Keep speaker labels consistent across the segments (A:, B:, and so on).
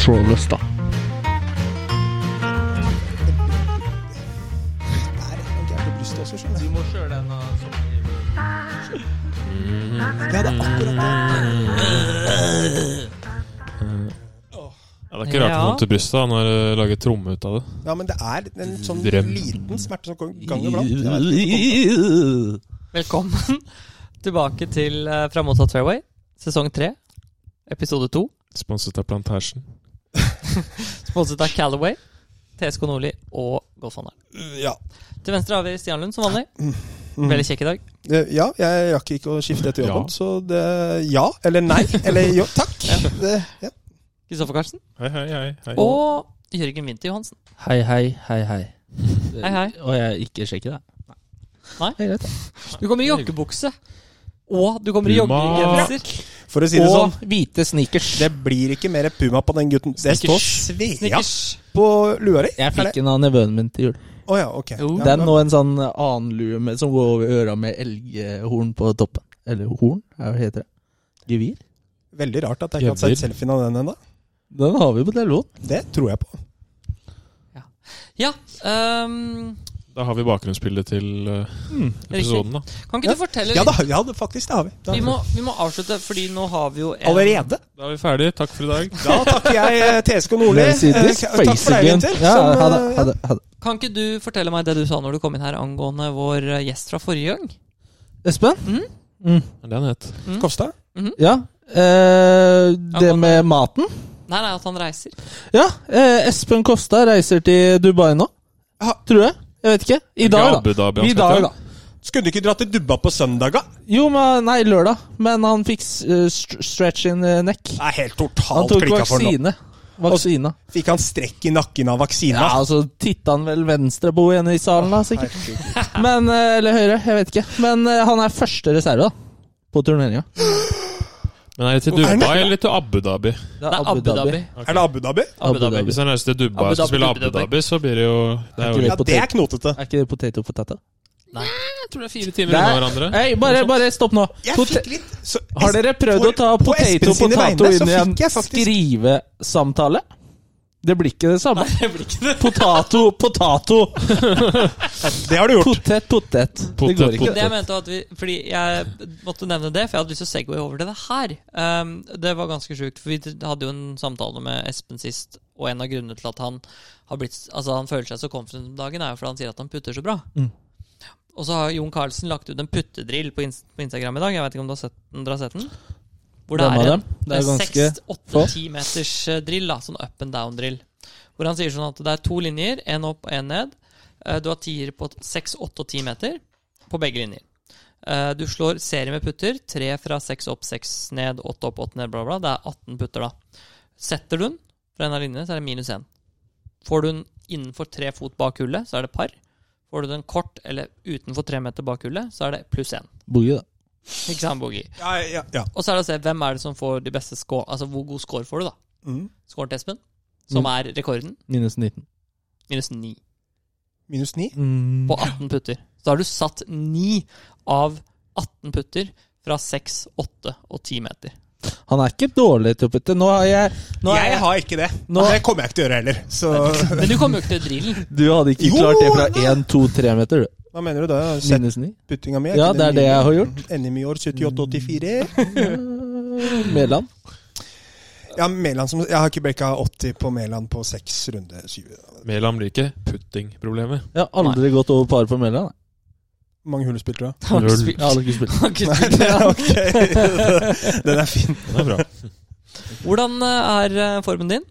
A: trådløst, da.
B: Der er noe gærent i brystet også, skjønner du.
C: Du må kjøre den av
B: Ja, det er akkurat det.
D: Ja, det er ikke rart det
E: Ja.
D: kom til brystet. Han har eh, laget tromme ut av det.
B: Ja, men det er en sånn
D: Drøm.
B: liten smerte som går- gang iblant. Jeg vet ikke.
E: Velkommen tilbake til eh, Fra motsatt fairway, sesong tre, episode to.
D: Sponset av Plantasjen.
E: Sponset av Callaway, TSK Nordli og Golfhandelen.
B: Ja.
E: Til venstre har vi Stian Lund, som vanlig. Veldig kjekk i dag.
B: Eh, ja, jeg rakk ikke å skifte etter jobben,
D: Ja.
B: så det Ja, eller nei, eller jo, takk. Det, ja.
E: Kristoffer Karlsen.
D: Hei, hei, hei. hei.
E: Og Jørgen Winther Johansen.
F: Hei, hei, hei, hei.
E: Hei, hei.
F: Og jeg er ikke sjekker deg.
E: Nei.
F: Det er greit.
E: Du kommer i joggebukse. Og du kommer i
D: Puma.
E: joggegenser.
B: For å si det
F: Og
B: sånn,
F: hvite sneakers.
B: det blir ikke mer puma på den gutten. Det står Svea
E: Snickers.
B: på lua di.
F: Jeg
B: Er det-
F: fikk en av nevøen min til jul.
B: Å ja, ok.
E: Jo.
B: Ja,
F: Den
B: men-
F: og en sånn annen lue med, som går over øra med elghorn på toppen. Eller horn, hva heter det? Gevir?
B: Veldig rart at jeg ikke har sett
D: Jævlig.
B: selfien av den ennå.
F: Den har vi på telefon.
B: Det tror jeg på.
E: Ja. ehm,
D: Da har vi bakgrunnsbildet til eh, episoden, da.
E: kan ikke du fortelle
B: Ja,
E: litt?
B: det har vi, ja, det faktisk, det har vi. Det har
E: Vi
B: vi.
E: må, vi må avslutte, fordi nå har vi jo en
B: Allerede?
D: Da er vi ferdig. Takk for i dag.
B: Da takker jeg eh, TSK Nordli.
F: Let's see
B: Eh,
F: this
B: Takk for
F: face
B: deg,
F: again.
B: Winter.
F: Ja,
B: som,
F: ha det,
B: eh,
F: ha det, ha det.
E: Kan ikke du fortelle meg det du sa når du kom inn her angående vår eh, gjest fra forrige gang?
F: Espen?
B: Mhm.
D: Hva er det han het?
B: ja, Kofstad?
F: Ja? Eh, det med maten?
E: Nei, nei, at han reiser.
F: Ja. Eh, Espen Kofstad reiser til Dubai nå.
B: Ja.
F: Tror jeg. Jeg vet ikke. I dag,
D: Abu
F: da.
D: Dhabi, han
F: I
D: skal
F: dag,
D: til.
F: da.
B: Skulle du ikke dra til Dubba på søndag, da?
F: Jo, men, nei, lørdag. Men han fikk uh, stretch in eh, neck.
B: Det er helt
F: Han
B: totalt
F: tok
B: klikka for nå.
F: vaksine. Vaksine.
B: Fikk han strekk i nakken av vaksina?
F: Ja, og så titta han vel venstre på henne i salen, da, sikkert. Men, eh, eller høyre, jeg vet ikke. Men eh, han er første reserve, da. På turneringa.
D: Men er det til
B: Er det-
D: Dubai eller til Abu Dhabi?
F: Det
E: Det er Abu Dhabi.
B: Er det Abu Dhabi?
E: Abu Dhabi.
D: Hvis han reiser til Dubai
E: Abu
D: og skal
E: Dhabi,
D: spille
E: Abu
D: Abu
E: Dhabi.
D: Dhabi, så blir det jo Det er jo
B: Ja, det er knotete.
F: Er ikke det potato potato?
D: Jeg tror det er fire timer unna hverandre.
F: Hei, bare, bare stopp nå.
B: Jeg
F: Pote-
B: fikk litt så,
F: har dere prøvd
B: på-
F: å ta
B: på Espen
F: potato
B: sine
F: potato
B: vegne så
F: inn i en
B: fikk jeg faktisk-
F: skrivesamtale? Det blir ikke det samme. Potato, potato,
B: Det har du gjort.
F: potet, potet. Det
D: Potet,
F: går ikke.
D: potet.
E: Det jeg mente var at vi, fordi jeg måtte nevne det, for jeg hadde lyst til å segway over til det her. Um, det var ganske sjukt, for vi hadde jo en samtale med Espen sist, og en av grunnene til at han har blitt Altså han føler seg så confident om dagen, er jo fordi han sier at han putter så bra. Og så har Jon Carlsen lagt ut en puttedrill på, inst på Instagram i dag. Jeg vet ikke om du har sett den? Dere har sett den? Hvor det
F: Hvem
E: er
F: av
E: en
F: dem? Det er ganske få.
E: 6-8-10 meters eh, drill, da, sånn up and down-drill. Hvor han sier sånn at det er to linjer, én opp og én ned. Eh, Du har tier på 6, 8 og 10 meter på begge linjer. Eh, Du slår serie med putter. Tre fra seks opp, seks ned, åtte opp, åtte ned, bla, bla. Det er 18 putter, da. Setter du den fra en av linjene, så er det minus én. Får du den innenfor tre fot bak hullet, så er det par. Får du den kort eller utenfor tre meter bak hullet, så er det pluss én.
F: Boogie, da.
E: Ikke sant, Boogie?
B: Ja, ja, ja.
E: Og så er det å se hvem er det som får de beste score. Altså hvor god score får du, da?
B: Mm.
E: Scoren til Espen, som
F: Mm.
E: er rekorden,
F: Minus 19.
E: minus ni
B: Minus ni.
E: på 18 putter. Så har du satt ni av 18 putter fra 6, 8 og 10 meter.
F: Han er ikke dårlig til å putte. Nå har jeg, nå har
B: Jeg
F: jeg
B: har ikke det.
F: Nå-
B: Det kommer jeg ikke til å gjøre heller. Så
E: Men du kommer jo ikke til drillen.
F: Du hadde ikke
B: Jo,
F: klart det fra
B: nei.
F: 1, 2, 3 meter, du.
B: hva mener du da? Jeg har Sett
F: Minus 9.
B: puttinga mi?
F: Ja, det er det jeg har gjort. Mm.
B: NM i år 78-84.
F: Mæland.
B: Ja, Mæland som Jeg har ikke breaka 80 på Mæland på seks runde syv.
D: Mæland blir ikke puttingproblemet.
F: Jeg har aldri gått over par på Mæland. jeg.
B: Hvor mange hull spilte du, da?
E: Har du
D: Null.
E: spilt-
F: Jeg har aldri ikke spilt.
E: har ikke spilt det?
B: Ok, Den er fin.
D: Den er bra.
E: Hvordan eh, er eh, formen din?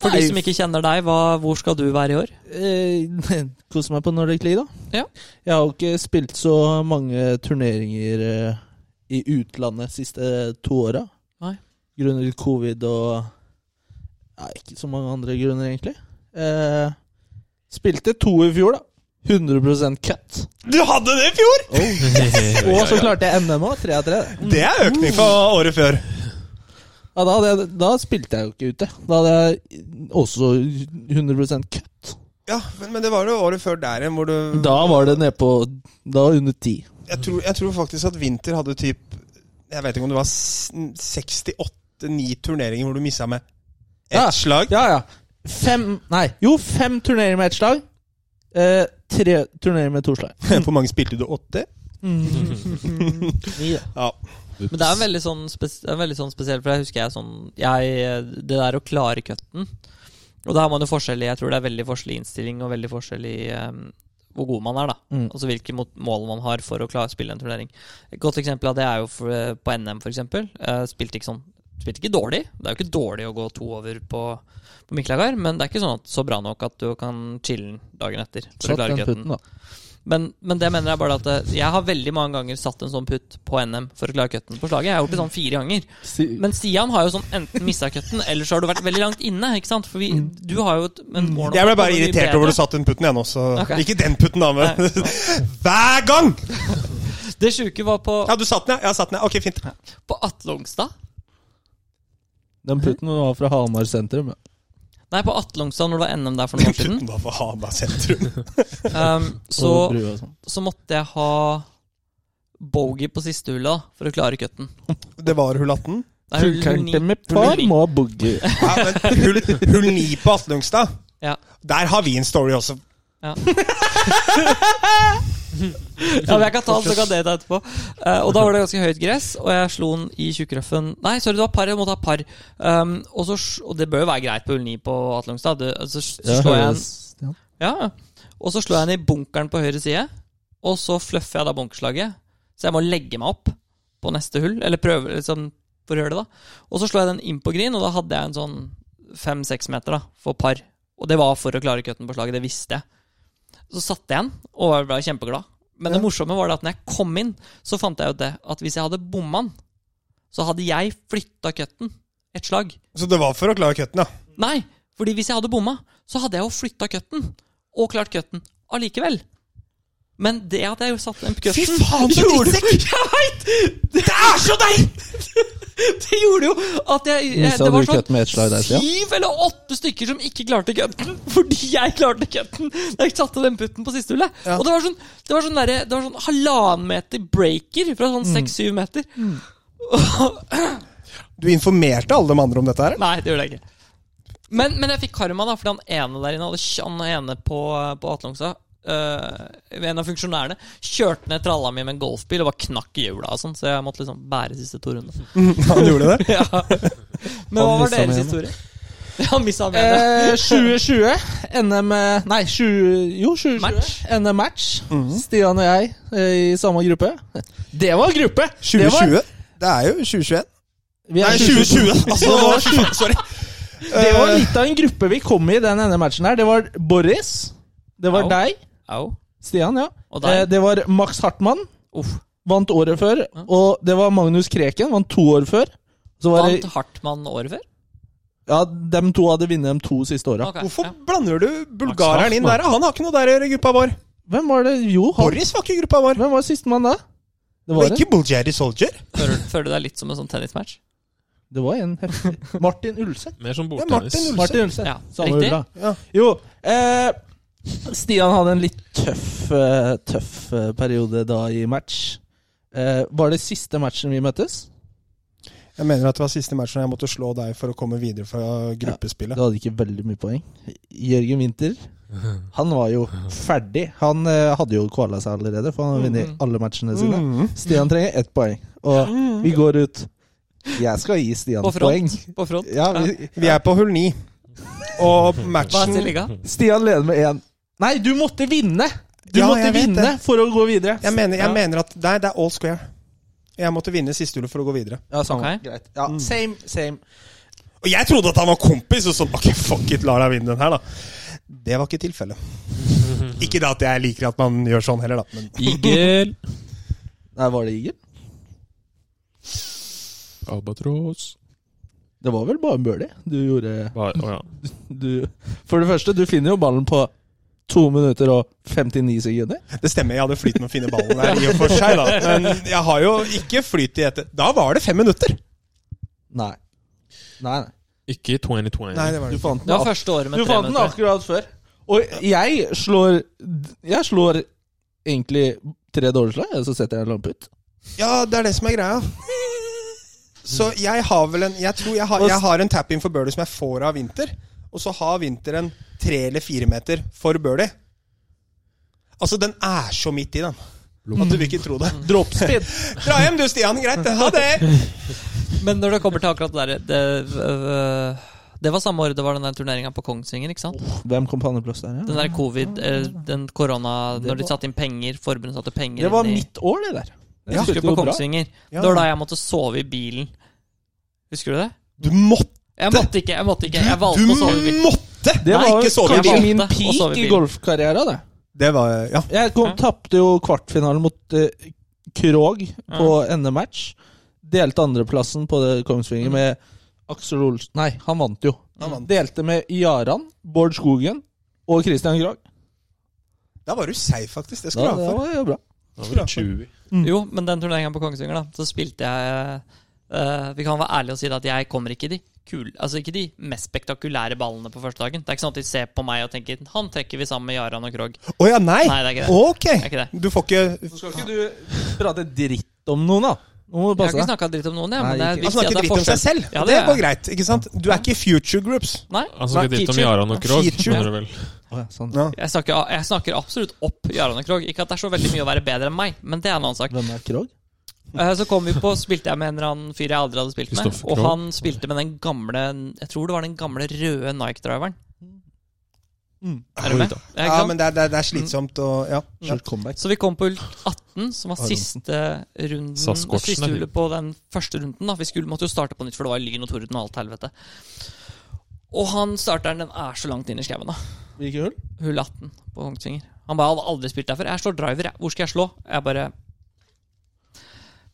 E: For
F: Nei.
E: de som ikke kjenner deg, hva, hvor skal du være i år?
F: Eh, Kos meg på Nordic League, da.
E: Ja.
F: Jeg har jo ikke spilt så mange turneringer eh, i utlandet siste to åra.
E: Nei.
F: Grunnet covid og Nei, ikke så mange andre grunner, egentlig. Eh, spilte to i fjor, da. 100 cut.
B: Du hadde det i fjor!
F: Og så klarte jeg NM òg, tre av tre.
B: Det er økning fra året før.
F: Ja, da, hadde jeg, da spilte jeg jo ikke ute. Da hadde jeg også 100 cut.
B: Ja, men, men det var jo året før der igjen hvor du
F: Da var det nede på Da var det under ti.
B: jeg, tror, jeg tror faktisk at Winter hadde typ Jeg vet ikke om det var 68-9 turneringer hvor du missa med
F: Ja.
B: Ett slag.
F: Ja, ja. Fem Nei, jo, fem turneringer med ett slag. Eh, tre turneringer med to slag.
B: Hvor mange spilte du? Åtte?
F: Ni, da.
B: Ja.
E: Men det er en veldig sånn, spes det er en veldig sånn spesiell, for jeg husker jeg sånn jeg, Det der å klare cutten Og da har man jo forskjellig Jeg tror det er veldig forskjellig innstilling og veldig forskjellig eh, hvor god man er, da.
F: Mm.
E: Altså hvilke mot- mål man har for å klare å spille en turnering. Et godt eksempel av det er jo for, på NM, for eksempel. Eh, spilte ikke sånn Spilte ikke dårlig. Det er jo ikke dårlig å gå to over på, på Miklagar, men det er ikke sånn at så bra nok at du kan chille dagen etter. For å
F: Satt
E: klare
F: den
E: cutten.
F: putten, da.
E: Men, men det mener jeg bare at eh, jeg har veldig mange ganger satt en sånn putt på NM for å klare cutten på slaget. Jeg har gjort det sånn fire ganger. Men Stian har jo sånn enten mista cutten, eller så har du vært veldig langt inne. Ikke sant? For vi, du har jo et men mål om
B: Mm. Jeg
E: å
B: ble
E: komme
B: bare
E: mye
B: irritert
E: bedre.
B: over du satt den putten, jeg nå. Så.
E: Ok.
B: Ikke den putten, da, men Hver gang!
E: Det sjuke var på,
B: Ja, du satt den, ja. ja. satt den, ja. Ok, fint.
E: på Atle Ongstad.
F: Den putten var fra Hamar sentrum. ja.
E: Nei, på Atle Ongstad når det var NM der for noen år
B: Den
E: siden.
B: putten var for Hamar sentrum.
E: Um, så,
F: Over brua og sånn.
E: så måtte jeg ha bogey på siste hullet da, for å klare cutten.
B: Det var hull 18.
E: Nei, hull- hull ni-
F: Fulgte med
E: hull
F: par
E: ni.
F: må boogie.
B: Ja, men hull, hull 9 på Atlungstad.
E: Ja.
B: Der har vi en story også.
E: Ja, men jeg kan ta den, så kan dere ta etterpå. Eh, og da var det ganske høyt gress, og jeg slo den i tjukkrøffen Nei, sorry, det var par. Jeg måtte ha par. Um, og, så, sl- og det bør jo være greit på hull 9 på Atlungstad. Det- altså, Så, s- så slår jeg en,
F: Ja.
E: ja. Og så slår jeg den i bunkeren på høyre side, og så fluffer jeg da bunkerslaget. Så jeg må legge meg opp på neste hull, eller prøve liksom, for å gjøre det, da. Og så slår jeg den inn på green, og da hadde jeg en sånn fem-seks meter da, for par. Og det var for å klare cutten på slaget, det visste jeg. Så satte jeg den, og jeg ble kjempeglad. Men det morsomme var det at når jeg kom inn, så fant jeg ut det at hvis jeg hadde bomma den, så hadde jeg flytta cutten et slag.
B: Så det var for å klare cutten, ja.
E: Nei, fordi hvis jeg hadde bomma, så hadde jeg jo flytta cutten. Og klart cutten allikevel. Men det at jeg jo satt den på
B: Fy
E: cutten
B: faen, så
E: gjorde-
B: drittsekk!
E: Jeg vet! Det er så deg! Det gjorde jo at jeg, jeg
F: Missa
E: Det
F: du
E: var sånn
F: køtten med ett slag der, Stian?
E: syv eller åtte stykker som ikke klarte cutten, fordi jeg klarte cutten da jeg satte den putten på siste hullet. Og det var sånn Det var sånn, derre- det var sånn halvannen meter breaker fra
F: Mm.
E: sånn seks-syv meter.
B: Du informerte alle de andre om dette her?
E: Nei, det gjorde jeg ikke. Men, men jeg fikk karma, da, fordi han ene der inne hadde kj- Han ene på, på Atlongsa, øh, en av funksjonærene, kjørte ned tralla mi med en golfbil og bare knakk i hjula og sånn, så jeg måtte liksom bære siste to runder.
B: Han gjorde det?
E: Ja. Men hva
F: Han
E: var
F: mistet
E: deres
F: med
E: historie? Ja, missa med det.
F: Eh, 2020, NM eh, Nei, 20, jo, 2020.
E: Match.
F: NM match. Stian og jeg eh, i samme gruppe. Det var gruppe! Det var-
B: 2020? Det er jo 2021.
F: Vi er
B: Nei, 2020! Altså, det var, faen, sorry.
F: Det var
B: Eh,
F: litt av en gruppe vi kom i i den ene matchen her. Det var Boris. Det var
E: Au.
F: deg,
E: Au.
F: Stian, ja.
E: Og deg.
F: Eh, Det var Max Hartmann,
E: Uff.
F: vant året før.
E: Ja.
F: Og det var Magnus Kreken, vant to år før. Så var
E: Vant
F: det,
E: Hartmann året før?
F: ja, dem to hadde vunnet de to siste åra.
E: Ok,
B: Hvorfor
E: ja.
B: blander du bulgareren inn der? Han har ikke noe der å gjøre i gruppa vår.
F: Hvem var det? Jo, han.
B: Boris var ikke i gruppa vår.
F: Hvem var sistemann da? Det
B: Det var
F: var, en,
B: ikke Bulgari Soldier.
E: Føler, føler du deg litt som en sånn tennismatch?
F: det var en heftig Martin Ulseth.
D: Mer som
B: Det er Martin
D: bordtennis.
B: Ulseth.
F: Martin Ulseth.
E: Ja,
F: Samme
E: riktig.
F: ulla.
B: Ja.
F: Jo, eh, Stian hadde en litt tøff, eh, tøff eh, periode da i match. Eh, var det siste matchen vi møttes?
B: Jeg mener at det var siste matchen jeg måtte slå deg for å komme videre fra
F: Du
B: gruppespillet.
F: hadde ikke veldig mye poeng. Jørgen Winther, han var jo ferdig. Han eh, hadde jo kvala seg allerede, for han har vunnet alle matchene sine.
B: Mhm.
F: Stian trenger ett poeng, og vi går ut. Jeg skal gi Stian
E: På front.
F: poeng.
E: På front?
F: Ja, vi,
B: Vi er på hull ni.
E: Hva
B: Og
E: er
B: matchen
E: stillinga?
F: Stian leder med én. Nei, du måtte vinne! Du
B: Ja,
F: måtte
B: jeg vet
F: vinne
B: det.
F: for å gå videre.
B: Jeg mener, jeg
E: Ja.
B: mener at Nei, det er all square. Jeg måtte vinne siste hullet for å gå videre.
F: Ja, samme.
E: Ok.
F: Greit. Ja, same, same.
B: Og jeg trodde at han var kompis, og sånn Ok, fuck it, lar deg vinne den her, da. Det var ikke tilfellet. Ikke det at jeg liker at man gjør sånn heller, da. Men
D: Igel.
F: Nei, var det Igel?
D: Albatross.
F: Det var vel bare en birdie du gjorde.
D: Bare, å ja.
F: Du, for det første, du finner jo ballen på to minutter og 59 sekunder.
B: det stemmer, jeg hadde flyt med å finne ballen der i og for seg, da. Men jeg har jo ikke flyt i etter Da var det fem minutter!
F: Nei. Nei, nei.
D: Ikke i 2020.
B: Nei, det var
F: Du
B: det.
F: fant
E: Det
F: den,
E: var
F: ak
E: første året
F: du
E: med tre
F: fant den
E: minutter.
F: akkurat før. Og jeg slår Jeg slår egentlig tre dårlige slag, og så setter jeg en lampe ut.
B: ikke. Ja, det er det som er greia. Så jeg har vel en Jeg tror jeg har, jeg har en tap-in for birdie som jeg får av vinter. Og så har vinter en tre eller fire meter for birdie. Altså, den er så midt i, den. At du vil ikke tro det.
G: Dropspin.
B: Dra hjem du, Stian. Greit, ha det!
E: Men når det kommer til akkurat det der Det, øh, det var samme år det var den der turneringa på Kongsvinger. ikke sant?
G: Hvem kom på andreplass der,
E: Den
G: ja?
E: der covid, øh, den korona
G: Det
E: Når de
G: var-
E: satte inn penger, forbundet satte penger
G: Det var
E: inn i-
G: mitt år, det der. Jeg
E: Jeg
G: spilte
E: husker på
G: jo bra.
E: Kongsvinger.
B: Ja.
E: Det var da jeg måtte sove i bilen. Husker du det?
B: Du måtte!
E: Jeg måtte ikke. Jeg måtte ikke. Jeg
B: Du
E: valgte å sove i bilen.
B: måtte!
G: Det
E: Nei,
G: var
E: ikke sove i
G: kanskje
E: bil.
G: min
E: Valgte å sove i
G: peak i
E: bil.
G: golfkarrieren. det.
B: Det var Ja.
G: Jeg kom,
E: Ja.
G: tapte jo kvartfinalen mot eh, Krog på NM-match. Delte andreplassen på
E: Mm.
G: det Kongsvinger med Aksel Olsen Nei, han vant jo.
B: Han vant.
G: Delte med Jaran, Bård Skogen og Christian Krog.
B: Da var du safe, faktisk. Det skal
G: Da,
B: du
G: det
B: ha for.
G: var jo bra.
D: Det var 20.
E: Jo, men den turneringen på Kongsvinger, da, så spilte jeg eh, Vi kan være ærlige og si det at jeg kommer ikke i de kul, altså ikke de mest spektakulære ballene på første dagen. Det er ikke sånn at de ser på meg og tenker 'han trekker vi sammen med Jaran og Krog'.
B: Å ja, nei?
E: Nei, det er ikke det.
B: Ok.
E: er ikke
B: Du får ikke
G: Nå skal ikke du prate dritt om noen, da. Nå
E: Jeg
G: må du
E: har
G: passe
E: ikke
G: deg.
E: snakka dritt om noen, jeg.
G: Nei,
E: Men det er
G: ikke.
E: viktig
B: Han
E: at
B: snakker
E: det er
B: dritt om
E: altså,
B: seg
E: forskjell.
B: selv.
E: Ja,
B: det
E: det er-
B: går greit. ikke sant? Du er ikke i future groups.
E: Nei,
D: Han snakket litt om
E: Teacher.
D: Jaran og Krog.
B: Teacher.
D: var det vel.
G: Å, ja, sånn.
B: Ja.
E: jeg snakker, jeg snakker absolutt opp Jaran og Krog. Ikke at det er så veldig mye å være bedre enn meg, men det er en annen sak.
G: Hvem er Krog?
E: Eh, Så kom vi på, spilte jeg med en eller annen fyr jeg aldri hadde spilt med.
D: Kristoffer
E: Og
D: Krog.
E: han spilte med den gamle Jeg tror det var den gamle røde Nike-driveren.
G: Mm.
E: Er du med? Ja, ikke
B: Ja,
E: sant?
B: men det er, det er, det er slitsomt og Ja. ja.
G: Short comeback.
E: Så vi kom på hull 18, som var siste runden
D: Sasquatchen,
E: Siste
D: eller?
E: hullet på den første runden. da Vi skulle, måtte jo starte på nytt, for det var lyn og torden og alt helvete. Og han starteren den er så langt inn i skauen, da.
G: Hvilket hull?
E: Hull 18 på Kongsvinger. Han bare hadde aldri spilt der før. Jeg slår driver, jeg. Hvor skal jeg slå? Jeg bare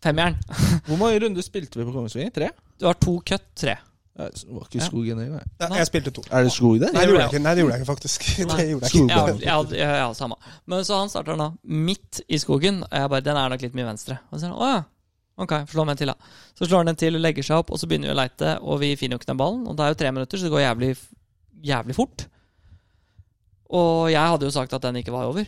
E: Femmeren.
G: Hvor mange runder spilte vi på Kongsvinger? Tre?
E: Du har to cut, tre.
G: Ja, så var ikke
E: Ja.
G: skogen engang.
B: Ja, Jeg spilte to.
G: Er det skog der?
B: Nei,
E: gjorde
B: det gjorde jeg
E: jeg
B: ikke. Nei, det gjorde jeg ikke, faktisk. Det
E: Nei.
B: gjorde jeg ikke.
G: Skog.
E: Ja, ja, ja, ja, samme. Men så han starter da midt i skogen. Og jeg bare, den er nok litt mye venstre. Og så sier han, å ja. Ok, slå med en til da. Så slår han en til og legger seg opp, og så begynner vi å leite, og vi finner jo ikke den ballen. Og det er jo tre minutter, så det går jævlig, jævlig fort. Og jeg hadde jo sagt at den ikke var over.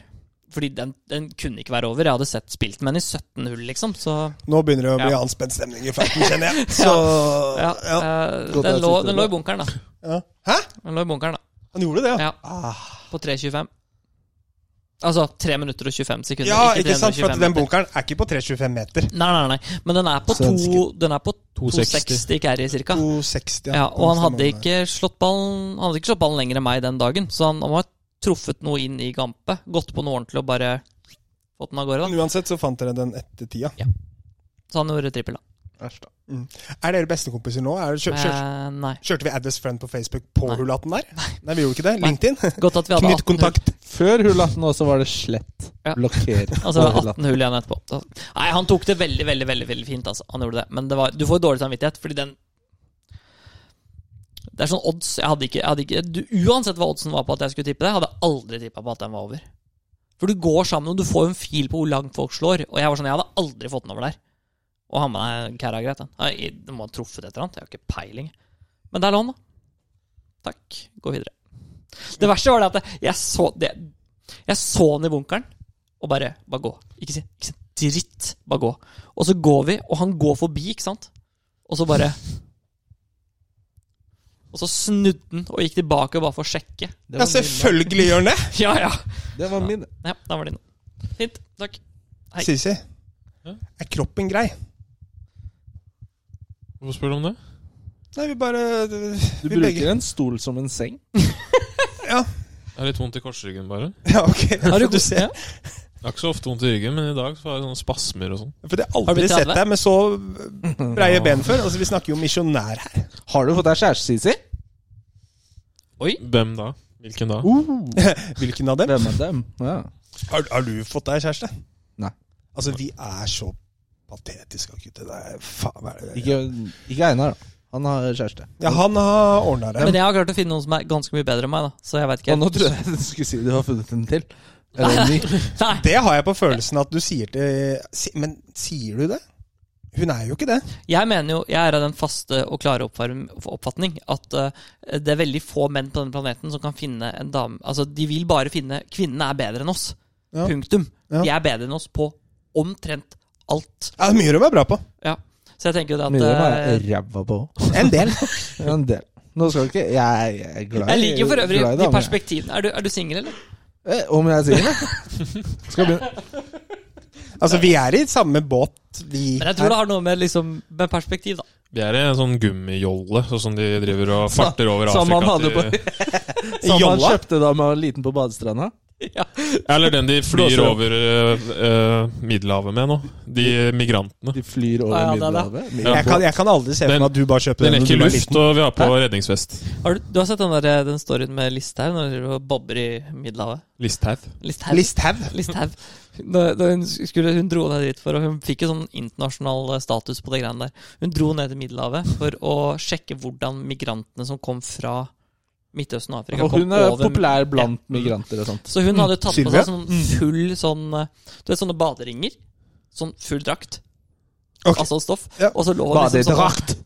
E: Fordi den, den kunne ikke være over. Jeg hadde sett spilt med den i 17 hull, liksom. Så
B: Nå begynner det å bli
E: Ja.
B: anspent stemning i flaten, kjenner jeg. Så
E: ja,
B: ja.
E: eh,
G: Godt
E: den,
G: jeg
E: lå,
G: sitter
E: den lå
G: bra.
E: i bunkeren, da.
B: Ja. Hæ?
E: Den lå i bunkeren, da.
B: Han gjorde det, ja?
E: Ja,
B: Ah.
E: på 3.25. Altså 3 minutter og 25 sekunder.
B: Ja, ikke sant? For
E: 325
B: at den
E: meter.
B: bunkeren er ikke på 3,25 meter.
E: Nei, nei, nei. Men den er på, to,
G: Svenske.
E: den er på 260
D: 260
E: carry, cirka.
B: 2,60.
E: Ja, og han hadde
B: Stemmer.
E: ikke slått ballen Han hadde ikke slått ballen lenger enn meg den dagen, så han, han må ha truffet noe inn i gampet. Gått på noe ordentlig og bare fått den av gårde.
B: Men Uansett så fant dere den etter tida.
E: da Så han gjorde trippel, da.
B: Er dere bestekompiser nå? Er det, kjør, kjør,
E: Eh, nei.
B: kjørte vi Add as friend på Facebook på
E: Nei.
B: hull 18 der? Nei, vi gjorde ikke det. LinkedIn?
E: Godt at vi hadde 18
B: Knytt
E: hull,
B: kontakt.
G: Før hull 18 også var det slett.
E: Ja.
G: Blokker.
E: altså, det var
G: Hull 18.
E: 18 hull igjen etterpå. Så- Nei, han tok det veldig, veldig veldig, veldig fint, altså. Han gjorde det. Men det var, du får dårlig samvittighet, fordi den Det er sånn odds jeg hadde ikke, jeg hadde ikke du, Uansett hva oddsen var på at jeg skulle tippe det, hadde jeg aldri tippa på at den var over. For du går sammen, og du får jo en fil på hvor langt folk slår. Og jeg var sånn, jeg hadde aldri fått den over der. Og han med deg kæra greit, den. Nei, Den må ha truffet et eller annet. Jeg har ikke peiling. Men der lå den, da. Takk. Gå videre. Det verste var det at jeg- jeg så det Jeg så den i bunkeren og bare Bare gå. Ikke si, ikke si dritt. Bare gå. Og så går vi, og han går forbi, ikke sant? Og så bare Og så snudde han og gikk tilbake bare for å sjekke.
G: Det
B: Ja,
G: var min.
B: selvfølgelig gjør han det!
E: Ja, ja.
G: Det var min.
E: Ja, da var det inne. Fint. Takk. Hei.
B: Sisi,
D: Ja?
B: er kroppen grei?
D: Hvorfor spør du om det?
B: Nei, vi bare
G: Du
B: Vi
G: bruker
B: begge
G: en stol som en seng.
D: Jeg har litt vondt i korsryggen, bare.
B: Ja, ok.
E: Har du,
B: du ser.
E: ja.
D: Jeg har ikke så ofte vondt i ryggen, men i dag så har jeg sånne spasmer og sånn.
B: For jeg har
E: Har du
B: aldri
E: blitt
B: sett
E: 30?
B: deg med så breie ben før. Altså, Vi snakker jo misjonær her.
G: Har du fått deg kjæreste, Sisi?
D: Hvem da? Hvilken da?
B: Hvilken av dem?
G: Hvem er dem? Ja.
B: Har, har du fått deg kjæreste?
G: Nei.
B: Altså, vi er så patetiske, gutter. Det er faen hva er det?
G: Ikke, ikke Einar, da. Han har kjæreste.
B: Ja, han har ordna det.
E: Men jeg har klart å finne noen som er ganske mye bedre enn meg, da. Så jeg vet ikke.
G: Og nå trodde jeg du skulle si du har funnet en til. Eller en ny.
E: Nei.
B: Det har jeg på følelsen at du sier til si, Men sier du det? Hun er jo ikke det.
E: Jeg mener jo, jeg er av den faste og klare oppvarm- oppfatning at eh, det er veldig få menn på denne planeten som kan finne en dame Altså, de vil bare finne Kvinnene er bedre enn oss.
B: Ja.
E: Punktum.
B: Ja.
E: De er bedre enn oss på omtrent alt.
B: Ja, det er mye de er bra på.
E: Ja. Så jeg tenker jo det at
G: Mye var
E: eh,
G: jeg ræva på.
B: En del.
G: En del. Nå skal ikke Jeg, jeg er glad i
E: Jeg liker for øvrig de
G: glad i damer, jeg.
E: perspektivene. Er du, er du singel, eller?
G: Eh, Om jeg er singel, ja. Skal begynne.
B: Altså, vi er i samme båt, vi.
E: Men jeg tror det har noe med, liksom, med perspektiv, da.
D: Vi er i en sånn gummijolle, sånn som de driver og farter over
G: Som han
D: Afrika
G: hadde på
D: til
G: Som han
B: Jolla.
G: kjøpte da man var liten på badestranda.
E: Ja.
D: Eller den de flyr
G: Blåser opp.
D: over eh, eh, Middelhavet med nå. De migrantene.
G: De flyr over
E: Ja, ja, det er det.
G: Middelhavet.
D: Ja.
B: Jeg kan, jeg kan aldri se for meg at du bare kjøper
D: Den
B: den når
D: lekker
B: du er
D: luft,
B: liten.
D: og vi har på redningsvest.
E: Har du, du har sett den, der, eh, den storyen med Listhaug når hun driver og bobber i Middelhavet?
D: Listhaug.
E: Listhaug.
B: Listhaug.
E: Listhaug. Da, da hun, skulle, hun dro ned dit for og Hun fikk jo sånn internasjonal eh, status på det greiene der. Hun dro ned til Middelhavet for å sjekke hvordan migrantene som kom fra Midtøsten og Afrika,
G: Og hun
E: kom
G: er
E: over Mm.
G: populær blant Mm. migranter og sånt.
E: Så hun hadde jo tatt på
B: Sylvia?
E: seg sånn full sånn eh, Du vet sånne baderinger? Sånn full drakt.
B: Ok.
E: Altså stoff.
B: Ja.
E: Og så lå hun liksom sånn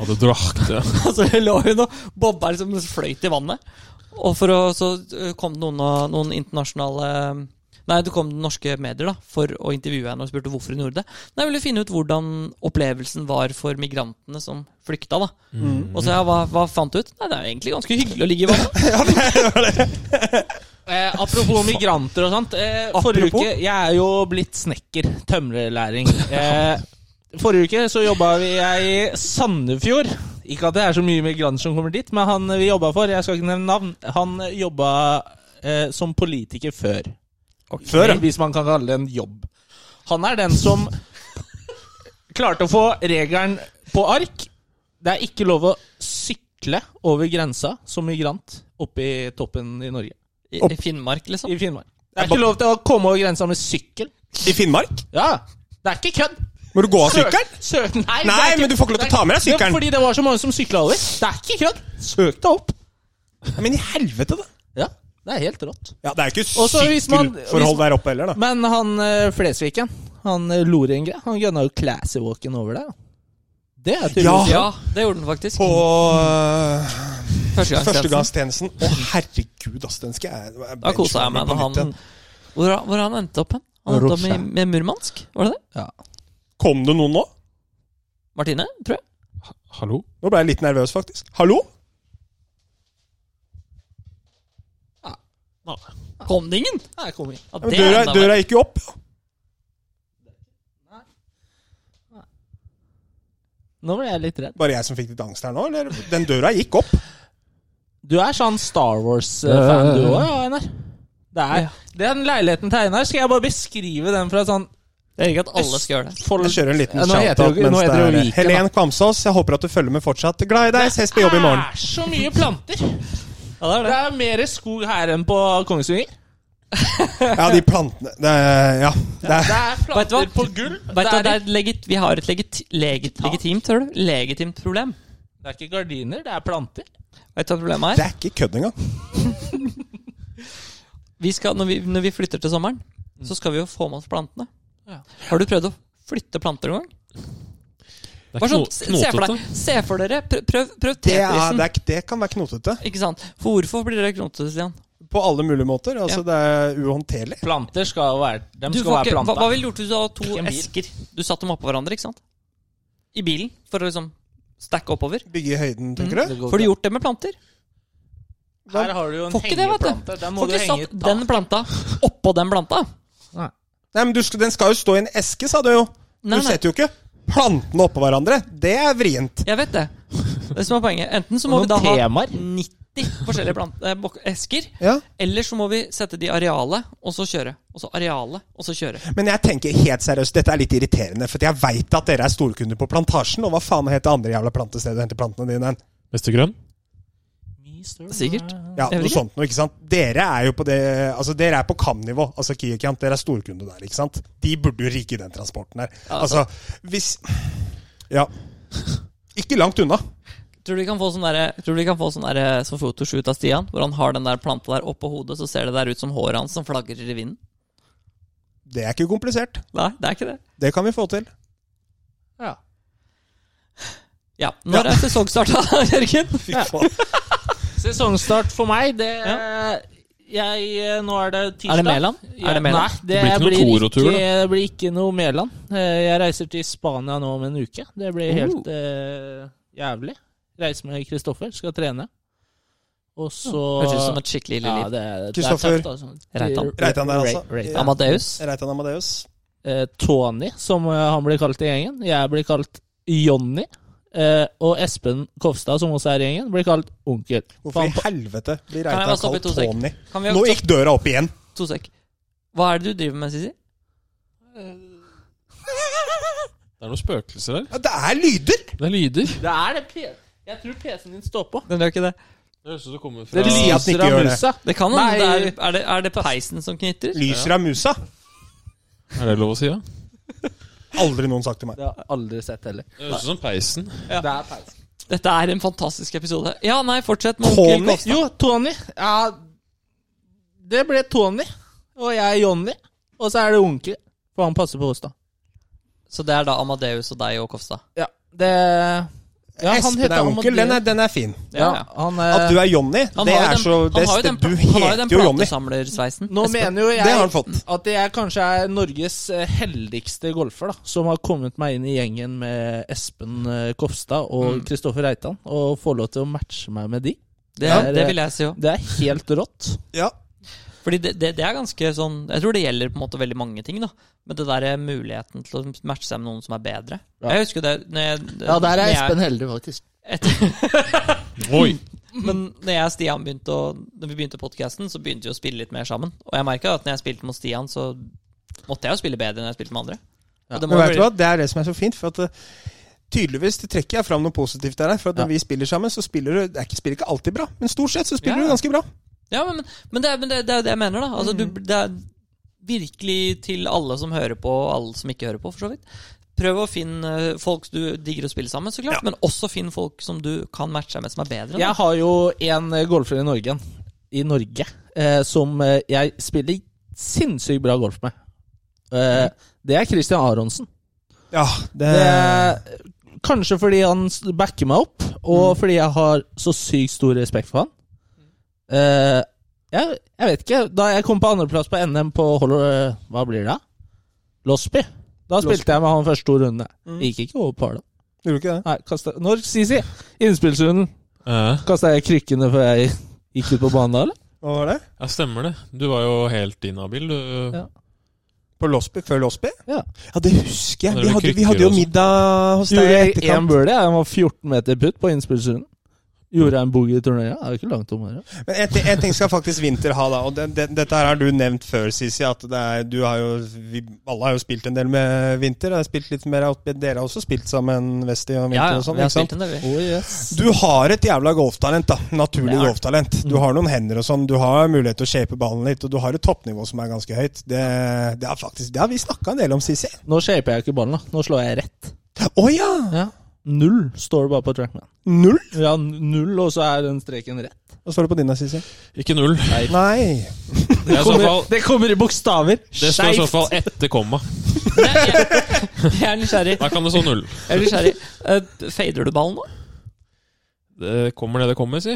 D: Hadde drakt, ja.
E: Og så lå hun og bobba liksom fløyt i vannet. Og for å, så eh, kom det noen, av- noen internasjonale Nei, det kom norske medier da, for å intervjue henne og spurte hvorfor hun gjorde det. Nei, Jeg ville finne ut hvordan opplevelsen var for migrantene som flykta. da.
D: Mm.
E: Og så ja, hva, hva fant du ut? Nei, Det er jo egentlig ganske hyggelig å ligge i vannet.
F: Eh, apropos migranter og sånt. Eh, forrige
E: Apropos?
F: uke Jeg er jo blitt snekker. Tømrerlæring. Eh, forrige uke så jobba vi- jeg i Sandefjord. Ikke at det er så mye migranter som kommer dit, men han vi jobba for, jeg skal ikke nevne navn, han jobba eh, som politiker før.
B: Før, ja.
F: Hvis man kan kalle det en jobb. Han er den som klarte å få regelen på ark. Det er ikke lov å sykle over grensa som migrant oppe i toppen i Norge.
E: I, i Finnmark, liksom.
F: I Finnmark. Det er ikke lov til å komme over grensa med sykkel.
B: I Finnmark?
F: Ja, Det er ikke kødd.
B: Må du gå av
F: Søk-
B: sykkelen?
F: søk- Nei, det er
B: Nei,
F: ikke-
B: men du får ikke lov til å
F: det er-
B: ta med deg sykkelen.
F: Ja, fordi det var så mange som sykla over. Det er ikke kødd. Søk deg opp.
B: Men i helvete, da!
F: Ja, det er helt rått.
B: Ja, Det er jo ikke
F: Også hvis man-
B: sykkelforhold
F: hvis-
B: der oppe heller, da.
F: Men han eh, Flesviken, han eh, Lorengre, han gønna jo classy walken over der. da. Det er tydeligvis
E: Ja, det gjorde den faktisk.
B: På øh,
E: Førstegangstjenesten.
B: førstegangstjenesten. Å, herregud, ass, den skal jeg jeg
E: Da kosa jeg
B: benchmarker
E: meg
B: på
E: når
B: nytt
E: han
B: igjen.
E: Hvor, hvor han endte opp hen? Han endte opp med, med Murmansk, var det det?
B: Kom det noen nå?
E: Martine, tror jeg.
D: Hallo?
B: Nå ble jeg litt nervøs, faktisk. Hallo?
E: Kom det ingen?
F: Nei, kom igjen.
E: Ja, det er
B: Døra,
E: enda verre.
B: døra gikk jo opp.
F: Nå ble jeg litt redd.
B: Bare jeg som fikk litt angst her nå? Eller? Den døra gikk opp.
F: Du er sånn Star Wars-fan, du òg, ja, Einar? Det
E: Ja.
F: er, den leiligheten til Einar skal jeg bare beskrive den fra sånn
E: Jeg liker at alle skal gjøre det.
B: Jeg kjører en liten
F: Ja, nå heter det
B: shout-out
F: jo- nå
B: mens
F: heter det
B: det
F: jo
B: er
F: Viken, da.
B: Helen Kvamsås, jeg håper at du følger med fortsatt. Glad i deg, ses på jobb i morgen.
F: Det er så mye planter.
E: Ja, det er
F: Det
E: det.
F: er mer skog her enn på Kongsvinger.
B: Ja, de plantene det, er- Ja. Det er,
F: Det er
E: Vet du hva?
F: planter på gull.
E: Vet du, hva, det
F: det,
E: er et legit, vi har et legit, legit, legitimt, hører du? legitimt problem.
F: er, det er ikke gardiner, det er planter.
E: Vet du hva problemet
B: det
E: er?
B: er ikke kødd engang.
E: Vi skal, når, vi, når vi flytter til sommeren, så skal vi jo få med oss plantene.
F: Ja.
E: Har du prøvd å flytte planter noen gang?
D: Det er
E: Bare
D: kno-
E: sånn, se se for,
D: knotete.
E: deg, se for dere, prøv, prøv, prøv
B: Det, er,
E: Tetrisen.
B: det, er, det kan være knotete.
E: Ikke sant? For hvorfor blir dere knotete, Stian?
B: På alle mulige måter. Altså,
E: Ja.
B: Det er uhåndterlig.
F: Planter skal jo være De
E: Du
F: skal
E: får
F: være
E: ikke, hva,
F: planta.
E: hva ville du gjort hvis du hadde to
F: Ikke en bil.
E: esker? Du satte dem oppå hverandre, ikke sant? I bilen, for å liksom stacke oppover.
B: Bygge i høyden, tenker du?
E: Får du gjort det med planter?
F: Her har du jo en
E: Får ikke det, vet du.
F: hengeplante. Den må
E: Får
F: du
E: ikke
F: henge
E: satt den planta oppå den planta?
B: Nei, men du, skal- Den skal jo stå i en eske, sa du jo.
E: Nei,
B: du
E: nei.
B: setter jo ikke plantene oppå hverandre. Det er vrient.
E: Jeg vet det. Det som er poenget. Enten så må vi da
F: Noen
E: ha
F: temaer.
E: 90 forskjellige plant eh, bok- esker,
B: Ja.
E: eller så må vi sette de i arealet, og så kjøre. Og så arealet, og så kjøre.
B: Men jeg tenker helt seriøst, dette er litt irriterende. For jeg veit at dere er storkunder på Plantasjen. Og hva faen heter det andre jævla plantestedet du henter plantene dine? hen?
D: Mester Grønn?
E: Sikkert.
B: Ja,
E: Jeg vet
B: noe
E: ikke.
B: sånt noe, ikke sant? Dere er jo på det Altså, dere er på KAM-nivå, altså Kiekant. Dere er storkunde der, ikke sant? De burde jo rike i den transporten her. Altså, hvis Ja. Ikke langt unna.
E: Tror du vi kan få sånn derre- tror du vi kan få sånn derre som fotoshoot av Stian, hvor han har den der planta der oppå hodet, så ser det der ut som håret hans som flagrer i vinden?
B: Det er ikke komplisert.
E: Nei, det er ikke det.
B: Det kan vi få til.
F: Ja.
E: Ja. Når er sesongstart, da, Jørgen?
B: Fy faen.
F: Sesongstart for meg, det Jeg, eh, nå er det tirsdag.
E: Er det Mæland?
F: Ja,
E: Er det Mæland?
F: Nei, det,
D: Det blir
F: blir
D: ikke noe
F: ikke,
D: Toro-tur, da?
F: det blir ikke noe Mæland. Eh, Jeg reiser til Spania nå om en uke. Det blir helt eh, jævlig. Reiser med Kristoffer, skal trene. Og så
E: Høres ut som et skikkelig ille
F: ja,
E: liv.
F: det er, det er
B: Kristoffer.
F: tøft, altså.
E: Reitan.
B: Reitan der, altså.
F: Re- Reitan.
E: Amadeus.
B: Reitan Amadeus.
F: eh, Tony, som eh, han blir kalt i gjengen. Jeg blir kalt Jonny. Eh, og Espen Kofstad, som også er i gjengen, blir kalt onkel.
B: Hvorfor
F: Han
B: i helvete
E: Kan jeg
B: blir
E: bare
B: Reitan
E: stoppe i
B: kalt
E: to sek?
B: Tony?
E: Kan vi
B: Nå gikk døra opp igjen.
E: To sek. Hva er det du driver med, Sisi?
D: Det er noen spøkelser her.
B: Ja, det er lyder!
D: Det er lyder.
F: Det er det P Jeg tror PC-en din står på.
E: Den gjør ikke det.
D: Det høres ut som det kommer
F: Det
D: fra
B: lyder. at den
F: lyser
B: ikke
F: av
B: gjør det.
F: musa.
E: Det kan hende.
F: Nei.
E: det Er, er, det, er det peisen som knytter?
B: Lyser av musa.
D: Er det lov å si, ja?
B: Aldri noen sagt til meg.
F: Det har jeg aldri sett heller.
D: Det høres ut som peisen.
F: Det er peisen.
E: Dette er en fantastisk episode. Ja, nei, fortsett med onkel
B: Tony?
E: Kåss.
F: Jo, Tony. Ja, det ble Tony. Og jeg er Jonny. Og så er det onkel. For han passer på oss, da.
E: Så det er da Amadeus og deg og Kofstad.
F: Ja, det ja, han
B: Espen
F: heter
B: er onkel. Den
F: Amadeus.
B: er, den er fin.
F: ja,
E: Ja, ja.
F: han,
B: At
F: eh,
B: du er Jonny,
E: Han
B: det
E: har jo
B: er
E: den-
B: så
E: han
B: det,
E: har jo den-
B: Du
E: Han har jo
B: heter
E: den
B: jo Jonny.
E: platesamlersveisen.
F: Nå
E: Espen.
F: mener jo
B: Det har han
F: jeg
B: fått.
F: at jeg kanskje er Norges eh, heldigste golfer, da. Som har kommet meg inn i gjengen med Espen eh, Kofstad og Kristoffer Reitan. Og får lov til å matche meg med de.
E: Det,
F: Ja.
E: det vil jeg si òg.
F: Det er helt rått.
B: Ja.
E: Fordi det, det, det er ganske sånn Jeg tror det gjelder på en måte veldig mange ting, da. Men det der er muligheten til å matche seg med noen som er bedre.
F: Ja.
E: Jeg husker det når jeg,
F: Ja, der
E: når
F: er
E: jeg-
F: Espen heldig, faktisk.
D: Oi!
E: Men når jeg og Stian begynte å, Når vi begynte podcasten så begynte vi å spille litt mer sammen. Og jeg merka at når jeg spilte mot Stian, så måtte jeg jo spille bedre enn jeg spilte med andre. Og det må
B: Men
E: jo
B: vet du
E: bli-
B: hva, det er det som er så fint. For at eh, tydeligvis det trekker jeg fram noe positivt der. For at når vi spiller sammen, så spiller du det er ikke, spiller ikke alltid bra, men stort sett så spiller
E: Ja.
B: du ganske bra.
E: Ja, men, men, det, er- men det, det er jo det jeg mener, da. Altså, du, det er virkelig til alle som hører på, og alle som ikke hører på, for så vidt. Prøv å finne eh, folk du digger å spille sammen, så klart. Men også finn folk som du kan matche deg med, som er bedre.
F: Jeg
E: da.
F: har jo en eh, golfer i Norge, i Norge eh, som eh, jeg spiller sinnssykt bra golf med. Eh, det er Christian Aronsen.
B: Ja, det,
E: Eh.
F: Det, kanskje fordi han s- backer meg opp, og
E: Mm.
F: fordi jeg har så sykt stor respekt for han. Eh, jeg, jeg vet ikke. Da jeg kom på andreplass på NM på Hol- eh, Hva blir det? da? Losby. Da
B: Losby.
F: spilte jeg med han første to rundene.
E: Mm.
F: Gikk ikke over par, da.
B: Gjorde du ikke det?
F: Nei, kastet, når Sisi? Innspillsrunden.
D: Eh,
F: Kasta jeg krykkene før jeg gikk ut på banen da, eller?
B: Hva var det?
D: ja, stemmer det. Du var jo helt inhabil, du.
F: Ja.
B: På Losby? Før Losby?
F: Ja.
B: ja, det husker jeg. Vi
D: Når
B: hadde,
D: det
B: vi
D: krykker
B: hadde jo
D: og sånt.
B: middag hos deg
F: Gjorde
B: i
F: jeg én
B: etterkant.
F: birdie. Jeg var 14 meter putt på innspillsrunden. Gjorde jeg en boogie i turneringa? Det er jo ikke langt om her. ja.
B: Men en, ting- en ting skal faktisk Winter ha, da. Og det, det, dette her har du nevnt før, Sisi. At det er, du har jo vi, Alle har jo spilt en del med Winter. Jeg har spilt litt mer, av- dere har også spilt sammen, Westy og Winter
E: ja, ja,
B: og sånn.
E: vi har
B: ikke sant?
E: spilt en del, vi.
F: Oh, yes.
B: Du har et jævla golftalent, da. Naturlig
E: Det har jeg.
B: golftalent. Du har noen hender og sånn. Du har mulighet til å shape ballen litt, og du har et toppnivå som er ganske høyt. Det, det er faktisk Det har vi snakka en del om, Sisi.
F: Nå shaper jeg ikke ballen, da. Nå slår jeg rett.
B: Å ja!
F: Null står det bare på trackman.
B: Null.
F: Ja, n- null, og så er den streken rett.
B: Hva står det på din da, Sisi?
D: Ikke null.
B: Nei.
D: Det er i så fall
F: det kommer i bokstaver!
D: det står i så fall etter komma.
E: Men jeg, jeg, jeg er nysgjerrig.
D: Der kan det stå null.
E: Jeg er nysgjerrig. Eh, fader du ballen nå?
D: Det kommer det det kommer, si.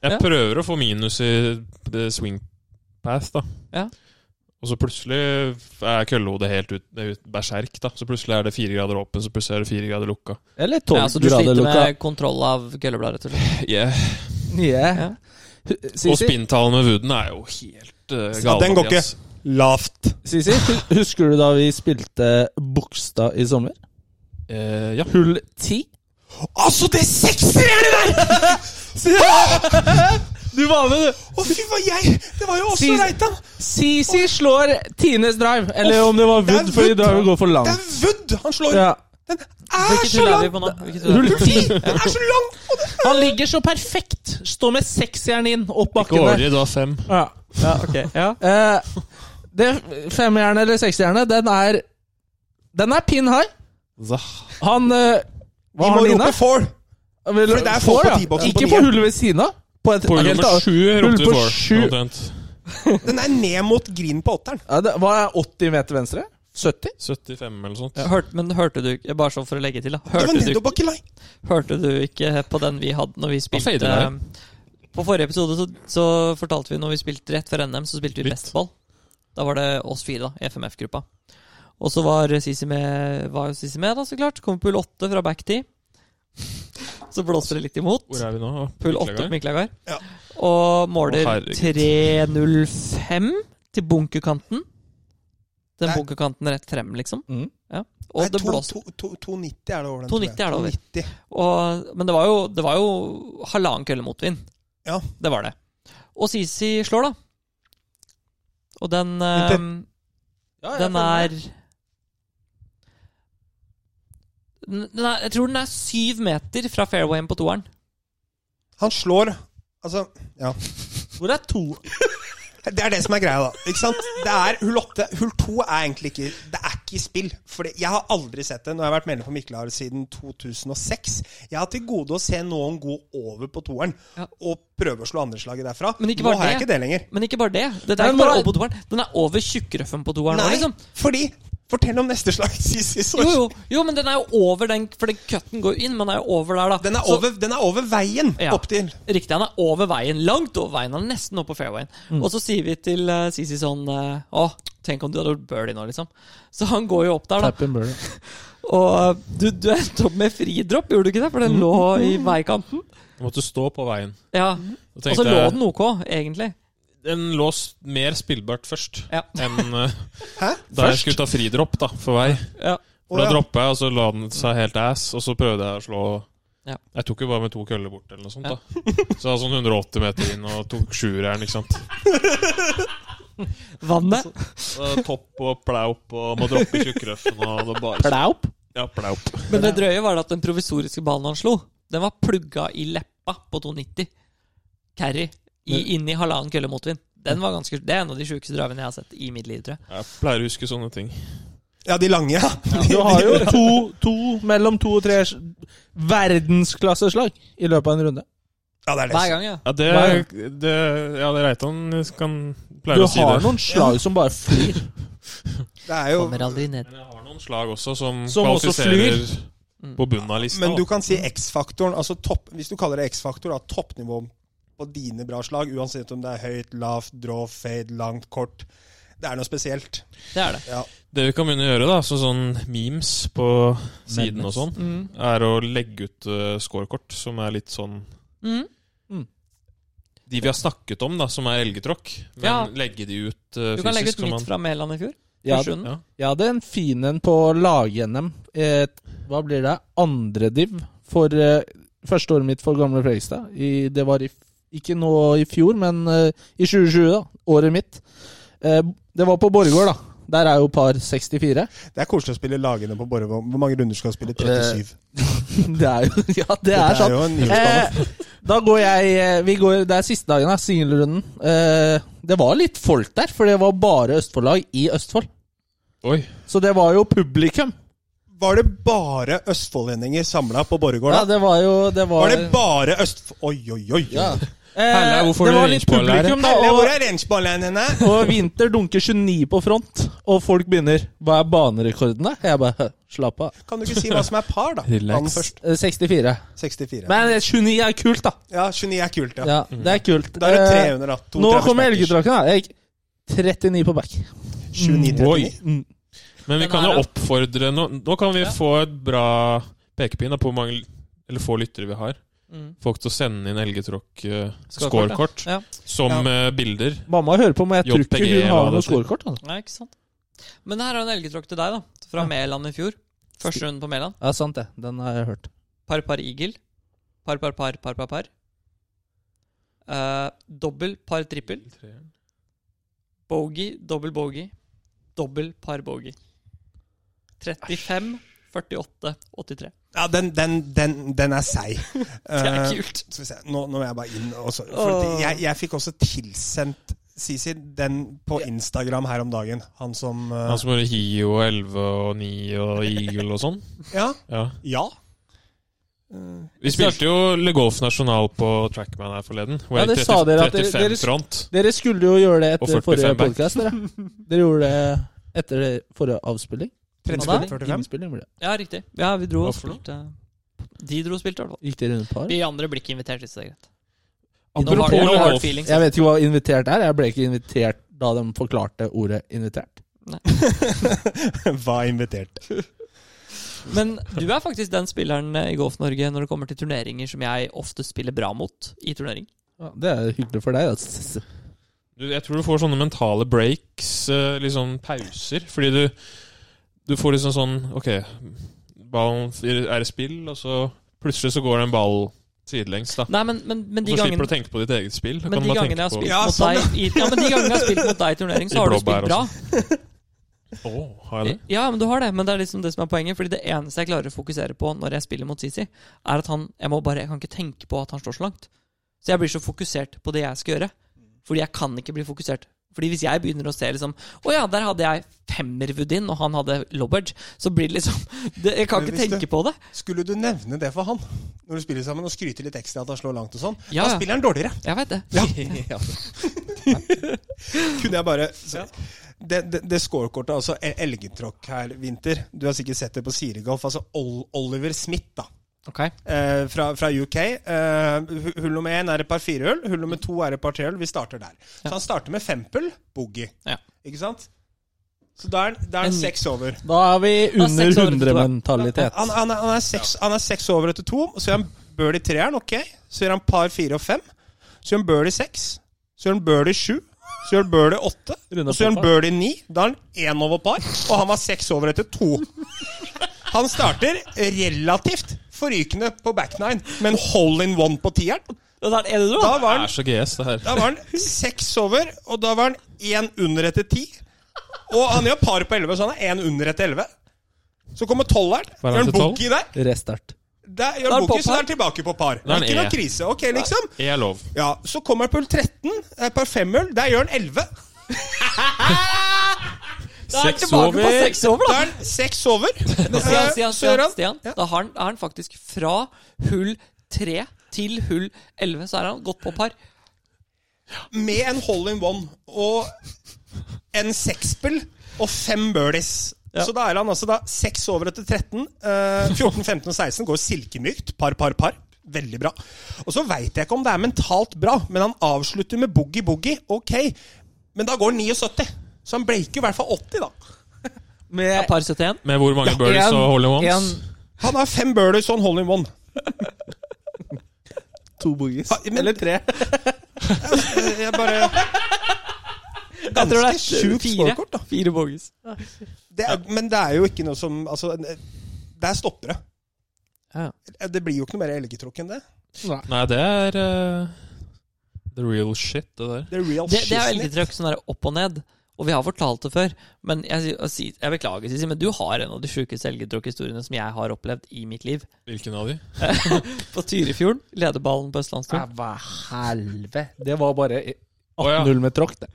D: Jeg
E: Ja.
D: prøver å få minus i det swing path, da.
E: Ja.
D: Og så plutselig er køllehodet helt ut, det er ut berserk, da. Så plutselig er det fire grader åpen, så plutselig er det fire grader lukka.
F: Eller tolv
E: Ja, så altså, du
F: grader
E: sliter
F: lukka.
E: med kontroll av køllebladet, rett og slett.
D: Yeah.
F: Yeah.
E: Ja.
D: Og
F: Sisi,
D: spinntallene med Wooden er jo helt uh,
B: Ja,
D: gale.
B: den går ikke. Lavt.
F: Sisi, hu- husker du da vi spilte Bogstad i sommer?
D: Eh, ja.
F: Hull ti?
B: Altså, det er sekser er det der!
F: Du var med, du!
B: Å, fy faen, jeg Det var jo også
F: Sisi.
B: Reitan.
F: Sisi slår Tines drive. Eller om det var
B: det er
F: Wood, fordi
B: Wood.
F: driven går for
B: Det
F: langt.
B: er Wood han slår.
F: Ja.
B: Den er
E: Hvilket
B: så
E: hull er
B: lang!
E: vi på nå? Hvilket hull er
F: Hull
E: vi på?
F: ti!
B: Den er så lang! Og det-
F: Han ligger så perfekt! Står med seksjern inn, opp
D: Ikke
F: bakken der.
D: årlig, det var fem.
F: Ja.
E: Ja, ok. Ja.
F: Eh, det femhjerne eller sekshjerne, den er Den er pin high. Han eh,
B: Vi
F: Hva
B: må
F: har han
B: rope
F: inne?
B: four.
F: Vel,
B: for det er folk
F: får,
B: på
F: ja.
B: T-boksen på
F: Ikke på
B: nieren.
F: hullet ved siden av. På et
D: På hull
F: helt
D: nummer
F: annet-
D: sju
F: Hull
D: ropte vi
F: på
D: for.
F: sju.
D: Omtrent
B: Den er ned mot green på åtteren.
F: Ja, det, hva er 80 meter venstre? 70?
D: 75 eller sånt.
E: Hørt, men hørte du ikke Bare sånn for å legge til, da.
B: Det var
E: Hørte du,
B: nedover bakke line.
E: hørte du ikke på den vi hadde når vi spilte
D: fader
E: eh,
D: det?
E: På forrige episode så, så fortalte vi når vi spilte rett før NM, så spilte vi
D: Litt.
E: bestball. Da var det oss fire da, i FMF-gruppa. Og så var Sisi med, var jo Sisi med da, så klart. Kom på pull 8 fra backtid. Så blåser det litt imot.
D: Hvor er vi nå?
E: Pull 8 på Miklagard.
B: Ja.
E: Og måler
D: Å, herregud.
E: 3.05 til bunkerkanten. Den
B: Nei.
E: bunkerkanten rett frem, liksom.
F: Mm.
E: Ja. Og
B: Nei,
E: det blåser.
B: 2, 2, 2,90 er det over den.
E: 2,90 er det over.
B: 2,90.
E: Og, men det var, jo, det var jo halvannen kølle motvind.
B: Ja.
E: Det var det. Og Sisi slår, da. Og den
B: Vent litt.
E: ehm,
F: Ja, jeg
E: Den
F: følger
E: er
F: med.
E: den den er, Jeg tror den er syv meter fra fairwayen på toeren.
B: Han slår Altså, ja.
F: Hvor er to?
B: Det er det som er greia, da. Ikke sant? Det er Hull 8. Hull 2 er egentlig ikke Det er ikke i spill. For jeg har aldri sett det. Nå har jeg vært medlem på Miklehar siden 2006. Jeg har til gode å se noen gå over på toeren
E: Ja.
B: og prøve å slå andreslaget derfra.
E: Men ikke
B: Nå
E: bare
B: har jeg
E: det.
B: ikke det lenger.
E: Men ikke bare det. Dette er
F: Men
E: ikke bare
F: hva-
E: over på toeren. Den er over tjukkrøffen på toeren. nå,
B: Nei,
E: Liksom.
B: fordi Fortell om neste slag. Sisi, så-
E: Jo, jo, jo, men den er jo over den, for den cutten går jo inn. Men den er jo over der, da.
B: Den, er
E: Så-
B: over, den er over veien
E: Ja.
B: opp til
E: Riktig, han er over veien. Langt over veien. Han er nesten oppe på fairwayen. Og så sier vi til uh, Sisi sånn eh, Å, tenk om du hadde gjort birdie nå, liksom. Så han går jo opp der, da.
F: Tappen Burley.
E: Og eh, du, du endte opp med fridropp, gjorde du ikke det? For den lå i veikanten.
D: Du måtte stå på veien.
E: Ja.
D: Og
E: Og så Altså, lå den OK, egentlig.
D: Den lå s- mer spillbart først
E: Ja.
D: enn eh,
B: Hæ?
D: da jeg skulle ta fridropp da, for vei.
E: Ja.
D: For da
B: Å, ja.
D: droppa jeg, og så la den seg helt ass, og så prøvde jeg å slå
E: Ja.
D: Jeg tok jo bare med to køller bort, eller noe sånt. da Så jeg var sånn 180 meter inn og tok sjueren, ikke sant.
E: Vannet.
D: Så topp og plaup og må droppe tjukkrøffen og det bare
F: Plaup?
D: Ja, plaup.
E: Men det drøye var det at den provisoriske ballen han slo, den var plugga i leppa på 290. Carry. I, inni halvannen kølle motvind. Den var ganske, det er en av de sjukeste drivene jeg har sett i mitt liv, tror jeg.
D: Jeg pleier å huske sånne ting.
B: Ja, de lange. Ja.
F: Du har jo to, to mellom to og tre s- verdensklasseslag i løpet av en runde.
B: ja, det er
E: Hver
B: det.
E: gang, ja.
D: Ja, det, det Ja, det Reitan kan pleier
F: Du
D: å si
F: har
D: det.
F: noen slag som bare flyr.
B: Det er jo
E: Kommer aldri ned.
D: Men jeg har noen slag også som,
F: Som også
D: kvalifiserer
E: Mm.
D: på bunnen av lista.
B: Men du
D: da.
B: kan si X-faktoren. altså topp, Hvis du kaller det X-faktor, da, toppnivå på dine bra slag, uansett om det er høyt, lavt, draw, fade, langt, kort Det er noe spesielt.
E: Det er det.
B: Ja.
D: Det vi kan begynne å gjøre, da, så sånn memes på siden og sånn,
E: Mm.
D: er å legge ut eh, scorekort som er litt sånn
E: Mm.
D: De vi har snakket om, da, som er elgetråkk, men
E: Ja.
D: legge de ut eh,
E: Du kan legge
D: fysisk.
E: ut
D: som
E: mitt fra Mæland i fjor.
F: Jeg hadde,
E: Porsgrunn.
D: ja.
F: jeg hadde en fin en på lag-NM. Eh, hva blir det? Andre div for eh, første året mitt for gamle Fredrikstad. I, det var i, f- ikke nå i fjor, men eh, i 2020, da. Året mitt. Eh, det var på Borregaard, da. Der er jo par 64.
B: Det er koselig å spille lagene på Borrevoll. Hvor mange runder skal du
F: Eh,
B: spille? 37.
F: Det er jo Ja, det
B: Dette
F: er sant.
B: jo en idrettsbane.
F: Eh, da går jeg eh, vi går, Det er siste dagen av singelrunden. Eh, det var litt folk der, for det var bare Østfold-lag i Østfold.
D: Oi.
F: Så det var jo publikum.
B: Var det bare østfoldlendinger samla på
F: Ja,
B: Borregaard? da?
F: det var jo det var,
B: Var det bare Østf... Oi, oi, oi! oi.
F: ja. eh,
D: Herre, hvorfor
F: Det
D: er
F: var
D: du
F: litt
D: innpå, lærer?
F: publikum, da.
B: Herre, hvor
F: Og,
B: er rangeballen henne?
F: og Winter dunker 29 på front, og folk begynner Hva er banerekordene? Jeg bare «Hø, Slapp av.
B: Kan du ikke si hva som er par, da?
D: Relax.
B: Han først.
F: Eh, 64.
B: 64.
F: Men eh, 29 er kult, da.
B: Ja, 29 er kult, ja.
F: Ja, Det er kult.
B: Da er det
F: Eh,
B: 300, da. To
F: Nå
B: 30
F: kommer
B: sparkers.
F: elgedraken, da. Jeg gikk 39 på back.
B: 29-39.
F: Mm.
D: Men vi
E: Den
D: kan
E: her, da.
D: jo oppfordre Nå, nå kan vi
E: Ja.
D: få et bra pekepinn da, på hvor mange eller få lyttere vi har.
E: Mm.
D: Folk til å sende inn
E: Scorekort,
D: elgetråkk-scorekort
E: Ja.
D: som eh, bilder.
F: Mamma hører på, men jeg tror ikke
D: JPG,
F: hun
D: hva
F: har
D: det
F: noe
D: heter.
F: scorekort. Altså.
E: Nei, ikke sant. Men her er en elgetråkk til deg, da. Fra Mæland i fjor. Første runden på Mæland.
F: Ja, sant det. Den har jeg hørt.
E: Par, par, eagle. Par, par, par, par, par, par. Eh, dobbel, par, trippel. Bogey, dobbel bogey. Dobbel, par, bogey. 35, 48, 83.
B: Ja, den, den, den, den er seig.
E: Det er
B: Eh,
E: kult.
B: skal vi se, nå, nå må jeg bare inn og så, for at jeg, jeg fikk også tilsendt Sisi, den på Instagram her om dagen. Han som eh,
D: Han som har Altså, Hio 11 og 9 og Eagle og sånn.
B: Ja.
D: Ja.
B: ja.
D: Vi spilte jo Le Golf Nasjonal på Trackman her forleden. Hvor
F: Ja,
D: jeg
F: det
D: gikk
F: sa dere at dere-
D: 35
F: dere-
D: front.
F: Dere skulle jo gjøre det
D: Og
F: etter
D: 45
F: forrige
D: back.
F: podkast, dere. Dere gjorde det etter det forrige avspilling.
B: 35,
F: Innspilling?
B: 45.
F: Innspilling ble det.
E: Ja, riktig. Ja, vi dro og
D: Hva for noe?
E: spilte De dro og spilte, i hvert fall.
F: Gikk dere rundt par?
E: Vi andre blir ikke invitert, hvis det er greit. Nå har
D: Apropos
E: du- nå har du
D: golf.
E: feelings.
G: Jeg vet ikke hva invitert er. Jeg ble ikke invitert da de forklarte ordet invitert.
B: Hva invitert?
E: Men du er faktisk den spilleren eh, i Golf-Norge når det kommer til turneringer som jeg ofte spiller bra mot i turnering.
G: Ja, det er hyggelig for deg. altså. da.
D: Du, jeg tror du får sånne mentale breaks, eh, litt sånn pauser, fordi du, du får liksom sånn Ok, ballen er i spill, og så plutselig så går det en ball sidelengs, da.
E: Nei, men, men, men
D: Og
E: de
D: så slipper
E: gangene
D: du å tenke på ditt eget spill. Da
E: men
D: kan
E: de
D: du bare
E: gangene jeg har
D: tenke på-
E: spilt
B: Ja,
E: mot
B: sånn,
E: deg i, ja, men de gangene jeg har spilt mot deg i turnering,
D: I
E: så har du
D: blåbær
E: spilt bra.
D: Å, har jeg det?
E: Ja, men du har det. Men det er liksom det som er poenget. Fordi det eneste jeg klarer å fokusere på når jeg spiller mot Sisi, er at han Jeg må bare Jeg kan ikke tenke på at han står så langt. Så jeg blir så fokusert på det jeg skal gjøre. Fordi jeg kan ikke bli fokusert. Fordi hvis jeg begynner å se liksom Å ja, der hadde jeg femmerwood in, og han hadde lobbedge. Så blir det liksom det, Jeg kan
B: Men
E: ikke
B: hvis
E: tenke
B: det-
E: på det.
B: Skulle du nevne det for han når du spiller sammen, og skryte litt ekstra at han slår langt og sånn?
E: Ja,
B: Da
E: ja.
B: spiller han dårligere.
E: Jeg veit det.
B: Ja. Kunne jeg bare Det, det, det scorekortet, altså el- elgtråkk her, Winter. Du har sikkert sett det på Siregolf. Altså Ol Oliver Smith, da.
E: Ok.
B: eh, fra, fra UK. Eh, hu- hull nummer én er et par firehull, hull nummer to er et par trehull. Vi starter der. Så
E: Ja.
B: han starter med fempel, boogie.
E: Ja.
B: Ikke sant? Så da er han- da er han
E: En-
B: seks over.
G: Da er vi under
E: seks år etter to, da.
G: 100-mentalitet.
B: Han, han, er, han, er seks, han er seks over etter to, og så gjør han birdie treeren, ok. Så gjør han par fire og fem. Så gjør han birdie seks. Så gjør han birdie sju. Så gjør han birdie åtte.
G: Runde
B: Og så gjør han
G: på par.
B: birdie ni. Da er han én over par, og han var seks over etter to. Han starter relativt forrykende på back nine, men hole in one på tieren.
E: Og da er det er det du,
B: Da
E: da.
B: var
D: Det er
B: han,
D: så GS, det her.
B: da var han seks over, og da var han én under etter ti. Og han gjør par på elleve, så han er én under etter elleve. Så kommer tolveren.
D: Var han
B: Gjør han
D: til tolv?
B: boogie der.
G: Restart.
B: Der
E: Da
B: gjør
E: er det
B: Bokis,
E: på
B: så
E: par.
B: er han tilbake på par.
D: Da er han
B: ikke noe
D: E.
B: krise. Ok, liksom.
D: E er lov.
B: Ja, Så kommer han på hull 13, eh, par femhull. Der gjør han 11.
E: Da er han
D: Seks
E: tilbake på
D: over.
E: seks over,
B: Da
E: da.
B: er han 6 over.
E: Stian,
B: Eh,
E: Stian,
B: så gjør
E: Stian,
B: han-
E: Stian.
B: Ja.
E: Da har han, er han faktisk fra hull 3 til hull 11, så er han godt på par.
B: Med en hole in one og en sekspill og fem birdies. Så da er han altså da 6 over etter 13. eh, 14, 15 og 16 går silkemykt. Par, par, par. Veldig bra. Og så veit jeg ikke om det er mentalt bra, men han avslutter med boogie-boogie. Ok, men da går han 79. Så han bleiker i hvert fall 80, da.
E: Ja, par 71.
D: Med hvor mange birdies
G: en-
D: og hole in ones?
G: en-
B: Han har fem birdies og en hole in one.
G: To boogies.
B: Ha- men-
G: Eller tre.
B: altså, Jeg bare
E: Jeg tror det
B: Ganske
E: er
B: sjukt
E: fire.
B: scorekort, da.
E: Fire bogies.
B: Det er, men det er jo ikke noe som Altså, der stopper det.
E: Ja.
B: Det blir jo ikke noe mer elgetråkk enn det.
D: Nei, det er eh, the real shit, det der.
B: The real
E: Det, det er jo
B: shit.
E: elgetråkk sånn der opp og ned. Og vi har fortalt det før, men jeg, sier- jeg, sier- jeg beklager, Sisi, men du har en av de sjukeste elgetråkkhistoriene som jeg har opplevd i mitt liv.
D: Hvilken av de?
E: På Tyrifjorden, lederballen på Østlandsturen.
G: Hva helvete. Det var bare
D: Å, ja.
G: 18-0 med tråkk, det.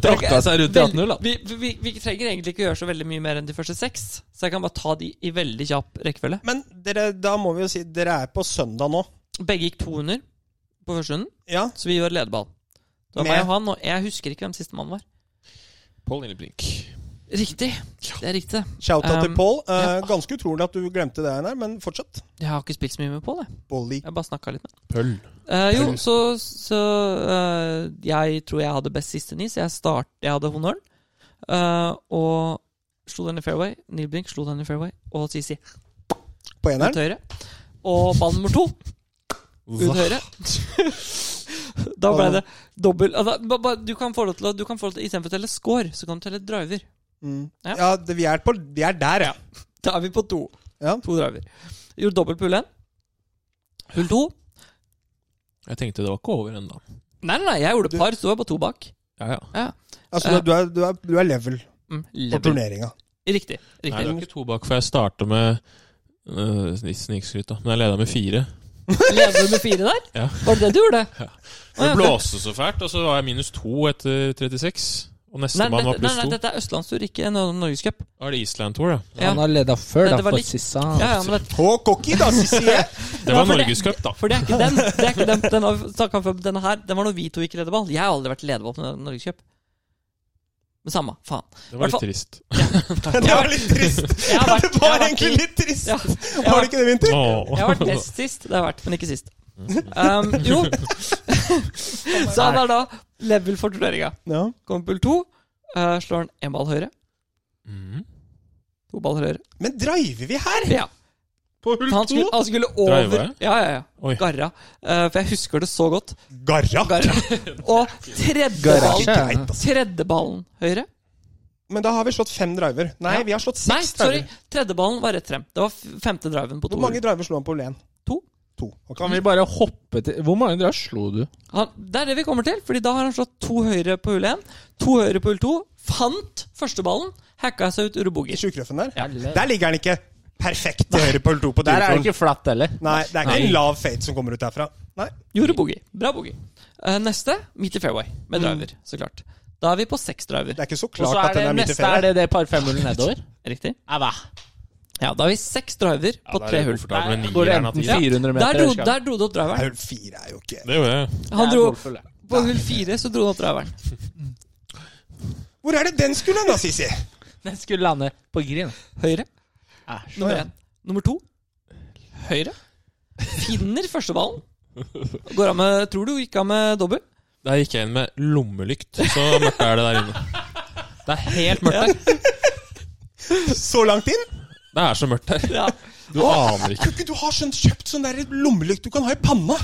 G: Tråkka seg rundt i 18-0, da.
E: Vi, vi, vi trenger egentlig ikke gjøre så veldig mye mer enn de første seks, så jeg kan bare ta de i veldig kjapp rekkefølge.
B: Men dere, da må vi jo si dere er på søndag nå.
E: Begge gikk 200 på første runden,
B: Ja.
E: så vi gjør lederballen. Det var
B: Med-
E: meg og han, og jeg husker ikke hvem sistemann var.
D: Paul Lilleblink.
E: Riktig. Det er riktig.
B: Shout-out til
E: Um,
B: Paul.
E: ja.
B: Eh, Ganske utrolig at du glemte det her, men fortsatt.
E: Jeg har ikke spilt så mye med Pål, jeg.
B: Bolly.
E: Jeg bare snakka litt med han.
D: Pøll.
E: Eh, jo, så, så eh, Jeg tror jeg hadde best siste ni, så jeg, start, jeg hadde honnøren. Eh, og slo den i fairway. Neil Brink slo den i fairway. Og Sisi
B: På
E: ut
B: eneren.
E: høyre. Og ball nummer to ut høyre. da ble det dobbel altså, ba- ba- Du kan få lov til å du kan få lov til, Istedenfor å telle score, så kan du telle driver.
B: Mm.
E: Ja.
B: Ja, det, vi, er på, vi er der, ja.
E: Da er vi på to.
B: Ja.
E: To driver. Gjorde dobbelt på hull én. Hull to.
D: Jeg tenkte det var ikke over ennå.
E: Nei, nei, nei, jeg gjorde par, så jeg var bare to bak.
D: Ja, ja.
B: Altså, du, er, du, er, du er level
E: Mm,
B: på
E: level.
B: turneringa.
E: Riktig.
D: Nei, det
E: riktig.
D: var ikke to bak, for jeg starta med uh, snikskryt, da. Men jeg leda med fire.
E: Leder du med fire der?
D: Ja.
E: Var det det du gjorde? Å,
D: Det
E: ja,
D: blåste så fælt, og så var jeg minus to etter 36. Og
E: Nei, nei,
D: nestemann
E: nei,
D: var
E: nei,
D: pluss
E: nei,
D: to.
E: dette er Østlandstur, ikke Nor- Norgescup.
D: Da er det Island Tour, da.
E: Ja.
G: Han har leda før,
E: Dette
G: da,
E: var
G: for
E: litt-
G: sissa.
E: Ja, ja, men det,
B: På cocky, da, Sissi.
D: Det var
E: for det-
D: Norgescup, da.
E: for det er ikke den. Det er ikke den, den har vi snakket om før. Denne her, den var når vi to gikk lederball. Jeg har aldri vært lederball på Norgescup. Men samme, faen.
D: Det var
E: Hvertfall-
D: litt trist.
B: Det var litt trist!
E: Jeg har vært-
B: Det
E: jeg har
B: var
E: vært
B: egentlig
E: i-
B: litt trist!
E: Ja, jeg
B: Var
E: har,
B: det ikke det, Winter?
E: jeg har vært best sist. Det har jeg vært, men ikke sist. Um, jo Så han er da level for turneringa.
B: Ja.
E: Kommer på hull to. eh, slår han én ball høyre.
D: Mhm.
E: To baller høyre.
B: Men driver vi her?
E: Ja.
D: På hull
E: Han skulle, han skulle over
D: Driver jeg?
E: Ja, ja, ja.
D: Oi.
E: Garra. Eh, for jeg husker det så godt.
B: Garra!
E: Garra. Og tredje ballen,
B: Greit, altså.
E: tredje ballen høyre.
B: Men da har vi slått fem driver. Nei,
E: Ja.
B: vi har slått
E: Nei,
B: seks
E: sorry.
B: driver.
E: Tredje ballen var rett frem. Det var f- femte driven på to.
B: Hvor mange driver slo han på Olen?
E: To.
B: To. ok.
F: Kan vi bare hoppe til Hvor mange drar slo du?
E: Han, det er det vi kommer til, Fordi da har han slått to høyre på hull 1, to høyre på hull 2. Fant første ballen, hacka seg ut
B: I
E: uroboger.
B: tjukrøffen der?
F: Der
B: Der ligger han ikke perfekt til høyre på hull to på
F: er det
B: turturen.
F: ikke flatt heller.
B: Nei, det er ikke en lav fade som kommer ut derfra. Nei.
E: Gjorde boogie. Bra boogie. Eh, neste midt i fairway, med driver, så klart. Da er vi på seks driver.
B: Mm. Det er ikke så
F: Og så
B: klart
F: er
B: at
F: det
B: den er midt i
F: neste er
B: ferie.
F: det det par femhullet nedover.
E: Riktig?
F: Ja, hva?
E: Ja, da har vi seks driver på tre hull.
D: Der
F: Går det enten
E: Ja.
F: 400 meter?
E: Der dro,
F: skal-
E: der dro det opp
B: Nei,
E: driveren.
B: Hull fire er jo ikke
D: Det gjorde jeg.
F: Det
E: Han
F: er
E: dro,
F: golfhull, det.
E: på hull 4 så dro han opp driveren.
B: Hvor er det den skulle hen, da, Sisi?
F: Den skulle lande på green.
E: Høyre.
F: Æsj.
E: Nummer én. Nummer to. Høyre. Finner første ballen. Går av med, tror du gikk av med dobbel?
D: Der gikk jeg inn med lommelykt. Så mørkt er det der inne. Det er helt mørkt der.
B: Så langt inn?
D: Det er så mørkt der.
E: Ja.
D: Du aner ikke.
B: Tror ikke du har sånn kjøpt sånn der lommelykt du kan ha i panna?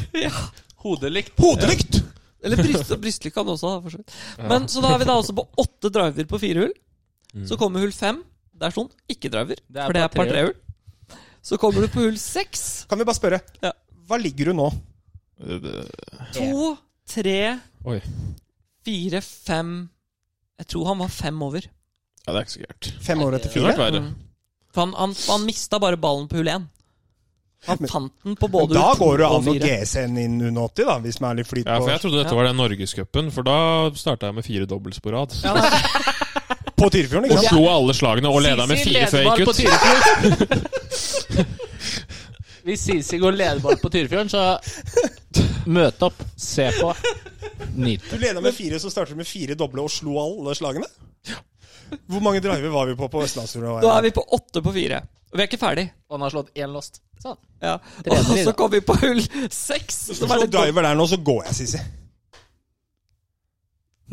H: Hodelykt.
B: Hodelykt!
E: Eller bryst, brystlykke hadde han også, da, for så vidt. Men så da er vi da også på åtte driver på fire hull. Så kommer hull fem. Der sto han ikke driver,
F: Det er
E: for det
F: par
E: er par
F: tre
E: tre hull. Så kommer du på hull seks.
B: Kan vi bare spørre,
E: Ja.
B: hva ligger du nå?
E: To, tre,
D: Oi.
E: fire, fem Jeg tror han var fem over. Mm.
D: Ja, det er ikke så gærent.
B: Fem år etter
D: Kunne
B: fire?
D: vært verre.
E: For han, han, han mista bare ballen på hull én. Han fant den på både
B: Da
E: hull to
B: går det
E: og
B: an å
E: fire.
B: GC en inn under 80, da, hvis man er litt flyt
D: Ja, for jeg
B: på,
D: trodde dette
E: Ja.
D: var den Norgescupen, for da starta jeg med fire dobbels på rad.
E: Ja, nei,
B: på Tyrifjorden.
D: Og
B: Ikke sant?
D: slo alle slagene og leda med
F: Sisi
D: fire før
F: ledeball
D: jeg
F: på
D: gikk ut.
F: Tyrifjorden. Hvis Sisi går ledeball på Tyrifjorden, så møt opp, se på,
B: Du
F: nyt.
B: leda med fire, så starter du med fire doble og slo alle slagene? Hvor mange driver var vi på på Østlandsfjorden?
E: Da er vi på åtte på fire. Og vi er ikke ferdig.
F: Og han har slått én lost. Sånn.
E: Ja.
F: Tredje,
E: Og så
F: da.
E: kom vi på hull seks.
B: Hvis
E: Som er
B: du slår
E: det dobbelt.
B: driver der nå, så går jeg, Sisi.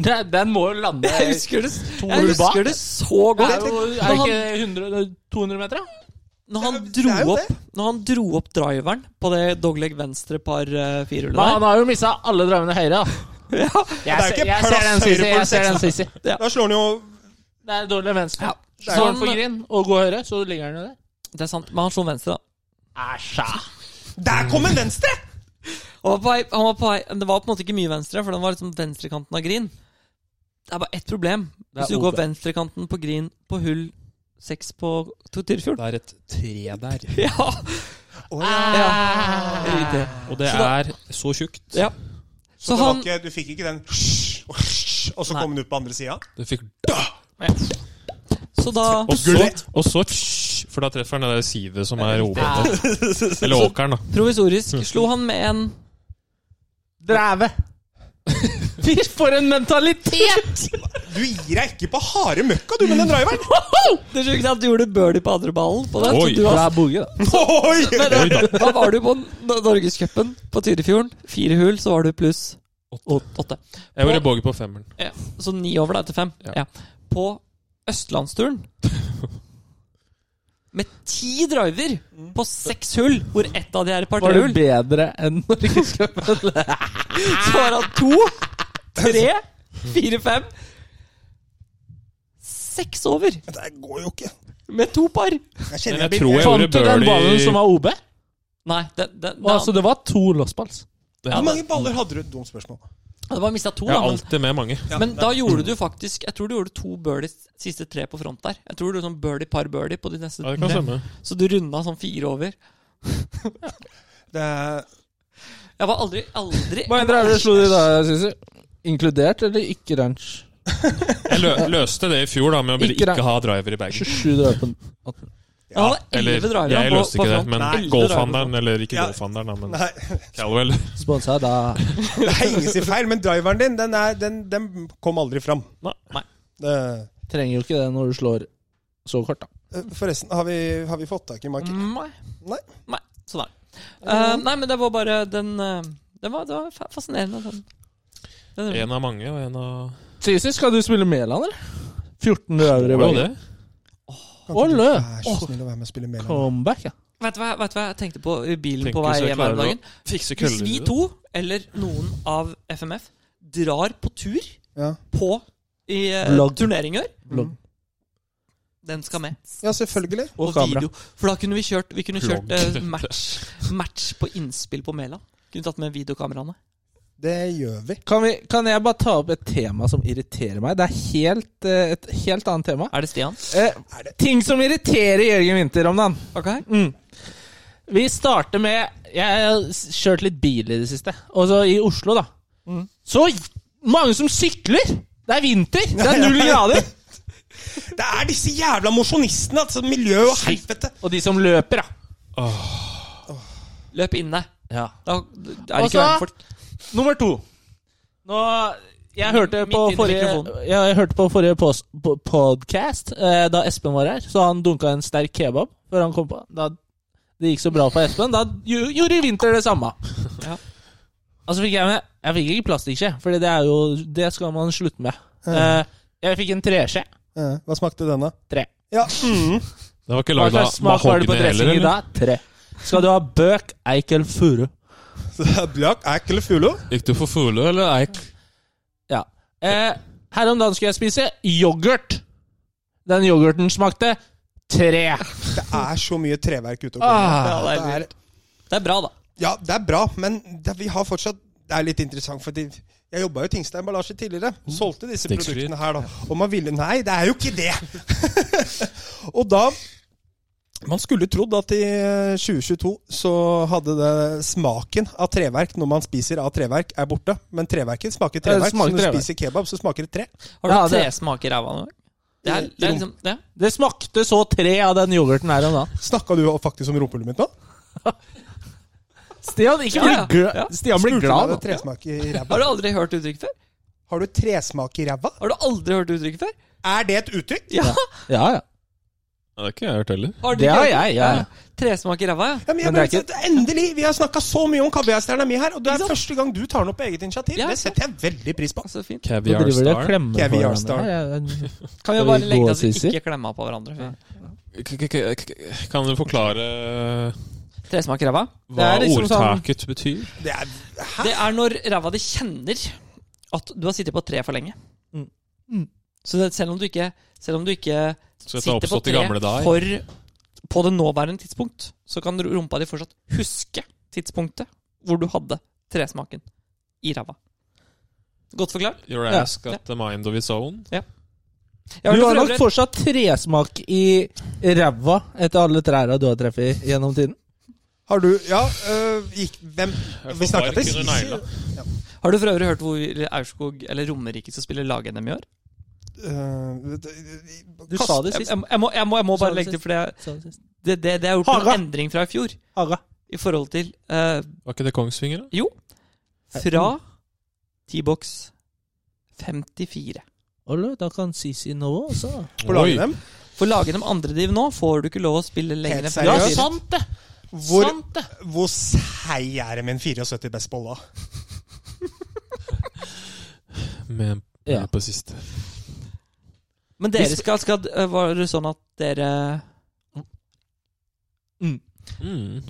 F: Den, den må jo lande
E: Jeg husker det, jeg
F: hull
E: husker
F: bak.
E: det så
F: Det er
E: godt.
F: jo er det ikke 100, 200 meter, da?
E: Når han
B: Det er
E: dro
B: jo det.
E: opp, når han dro opp driveren på det dogleg venstre par eh, firehjulet
F: Men han
E: der
F: har jo mista alle drømmene høyre, da.
E: ja.
F: Jeg,
B: Det er jo
F: ser-
B: ikke
F: jeg
B: plass
F: ser den
B: høyre
F: Sisi.
B: på
F: Jeg ser
B: seksen.
F: den Sisi.
B: Da slår han jo
F: Det er dårlig venstre.
E: Ja.
F: Står han på
E: Sånn.
F: green og går høyre, så ligger han jo der.
E: Det er sant, men han slo venstre, da.
F: Æsja.
B: Der kom en venstre!
E: Han var på vei, han var på vei men Det var på en måte ikke mye venstre, for den var liksom venstrekanten av green. Det er bare ett problem.
F: Det er
E: Hvis du går
F: OB.
E: venstrekanten på green på hull seks på Tortyrfjord.
D: Det er et tre der.
E: Ja, ja. Riktig.
D: Og det
E: Så da-
D: er så tjukt.
E: Ja. Så
B: Så det var
E: han
B: ikke, du fikk ikke den Og så kom den ut på andre sida?
D: Du fikk
E: Så da
D: Og så,
B: Glett.
D: og så tsj, For da treffer han det der sivet som er over. Eller åkeren, da.
E: Provisorisk slo han med en
F: Dreve. Fy, for en mentalitet!
B: Du gir deg ikke på harde møkka, du, med den driveren!
E: Det er sjukt at du gjorde birdie på andre ballen på den.
D: Oi.
E: Så du har,
F: boge, da.
B: Oi!
E: men, da, da var du på N- Norgescupen på Tyrifjorden. Fire hull, så var du pluss åtte.
D: Jeg gjorde bogey på femmeren.
E: Ja, så ni over da etter fem.
D: Ja.
E: Ja. På Østlandsturen med ti driver på seks hull, hvor ett av de er et par
F: Var
E: tre
F: du
E: hull,
F: bedre enn Norgescupen?
E: så var han to, tre, fire, fem Seks over
B: Det går jo ikke.
E: med to par.
B: Jeg
D: Men
B: kjenner
D: jeg tror jeg
F: Fant
D: gjorde
F: du den ballen som
D: birdie
F: var OB?
E: Nei, det, det,
F: Og altså, det var to lossballs.
D: Ja,
B: Hvor mange baller hadde du? Dumt spørsmål.
E: det var mista to,
D: Jeg
E: da.
D: er
E: Men
D: alltid med mange.
E: Men da gjorde du faktisk Jeg tror du gjorde to birdies siste tre på front der. Jeg tror du gjorde sånn birdie par birdie på de neste
D: Ja, det kan
E: tre.
D: stemme.
E: Så du runda sånn fire over.
B: Det er
E: Jeg var aldri, aldri
F: Hvor mange driver slo de da, Sissy? Inkludert eller ikke ranch?
D: Jeg lø løste det i fjor da med å bare
F: Ikke det.
D: ikke ha driver i bagen.
F: 27 driver på 18.
E: Jeg hadde
D: Eller,
E: elleve drivere
D: jeg
E: på-
D: løste
E: på
D: ikke det,
E: front.
D: men
B: Nei.
D: golfhandleren Eller ikke
B: Ja.
D: golfhandleren, da, men
B: Nei,
D: Calwell.
F: Sponsa da
B: det er ingen sin feil, men driveren din, den, er, den, den kom aldri fram.
E: Nei.
B: Det,
F: Trenger jo ikke det når du slår så kort, da.
B: eh, forresten, har vi, har vi fått tak i Mike?
E: Nei.
B: Nei.
E: Nei. Sånn er det. Eh, nei, men det var bare den eh, Det var, det var fa- fascinerende. Den. Den,
D: En av mange, og en av
F: Sisi, skal du spille Mæland, eller? 14 euro i
D: Var jo
F: Bergen.
D: det?
B: Kan ikke du
F: Ole!
B: være så snill å være med og spille Mæland?
F: Comeback, ja.
E: Vet du hva, vet du hva jeg tenkte på i bilen
D: Tenk
E: på vei
D: hvis jeg
E: hjem her om
D: klarer å
E: dagen?
D: Fikse
E: Hvis
D: køller.
E: vi to, eller noen av FMF, drar på tur
B: Ja.
E: på i eh,
F: Vlogg.
E: turneringer Mm.
F: Vlogg.
E: Den skal med.
B: ja, selvfølgelig.
F: Og,
E: Og
F: kamera.
E: video. For da kunne vi kjørt, vi kunne kjørt
D: Vlogg.
E: eh, match, match på innspill på Mæland. Kunne tatt med videokameraene.
B: Det gjør vi.
F: Kan, vi, kan jeg bare ta opp et tema som irriterer meg? Det er helt, eh, et helt annet tema.
E: Er det Stian?
F: Eh, ting som irriterer Jørgen Winther om dagen.
E: Ok.
F: Mm. Vi starter med Jeg har s- kjørt litt bil i det siste. Og så i Oslo, da. Så mange som sykler! Det er vinter! Det er null grader!
B: Det er disse jævla mosjonistene! Altså, miljø og helvete!
F: Og de som løper, da.
E: Løp inne.
F: Ja.
E: Da er det
F: Og
E: ikke
F: så-
E: verden folk.
F: Nummer to. Nå Jeg hørte
E: Midt
F: på
E: inn i
F: forrige,
E: mikrofonen.
F: jeg hørte på forrige pos- po- podcast eh, da Espen var her. Så han dunka en sterk kebab før han kom på. Da det gikk så bra for Espen, da gj- gjorde Winter det samme.
E: Ja.
F: Og så fikk jeg med Jeg fikk ikke plastikkskje, for det er jo Det skal man slutte med. Eh, jeg fikk en treskje.
B: Eh, Hva smakte den, da?
F: Tre.
B: Ja, mm.
D: Det var ikke
F: Hva
D: lagd
F: slags
D: av
F: smak var det på
D: mahogni
F: dressing
D: heller,
F: i
D: eller?
F: dag? Tre. Skal du ha bøk, eik eller furu?
B: Så det er Blakk, eik eller fuglo?
D: Gikk du for fugle eller eik?
F: Ja. Eh, her om dagen skulle jeg spise yoghurt. Den yoghurten smakte tre.
B: Det er så mye treverk ute og
F: Ah,
B: går.
E: det er
B: det er,
E: Det er bra, da.
B: ja, det er bra, men det, vi har fortsatt Det er litt interessant, fordi jeg jobba jo i Tingstad Emballasje tidligere. Solgte disse
D: Stikkskryt.
B: produktene her, da. Og man ville Nei, det er jo ikke det! og da Man skulle trodd at i eh, 2022 så hadde det smaken av treverk når man spiser av treverk, er borte. Men treverket smaker
F: det
B: treverk. Så
F: smaker
B: når du
F: treverk.
B: spiser kebab, så smaker det tre.
E: Har du
F: Ja,
E: hatt
F: det-
E: tre smak i ræva nå? Det er, det er liksom det.
F: Det smakte så tre av den yoghurten her om dagen.
B: Snakka du faktisk om rumpehullet mitt nå?
F: Stian, ikke
E: Ja,
F: bli
E: ja.
F: gl-
E: Ja.
F: Stian blir
B: Spurte du
F: glad
B: om
F: nå.
B: det er Tresmak i ræva.
E: Har du aldri hørt uttrykket før?
B: Har du tresmak i ræva?
E: Har du aldri hørt uttrykket før?
B: Er det et uttrykk?
E: Ja!
F: Ja, ja.
D: Ja, det har ikke jeg hørt heller.
E: Har du
F: Det
E: ikke
F: har
E: hørt
F: jeg, ja.
E: Tresmak i ræva, ja.
B: Ja, men jeg
F: Men
B: bare,
F: det er
B: Endelig! Vi har snakka så mye om kaviarstjerna mi her, og det
E: Ikke
B: er
E: sant?
B: første gang du tar den opp på eget initiativ.
E: Ja,
B: det
E: ikke sant?
B: setter jeg veldig pris på.
E: Så fint.
F: Nå
D: Caviar
F: driver de og
D: Star.
F: klemmer
B: Caviar
F: på hverandre.
B: Star.
F: Ja, ja.
E: Kan vi
F: Skal
E: bare
F: vi
E: legge
F: gå,
E: til at vi
F: Sissy?
E: ikke klemmer på hverandre? før?
D: K- k- k- k- Kan du forklare
E: Tresmak i ræva?
D: hva
F: Det er liksom sånn-
D: ordtaket betyr?
B: Det er, hæ?
E: Det er når ræva di kjenner at du har sittet på tre for lenge.
F: Mm.
E: Så det, selv om du ikke, selv om du ikke
D: Så dette har
E: sitter på
D: oppstått i
E: tre
D: gamle dager.
E: for på det nåværende tidspunkt, så kan rumpa di fortsatt huske tidspunktet hvor du hadde tresmaken i ræva. Godt forklart.
D: You're
F: Ja.
D: asked at the mind of its own.
E: Jeg
F: Du
E: hørte
F: har
E: for
F: nok
E: øvrig-
F: fortsatt tresmak i ræva etter alle trærne du har truffet gjennom tiden.
B: Har du Ja, øh, gikk Hvem
D: Jeg
B: Vi
D: får
B: snakka
D: bark
B: til
D: under
B: Sisi.
D: negla.
E: har du for øvrig hørt hvor Aurskog eller Romerike skal spille lag-NM i år?
B: Øh, d-
F: Du
B: kast-
F: sa det
E: Jeg,
F: sist.
E: jeg, jeg, må, jeg, må, jeg må
F: Sa
E: bare
F: du
E: legge til,
F: sist?
E: for det,
F: Sa du sist.
E: det, det, det er gjort
F: Haga.
E: en endring fra i fjor
F: Haga.
E: i forhold til eh,
D: Var ikke det Kongsvinger, da?
E: Jo. Fra T-box 54.
F: Olle, da kan Sisi nå også.
B: På laget dem.
E: For lagene med andrediv nå får du ikke lov å spille lenger enn
B: Helt
E: 54.
F: Ja,
B: seriøst?
F: sant det!
B: Hvor,
F: Sant det!
B: hvor seig er det med en 74 best bolle?
D: Med
F: Ja.
D: på siste.
E: Men dere skal, skal øh, Var det sånn at dere
D: Mm.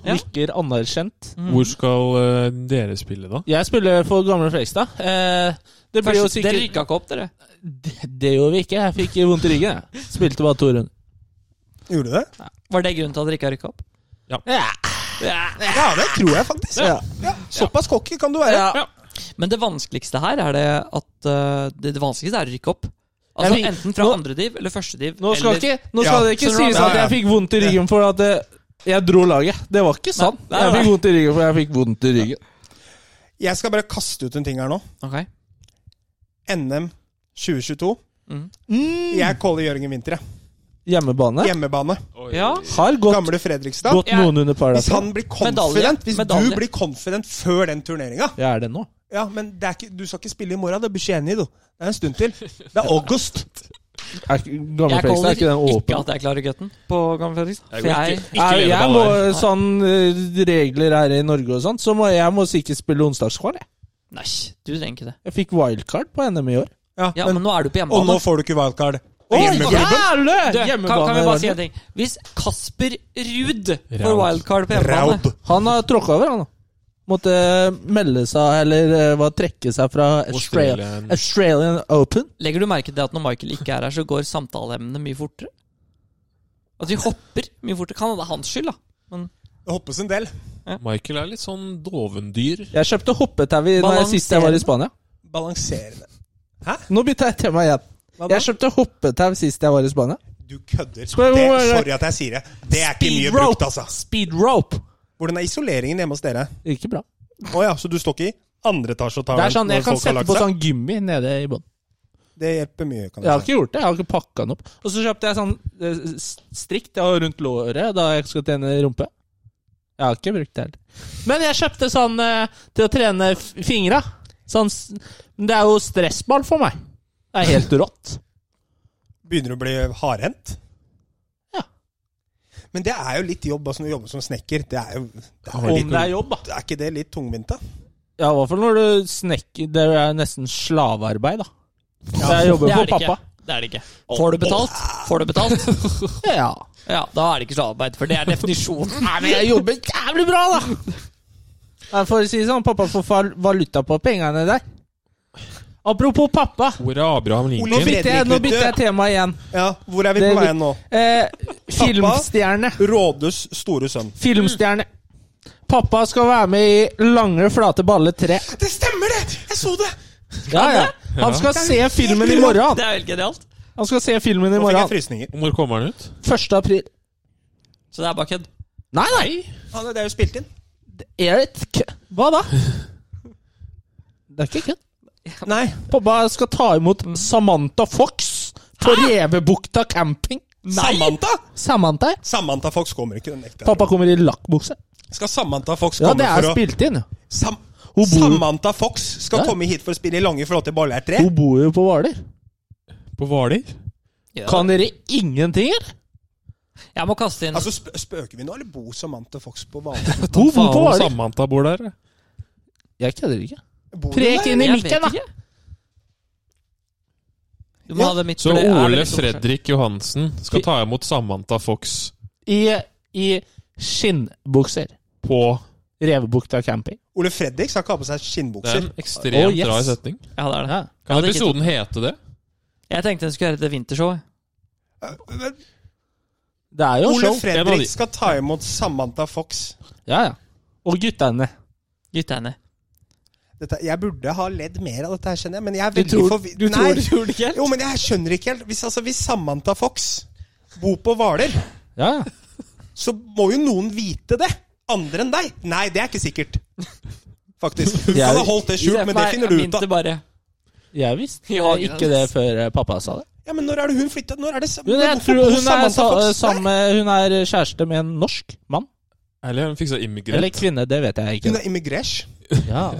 E: Ja.
F: Nikker anerkjent.
E: mm,
D: Hvor skal eh, dere spille, da?
F: Jeg spiller for gamle Frekstad. Eh, det blir jo
E: Først, Dere
F: sikkert
E: rykka ikke opp, dere.
F: Det, det gjorde vi ikke. Jeg fikk vondt i ryggen. Jeg. Spilte bare to runder.
B: Gjorde du det?
E: Var det grunnen til at dere ikke har rykka opp?
F: Ja.
B: Ja, det tror jeg faktisk.
F: Ja.
B: Ja, såpass cocky kan du være.
F: Ja.
E: Men det vanskeligste her er det at øh, det, det vanskeligste er å rykke opp. Altså
F: Jeg fikk-
E: Enten fra
F: nå-
E: andrediv eller førstediv.
F: Nå skal,
E: eller,
F: ikke, nå skal
B: Ja.
F: det ikke
E: Skjønner du hva
F: sies
B: jeg
F: at jeg
B: mener?
F: fikk vondt i ryggen for at eh, jeg dro laget. Det var ikke sant.
E: Nei, nei,
F: Jeg
E: nei.
F: fikk vondt i ryggen for jeg fikk vondt i ryggen.
B: Jeg skal bare kaste ut en ting her nå.
E: Ok.
B: NM 2022.
E: Mm.
B: Jeg caller Jørgen Winther, jeg.
F: Hjemmebane
B: Hjemmebane.
E: Ja.
F: har gått,
B: Gamle Fredrikstad.
F: gått
E: Jeg-
F: noen under par. altså.
B: Hvis
F: derfra.
B: han blir
E: Medalje.
B: confident Hvis
E: Medalje.
B: du blir confident før den turneringa
F: Jeg er det nå.
B: Ja, men det er ikke, du skal ikke spille i morgen. Da blir du enig, du. Det er en stund til. Det er august.
F: Er ikke- Gamle
E: Jeg
F: Fredrikstad, er ikke den
E: caller ikke
F: åpen?
E: at jeg klarer gutten på Gamle Fredrikstad.
D: Jeg
E: For
D: går
E: jeg,
D: ikke-
F: Nei,
D: lene
F: jeg
D: på
F: må,
D: alle.
F: sånn eh, regler er i Norge og sånt, så må jeg må ikke spille onsdagskval. Jeg.
E: nei, du trenger ikke det.
F: jeg fikk wildcard på NM i år.
B: Ja,
E: Ja,
B: men-
E: men, nå er du på
B: Og nå
E: hjemmebane.
B: får du ikke wildcard.
F: Å,
B: Hjemmeklubben.
F: jævle!
E: Du, kan,
F: Hjemmebane
E: kan vi
F: var
E: bare si
F: det.
E: en ting? Hvis Kasper Ruud får
D: Raud.
E: wildcard på hjemmebane
B: Raub.
F: Han har tråkka over, han. da. Måtte melde seg, eller eh, hva, trekke seg fra Australian,
D: Australian.
F: Australian Open.
E: Legger du merke til at når Michael ikke er her, så går samtaleemnene mye fortere? At vi hopper mye fortere? Kan det være hans skyld, da?
B: Det hoppes en del.
D: Michael er litt sånn dovendyr.
F: Jeg kjøpte hoppetau i- når jeg sist jeg var i Spania.
B: Balanserende.
F: Nå bytta jeg tema igjen.
B: Hva da?
F: Jeg kjøpte hoppetau sist jeg var i Spania.
B: Du kødder. Det,
F: Skal jeg-
B: sorry at jeg sier det. Det er ikke mye
F: Speed rope.
B: brukt, altså.
F: Speed rope.
B: Hvordan er isoleringen hjemme hos dere?
F: Ikke bra.
B: Å ja, så du står ikke i andre etasje og tar
F: Det er sånn,
B: når
F: Jeg kan
B: folk har
F: sette
B: lagt
F: på
B: seg?
F: sånn gummi nede i bånn.
B: Det hjelper mye, kan
F: Jeg har
B: jeg si.
F: ikke gjort det. Jeg har ikke pakka den opp. Og så kjøpte jeg sånn eh, s- strikt jeg har rundt låret da jeg skal trene rumpe. Jeg har ikke brukt det heller. Men jeg kjøpte sånn eh, til å trene f- fingra. Sånn, s- men det er jo stressball for meg. Det er helt rått.
B: Begynner du å bli hardhendt?
F: Ja.
B: Men det er jo litt jobb. altså Når du jobber som snekker, det er jo det er,
F: Om det er jobb, da.
B: er ikke det litt tungvint, da?
F: Ja, i hvert fall når du snekker Det er nesten slavearbeid, da. Så jeg jobber
E: Det er
F: for
E: det ikke.
F: pappa.
E: Det er det ikke. Får du betalt? Får du betalt?
F: Ja.
E: Ja, da er det ikke slavearbeid, for det er definisjonen.
F: Nei, men jeg jobber jævlig bra, da! Nei, For å si det sånn, pappa får fal- valuta på pengene der. Apropos pappa.
D: Hvor er Abraham
F: Nå
B: Ole
D: Lincoln?
B: Fred-
F: bytter jeg, nå
B: Fredrik,
F: bytter jeg tema igjen.
B: Ja, Hvor er vi
F: Det
B: på
F: er
B: vei
F: litt-
B: nå?
F: Eh, filmstjerne.
B: Rådhus store sønn.
F: Filmstjerne. Pappa skal være med i Lange flate balle 3.
B: Det stemmer, det! Jeg så det!
F: Ja, ja. Han skal se filmen i morgen. han.
E: Det er jo helt genialt.
F: Han skal se filmen i
B: Nå fikk jeg
F: morgen.
B: frysninger.
D: Hvor kommer han ut?
F: 1. april.
E: Så det er bare kødd.
F: Nei, nei.
B: Ja, det er jo spilt inn.
F: Eric. Hva da? Det er ikke kødd.
B: Nei.
F: Pappa skal ta imot Samantha Fox på Revebukta camping.
B: Samantha!
F: Samantha?
B: Samantha Fox kommer ikke. den ekte.
F: Pappa kommer i lakkbukse.
B: Skal Samantha Fox
F: Ja,
B: komme
F: det er
B: for å
F: spilt inn. jo.
B: Sam
F: Hun bor-
B: Samantha Fox skal
F: Ja.
B: komme hit for å spille i Lange flotte baller 3.
F: Hun bor jo på Hvaler.
D: På Hvaler?
E: Ja.
F: Kan dere ingenting, eller?
E: Jeg må kaste inn
B: Altså, sp Spøker vi nå, eller bor Samantha Fox på Hvaler?
F: Hun bor på
D: Faen,
F: Hvaler.
D: Samantha bor der.
F: Jeg kødder ikke.
B: Bor hun
F: Prek
B: der?
F: inn i
E: Jeg
F: mikken,
E: vet
F: da!
E: ikke. Du må
B: Ja.
E: ha det midt
D: Så
E: for det er
D: Ole
E: veldig stort.
D: Fredrik Johansen skal ta imot Samantha Fox
F: I, i skinnbukser.
D: på
F: Revebukta camping.
B: Ole Fredrik skal ikke ha på seg
D: Det er
B: skinnbukser.
D: en ekstremt
F: Oh, yes.
D: rar setning.
E: Ja, det er det.
F: Ja.
E: Jeg
D: Kan
E: hadde ikke-
D: episoden hete det?
E: Jeg tenkte den skulle hete Det vintershow.
B: Men
F: Det er jo
B: Ole
F: show.
D: En av de.
B: Fredrik skal ta imot Samantha Fox.
F: Ja, ja. Og guttene.
E: Guttene.
B: Dette, jeg burde ha ledd mer av dette, her, skjønner jeg. Men jeg er
F: Du
B: veldig
F: tror,
B: forvi-
F: du
B: Nei.
F: tror, tror det ikke helt?
B: Jo, men jeg skjønner ikke helt. Hvis, altså, hvis Samantha Fox bor på Hvaler,
F: Ja, ja.
B: så må jo noen vite det. Andre enn deg. Nei, det er ikke sikkert. Faktisk. Hun
F: Jeg-
B: kan ha holdt det skjult, men det finner du ut av.
E: bare.
F: Jeg visste
E: Ja,
F: ikke det før eh, pappa sa det.
B: Ja, men når er det hun flytta? Når er det sam-
F: Hun er,
B: Hvorfor bor
F: hun er,
B: Samantha
F: sa, eh,
B: Fox der?
F: samme, hun er kjæreste med en norsk mann.
D: Eller hun fiksa
F: Eller
D: immigrant.
F: kvinne, det vet jeg
B: Hun
F: ikke.
B: er immigrasj.
F: Ja.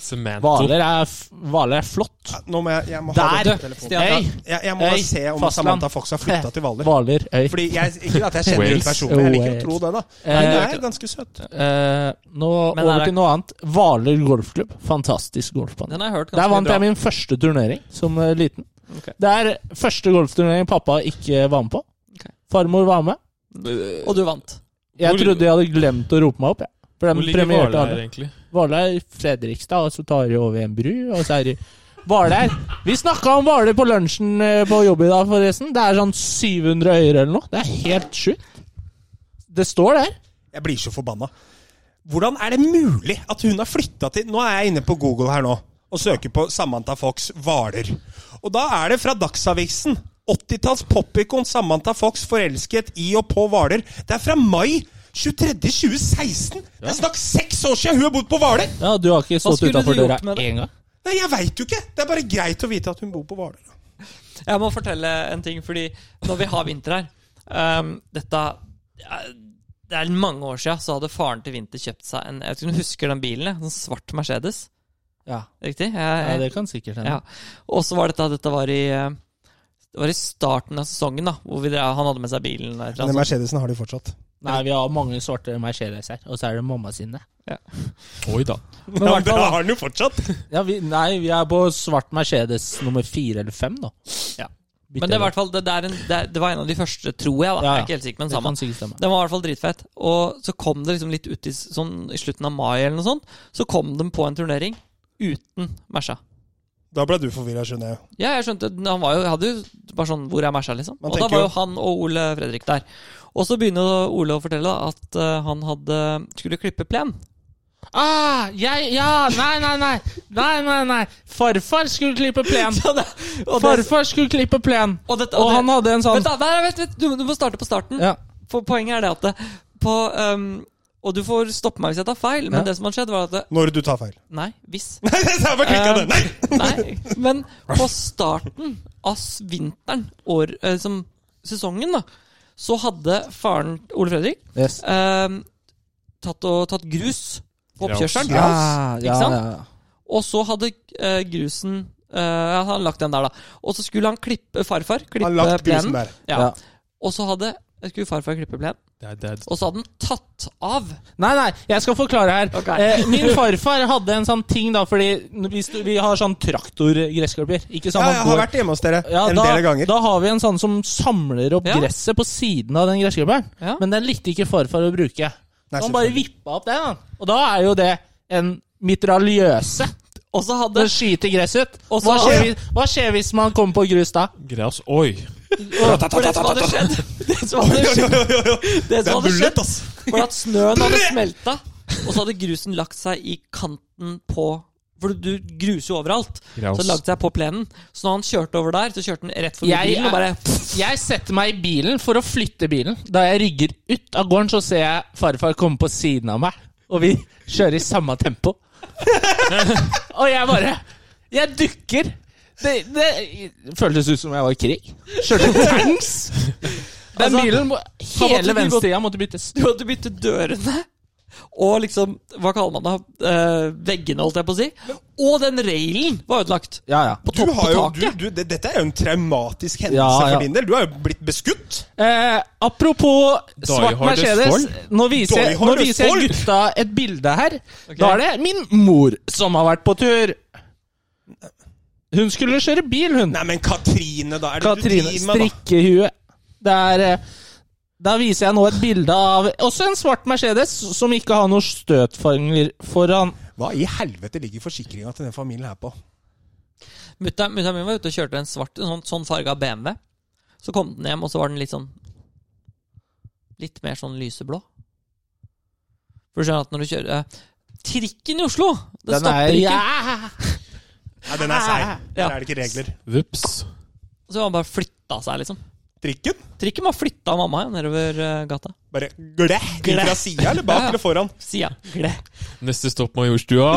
D: Samantha.
F: Hvaler er, f- Hvaler er flott.
B: Ja, Nå må jeg, jeg må ha
F: Der!
B: den telefonen.
E: Stian,
F: Hei!
B: Jeg, jeg må bare
F: Hey,
B: se om
F: fastland. Eh.
B: Samantha Fox har flytta til Hvaler.
F: Hvaler øy.
B: Fordi jeg, Ikke at jeg kjenner
D: Wales.
B: ut personen, jeg liker å tro det, da. Men hun
F: Eh,
B: er ganske søt.
F: eh, nå
E: Men er
F: over
E: det-
F: til noe annet. Hvaler golfklubb. Fantastisk golfbane.
E: Den har jeg hørt
F: Der
E: ganske
F: vant
E: bra.
F: jeg min første turnering som eh, liten.
E: Ok.
F: Det er første golfturnering pappa ikke var med på.
E: Ok.
F: Farmor var med.
E: Og du vant.
F: Jeg
D: Hvor-
F: trodde jeg hadde glemt å rope meg opp. jeg. For de
D: Hvor ligger
F: premierte
D: Hvaler
F: alle.
D: egentlig?
F: Hvaler er Fredrikstad, og så tar de over en bru, og så er de Hvaler. Vi snakka om Hvaler på lunsjen eh, på jobb i dag, forresten. Det er sånn 700 øyer eller noe. Det er helt sjukt. Det står der.
B: Jeg blir så forbanna. Hvordan er det mulig at hun har flytta til Nå er jeg inne på Google her nå og søker på Samantha Fox Hvaler. Og da er det fra Dagsavisen. 80-talls popikon Samantha Fox forelsket i og på Hvaler. Det er fra mai 23.2016! Det er snakk seks år siden hun har bodd på Hvaler!
F: Ja, du har ikke stått
E: skulle du
F: utafor
E: gjort
F: døra
E: med det?
F: én gang.
B: Nei, jeg veit jo ikke! Det er bare greit å vite at hun bor på Hvaler.
E: Jeg må fortelle en ting, fordi når vi har vinter her ehm, Dette eh, Det er mange år siden så hadde faren til Vinter kjøpt seg en Jeg vet ikke om du husker den bilen? En sånn svart Mercedes.
F: Ja.
E: Riktig?
F: ja,
E: Jeg,
F: Eh, det kan sikkert hende.
E: ja. Og så var dette Dette var i eh, Det var i starten av sesongen, da, hvor vi drev, han hadde med seg bilen. altså. eller et eller
B: Den
E: annet sånt.
B: Mercedesen har de fortsatt.
F: Nei, vi har mange svarte Mercedes her, og så er det mamma sine.
D: Oi da.
F: Men i hvert fall, da.
B: har den jo fortsatt!
F: ja, vi, nei, vi er på svart Mercedes nummer fire eller fem, da.
E: Ja.
F: Bytte
E: Men det, er i
F: det.
E: hvert fall, det, det, er en, det, er, det var en av de første, tror jeg. da,
F: Ja,
E: Jeg
F: ja.
E: er ikke helt sikker, men
F: Det
E: samme.
F: kan sikkert stemme.
E: Den var i hvert fall dritfett. Og så kom det liksom litt ut i, s- sånn, i slutten av mai, eller noe sånt, så kom de på en turnering uten Merca.
B: Da ble du forvirra, skjønner jeg.
E: Ja, jeg skjønte Han var jo, hadde jo bare sånn Hvor er Merca, liksom?
B: Man
E: og da
B: tenker
E: var
B: jo-
E: jo han og Ole Fredrik der. Og så begynner da Ole å fortelle at eh, han hadde skulle klippe plen.
F: Ah, jeg, ja, nei, nei, nei. Nei, nei, nei. Farfar skulle klippe plen.
E: Så det, og det,
F: Farfar skulle klippe plen.
E: og dette-
F: Og
E: det-
F: han hadde en
E: Vent,
F: sånn
E: da, nei, vent, vent, du, du må starte på starten.
F: ja.
E: For poenget er det at det, på, ehm, Og du får stoppe meg hvis jeg tar feil, men
F: Ja.
E: det som har skjedd, var at det,
B: Når du tar feil.
E: Nei, hvis.
B: Nei, jeg har bare
E: Eh,
B: klikket den. Nei!
E: Nei, men på starten av s- vinteren, år, eh, som sesongen, da, så hadde faren Ole Fredrik
F: Yes.
E: ehm, tatt, og, tatt grus på oppkjørselen.
F: Ja, Ah, ja,
E: Ikke sant?
F: ja, ja.
E: Og så hadde eh, grusen eh, ja, Han lagt den der, da. Og så skulle han klippe farfar klippe
B: Han har lagt grusen
E: plenen.
B: der.
E: Ja.
F: Ja.
E: Og så hadde skulle farfar klippe plenen,
D: Det er, det er,
E: og så hadde han tatt av.
F: Nei, nei, jeg skal forklare her.
E: Ok.
F: Eh, min farfar hadde en sånn ting, da, fordi hvis du, vi har sånn traktorgressklipper. Ikke sånn
B: Ja,
F: man
B: jeg
F: går-
B: har vært hjemme hos dere
F: Ja,
B: en
F: da,
B: del ganger.
F: Da har vi en sånn som samler opp
E: Ja.
F: gresset på siden av den gressklipperen.
E: Ja.
F: Men den likte ikke farfar å bruke.
B: Nei,
F: Så han bare
B: selvfølgelig.
F: vippa opp den, da. og da er jo det en mitraljøse.
E: Og så hadde
F: Den skyter gress ut.
E: Og så-
F: Hva skjer, hvis, hva skjer hvis man kommer på grus da?
D: Gras. Oi.
E: For det som hadde skjedd Det som hadde skjedd, det som hadde skjedd var at snøen hadde smelta, og så hadde grusen lagt seg i kanten på For du du gruser jo overalt. Så
D: Gras.
E: det lagde seg på plenen. Så når han kjørte over der, så kjørte han rett forbi
F: Jeg
E: bilen og
F: er-
E: bare
F: Jeg setter meg i bilen for å flytte bilen. Da jeg rygger ut av gården, så ser jeg farfar komme på siden av meg, og vi kjører i samme tempo. og jeg bare Jeg dukker. Det, det føltes ut som jeg var i krig. Kjørte tanks. Den
E: Altså,
F: bilen, må-
E: måtte
F: hele
E: du gått-
F: venstresida måtte byttes.
E: Du hadde byttet dørene. Og liksom, hva kaller man det? Eh, veggene, holdt jeg på å si. Og den railen var ødelagt.
F: Ja, ja.
E: På
B: Du
E: topp på
B: har jo, du,
E: taket.
B: du, det, dette er jo en traumatisk hendelse
F: Ja, ja.
B: for din del. Du er jo blitt beskutt.
F: Eh, apropos svart
D: Hard
F: Mercedes.
D: Østfold.
F: Nå viser, jeg,
B: Die
F: nå
B: Hard
F: viser jeg
B: Østfold.
F: gutta et bilde her. Da er det min mor som har vært på tur. Hun skulle kjøre bil, hun.
B: Nei, men Katrine, da. Er det
F: Katrine
B: du driver med, da?
F: Strikkehue. Det er eh, Da viser jeg nå et bilde av også en svart Mercedes som ikke har noen støtfanger foran.
B: Hva i helvete ligger forsikringa til den familien her på?
E: Mutter'n min var ute og kjørte en svart, en sånn, sånn farga BMW. Så kom den hjem, og så var den litt sånn Litt mer sånn lyseblå. For du skjønner at når du kjører eh, Trikken i Oslo! Det
F: Den
E: stopper
F: er
E: ikke.
F: ja.
B: Nei, den er seig.
E: Ja.
B: Der er det ikke regler.
D: Vips.
E: Så han bare flytta seg, liksom.
B: Trikken?
E: Trikken bare flytta mamma ja, nedover eh, gata.
B: Bare glæ! Inn fra sida eller bak
E: Ja.
B: eller foran?
E: Sida. Gle.
D: Neste stopp Majorstua.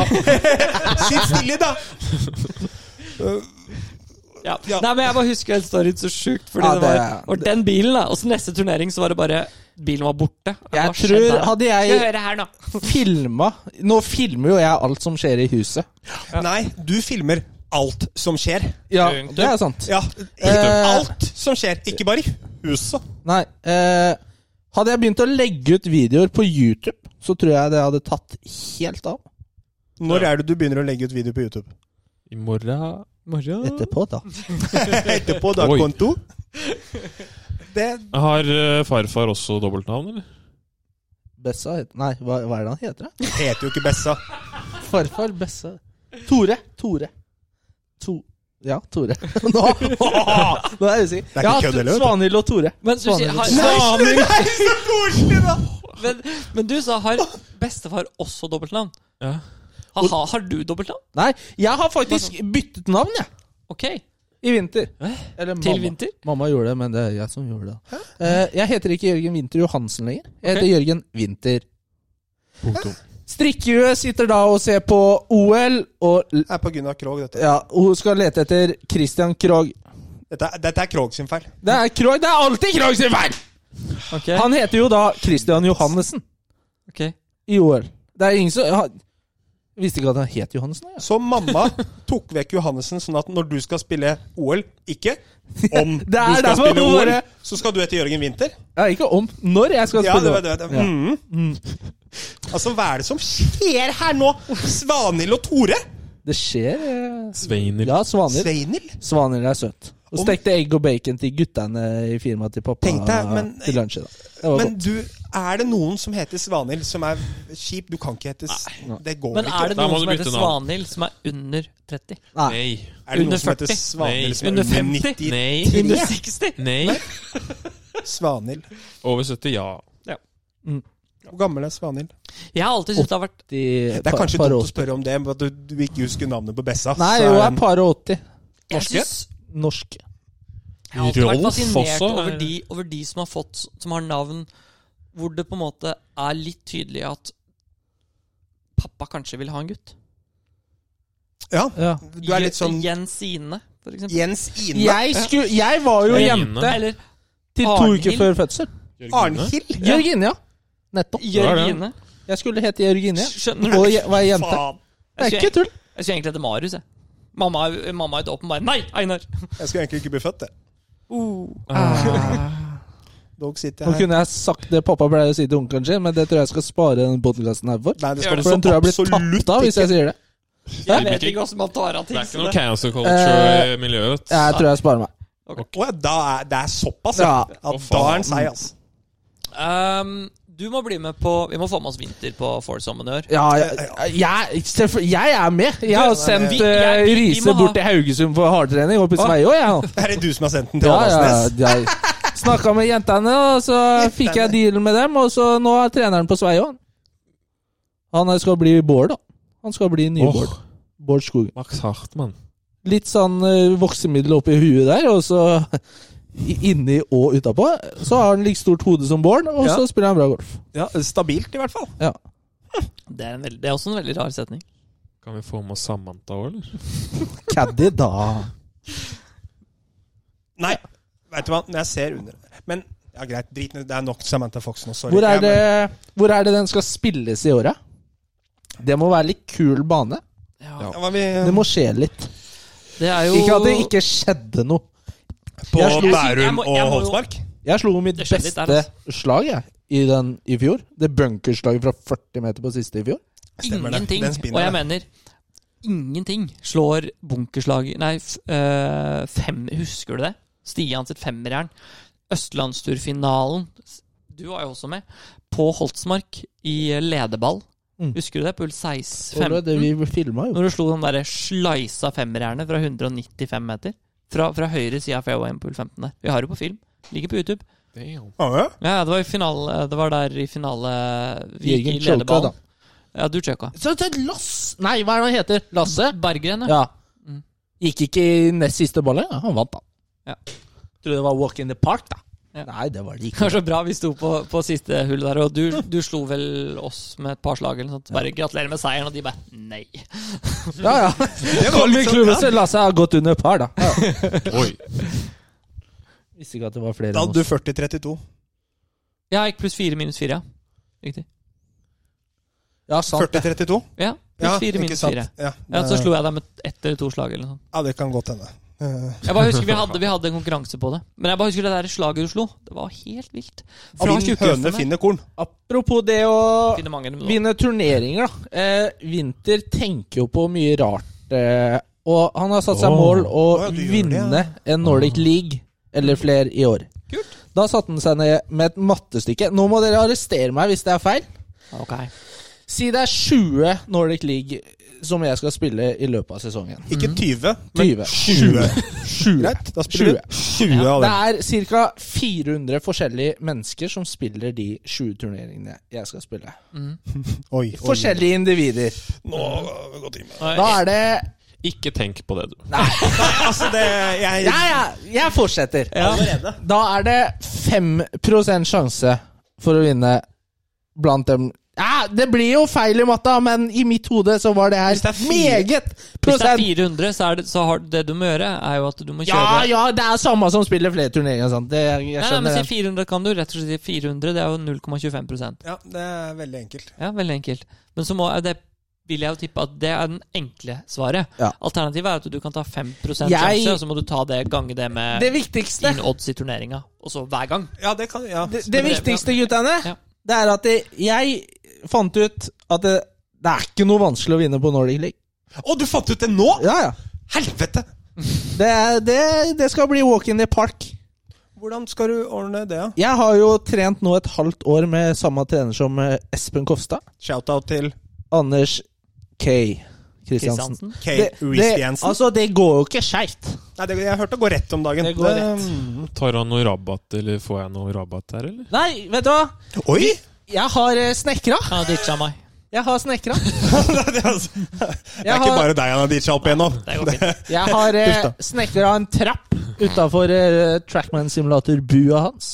B: Sitt stille, da!
E: Ja.
B: Ja.
E: Nei, men jeg bare husker den storyen så sjukt. Fordi
F: Ja,
E: det, var,
F: det-
E: var den bilen, da. Og så neste turnering så var det bare Bilen var borte. Hva
F: Jeg
E: skjedde
F: tror
E: her?
F: Hadde
E: Skal
F: jeg
E: høre her, nå.
F: filma Nå filmer jo jeg alt som skjer i huset.
B: Nei, du filmer alt som skjer.
F: Ja, det er sant.
B: Ja,
F: Eh.
B: alt som skjer. Ikke bare i huset.
F: Nei. Eh, hadde jeg begynt å legge ut videoer på YouTube, så tror jeg det hadde tatt helt av.
B: Når er det du begynner å legge ut video på YouTube?
D: I morgen
F: Etterpå, da.
B: Etterpå, da,
D: Oi.
B: konto? Det
D: Har eh, farfar også dobbeltnavn, eller?
F: Bessa heter Nei, hva, hva er det han heter? da?
B: heter jo ikke Bessa.
F: Farfar Bessa Tore. Tore. To... Ja, Tore. Nå, nå er jeg usikker.
B: ikke
F: Ja,
B: kødd heller, vet du.
F: Svanhild og Tore.
E: Men du sier-
F: Svanhild og
E: har-
F: Tore.
E: Men, men du sa har bestefar også dobbeltnavn?
D: Ja.
E: Ha, ha, har du dobbeltnavn?
F: Nei, jeg har faktisk byttet navn, jeg.
E: Ok.
F: I vinter. Eller
E: Til vinter?
F: Mamma gjorde det, men det er jeg som gjorde det. Eh, jeg heter ikke Jørgen Winther Johansen lenger. Jeg heter Jørgen Winther.
D: Punktum.
F: Strikkehue sitter da og ser på OL, og l-
B: Det er på Gunnar Krog, dette.
F: ja, hun skal lete etter Christian Krogh.
B: Dette, er- dette er Krog sin feil.
F: Det er Krogh, det er alltid Krogh sin feil!
E: ok,
F: Han heter jo da Christian Johannessen
E: ok.
F: i OL. Det er ingen som han- Visste ikke at han het Johannessen. Ja.
B: Så mamma tok vekk Johannessen, sånn at når du skal spille OL Ikke om du
F: Der, der
B: skal
F: var
B: spille OL,
F: ordet.
B: så skal du etter Jørgen Winther.
F: ja, ikke om. Når jeg skal
B: Ja, det
F: spille.
B: var det. var det.
F: Ja.
B: Mm. Altså, hva er det som skjer her nå? Svanhild og Tore?
F: Det skjer. eh,
D: Sveiner.
F: Ja, Svanhild.
B: Sveinhild?
F: Svanhild er søt. Og
B: Om-
F: stekte egg og bacon til guttene i firmaet til pappa
B: Tenk deg, men-
F: til lunsj i dag. Det var
B: Men
F: godt.
B: du, er det noen som heter Svanhild som er kjip? Du kan ikke hete s- Det går
E: Men
B: ikke.
E: er det
D: Da må
E: noen
D: du
E: som heter
D: bytte navn.
E: Svanhild, som er under 30?
F: Nei.
D: Nei.
B: Er det
E: under
B: noen som heter
E: 40?
B: Svanhild som er
E: Under
B: under
E: 50?
B: 90?
D: Nei.
E: Under 60?
D: Nei.
B: Svanhild.
D: Over 70, ja.
B: Hvor gammel er Svanhild?
E: Jeg har alltid syntes det har vært
F: De,
B: Det er kanskje
F: Eh, par,
B: dumt å
F: åtti.
B: spørre om det, men at du, du ikke husker navnet på Bessa.
F: Nei,
B: så
F: jo,
B: er
F: er
B: den-
F: par og åtti.
E: Jeg synes
F: Norsk.
E: Jeg har alltid vært
D: Rolf
E: fascinert
D: også,
E: over
D: er-
E: de, over de som har fått Som har navn hvor det på en måte er litt tydelig at pappa kanskje vil ha en gutt.
B: ja,
F: Ja.
B: du er litt sånn
E: Jens Ine, for eksempel.
B: Jens Ine
F: Jeg, skulle, jeg var jo
D: Jørgine.
F: jente
E: Eller
F: til to
E: Arnhild.
F: uker før fødsel.
B: Arnhild.
F: Jørgine, ja. Nettopp.
D: Hva er det?
E: Jørgine.
F: Jeg skulle hete Jørgine.
E: Skjønner du?
F: Og jeg var jente.
B: Faen.
F: Det er
E: Jeg
F: ikke
E: skulle,
F: tull.
E: jeg skulle egentlig hete Marius, jeg. Mamma er mamma er et åpenbart Nei, Einar!
B: Jeg skulle egentlig ikke bli født, jeg.
D: Uh.
B: Dog sitter
F: Nå
B: jeg her.
F: kunne jeg sagt det pappa pleier å si til onkelen sin, men det tror jeg skal spare den podkasten her for.
B: Nei, det
D: Gjør
B: skal sånn
D: det
F: For den tror jeg blir
B: absolutt
F: tatt av hvis jeg sier det.
E: Jeg vet ikke hvordan man tar av
D: Det
E: ting.
D: er ikke
E: så
D: noe
E: det-
D: cancel
E: Eh,
D: culture i miljøet, vet du.
F: Jeg tror jeg sparer meg.
B: Å ja, da er, det er såpass, ja.
F: Ja.
B: ja
D: Å, faen.
B: da er den seig, altså.
E: Ehm, du må bli med på Vi må få med oss Vinter på Foursommen i år.
F: Ja, jeg, jeg, selvfø- jeg er med. Jeg har sendt
B: vi-
E: jeg-
F: eh,
E: vi- vi
F: Riise
E: må ha-
F: bort til Haugesund for hardtrening oppe i Sveio, jeg. nå.
B: Er det du som har sendt den til
F: Ja, ja,
B: Åndalsnes?
F: ja. Snakka med jentene, og så fikk jeg dealen med dem, og så nå er treneren på Sveio. Han skal bli Bård, da. Han skal bli ny
D: Åh.
F: Bård. Bård Skogen.
D: Max Hartmann.
F: litt sånn eh, voksemiddel oppi huet der, og så i- inni og utapå. Så har han like stort hode som Bård, og
B: Ja.
F: så spiller han bra golf.
B: Ja, Stabilt, i hvert fall.
F: Ja.
E: Det er, en veld, det er også en veldig rar setning.
D: Kan vi få med oss Samantha òg, eller?
F: Caddy, da.
B: Nei, vet du hva, når jeg ser under Men ja, greit, drit nå. Det er nok Samantha Fox nå, sorry.
F: Hvor er,
B: Jeg-
F: det, hvor er det den skal spilles i året? Det må være litt kul bane.
B: Ja, hva vi,
F: Det må skje litt.
E: Det er jo
F: Ikke at det ikke skjedde noe.
B: på
F: jeg slo-
E: jeg
B: Bærum
E: må-
B: og
E: jeg må jo-
B: Holsmark?
F: Jeg slo mitt
E: Det skjedde litt der, altså.
F: beste slag jeg, i, den, i fjor. Det bunkerslaget fra 40 meter på siste i fjor.
B: Stemmer det.
E: ingenting.
B: Den spinner
E: Og jeg
B: det.
E: mener ingenting slår bunkerslag Nei, f øh, fem, husker du det? Stian sitt femmerjern. Østlandsturfinalen, du var jo også med, på Holtsmark i lederball.
F: Mm.
E: Husker du det? På
F: Og det
E: 6-15.
F: vi filma, jo.
E: Når du slo den derre slisa femmerjernet fra 195 meter. Fra, fra høyre side av fairwayen på hull 15 der. Vi har det på film. Ligger på YouTube.
D: Damn.
B: Å, ja.
E: Ja, ja, det var, i finale, det var der i finale vi gikk i
F: Jørgen Sjolka, da.
E: lederballen. Ja, du tjekka.
F: Så det er Lass... Nei, hva er det han heter? Lasse?
E: Berggren, ja.
F: Ja. Gikk ikke i nest siste ballet. Ja, han vant, da.
E: Mm. Ja.
F: Tror det var walk in the park, da.
E: Ja.
F: Nei, det var det
E: Det
F: ikke.
E: var så bra vi sto på, på siste hullet der, og du, du slo vel oss med et par slag eller noe sånt. Bare 'gratulerer med seieren', og de bare 'nei'.
F: Ja, ja. Kom i
B: sånn-
F: klubben, så Lasse har gått under par, da. Ja.
D: Oi.
F: Visste ikke at det var flere.
B: Da
F: enn
B: hadde du
F: oss.
B: 40-32.
E: Ja, gikk pluss fire minus fire, ja. Riktig.
F: Ja, sant.
B: 40-32?
E: Ja,
B: Ja,
E: pluss fire
B: ikke
E: minus
B: sant.
E: fire.
B: Ja,
E: Ja, så slo jeg deg med ett eller to slag eller noe sånt.
B: ja, det kan godt hende. Eh,
E: Jeg bare husker vi hadde, vi hadde en konkurranse på det. Men jeg bare husker det der slaget du slo. Det var helt vilt. Fra
B: Finn høne
E: tjukkhøftene.
B: finner korn.
F: Apropos det å
E: Finner mange, men-
F: vinne turneringer, da. Eh, Winter tenker jo på mye rart. Eh, og han har satt seg
D: Åh.
F: mål å
B: Åh, ja, du gjør det,
F: vinne
B: ja.
F: en Nordic League eller flere i år.
E: Kult.
F: Da satte han seg ned med et mattestykke. Nå må dere arrestere meg hvis det er feil.
E: Ok.
F: Si det er 20 Nordic League som jeg skal spille i løpet av sesongen.
B: Ikke 20, men
F: 20.
B: 20.
F: 20.
B: Greit, da spiller vi 20 av
F: Det
B: dem.
F: er ca. 400 forskjellige mennesker som spiller de 20 turneringene jeg skal spille.
B: Oi, oi.
F: Forskjellige individer.
B: Nå har vi gått inn med det.
F: Da er det
D: Ikke tenk på det, du.
B: Altså, det jeg,
F: Ja, ja, jeg fortsetter.
B: Allerede.
F: Da er det 5 sjanse for å vinne blant dem. Ja, det blir jo feil i matta, men i mitt hode så var det her
B: Hvis det er fire-
F: meget
E: Hvis det er
F: prosent.
E: 400, så, er det, så har det du må gjøre, er jo at du må kjøre
F: Ja, ja, det er samme som spiller flere turneringer. Sant? Det, jeg
E: Nei, nei,
F: skjønner
E: men
F: den.
E: si 400 kan du rett og slett si 400. Det er jo 0,25
B: ja, det er veldig enkelt.
E: Ja, veldig enkelt. Men så må, er det vil jeg jo tippe at det er den enkle svaret.
F: Ja.
E: Alternativet er at du kan ta 5
F: Jeg-
E: sjanse, og så må du ta det gange det med
F: Det viktigste,
E: din odds i turneringa. Og så hver gang.
B: Ja, det kan ja.
F: det, det viktigste guttene,
E: Ja.
F: det er at det, jeg fant ut at det, det er ikke noe vanskelig å vinne på Nordic League.
B: Å, du fant ut det nå?!
F: Ja, ja.
B: Helvete!
F: Det, er- det, det skal bli walk in the park.
B: Hvordan skal du ordne det? da?
F: Jeg har jo trent nå et halvt år med samme trener som eh, Espen Kofstad.
B: Shout-out til
F: Anders K. Kristiansen.
E: Kristiansen.
B: Kay Reece-Jensen.
F: altså, det går jo ikke skeivt.
B: Nei, det, jeg hørte det går rett om dagen.
F: Det går rett.
D: Tar han noe rabatt, eller får jeg noe rabatt her, eller?
F: Nei, vet du hva?
B: Oi!
F: Jeg har eh, snekra.
E: Han har ditcha meg.
F: Jeg har snekra.
B: det er altså- det er
F: Jeg
B: ikke
F: har,
B: bare deg han har ditcha opp igjennom.
E: Det går fint.
F: jeg har eh,
B: Uff
F: snekra en trapp utafor eh, Trackman Simulator-bua hans.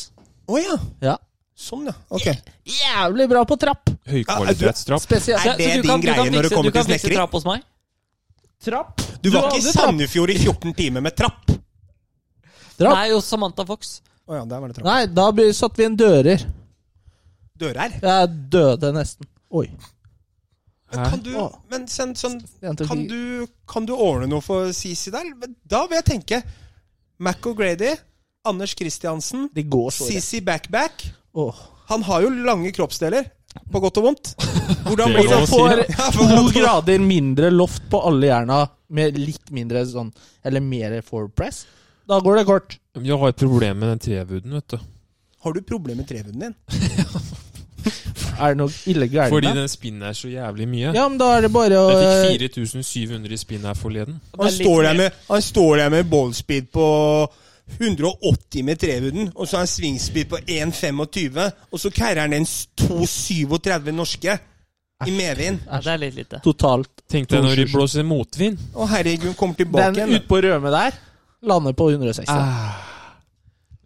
B: Å ja.
F: Ja.
B: Sånn, ja. Ok.
F: Jævlig bra på trapp.
D: Høykvalitetsstraff.
F: Spesielt
E: Så-
B: Er det
E: så du
B: din
E: kan- du
B: greie
E: kan
B: når det
E: fikse-
B: kommer til
E: Du kan fikse
B: snekring?
E: trapp hos meg.
F: trapp.
B: Du var ikke i
F: hadde trapp.
B: Sandefjord i 14 timer med trapp!
F: Trapp.
E: Nei, hos Samantha Fox.
B: Å ja, der var det trapp.
F: Nei, da by- satt vi en dører.
B: Dører.
F: Jeg døde nesten. Oi.
B: Men kan du,
F: Å.
B: men sen, sånn,
F: Jeg tok
B: kan,
F: ikke-
B: du, kan du ordne noe for Sisi der? Men Da vil jeg tenke Mac O'Grady, Anders Kristiansen,
F: Det går så rett.
B: Sisi Backback.
F: Åh.
B: Han har jo lange kroppsdeler, på godt og vondt. Hvordan
D: Det
B: blir
D: går
B: det?
D: å
F: Jeg
D: si.
F: får
B: Ja,
F: to
B: hvordan-
F: grader mindre loft på alle jerna med litt mindre sånn Eller mer forpress. Da går det kort.
D: Jeg har et problem med den trevuden, vet du.
B: Har du problemer med trehunden din?
F: Er det noe ille gærent
D: Fordi
F: med
D: den spinnen er så jævlig mye.
F: Ja, men da er det bare å
E: øh,
D: Jeg fikk 4700 i spinn her forleden.
B: Han
E: Det er litt
B: står,
E: mer-
B: der med, han står der med ballspeed på 180 med trehuden, og så har han svingspeed på 1,25, og så kærer han inn 2,37 norske i medvind.
E: Ja, det er litt lite.
F: eh, Totalt
D: Tenkte jeg når de blåser motvind.
B: Å herregud, kommer tilbake
F: Den
B: igjen.
F: utpå rømme der lander på 160.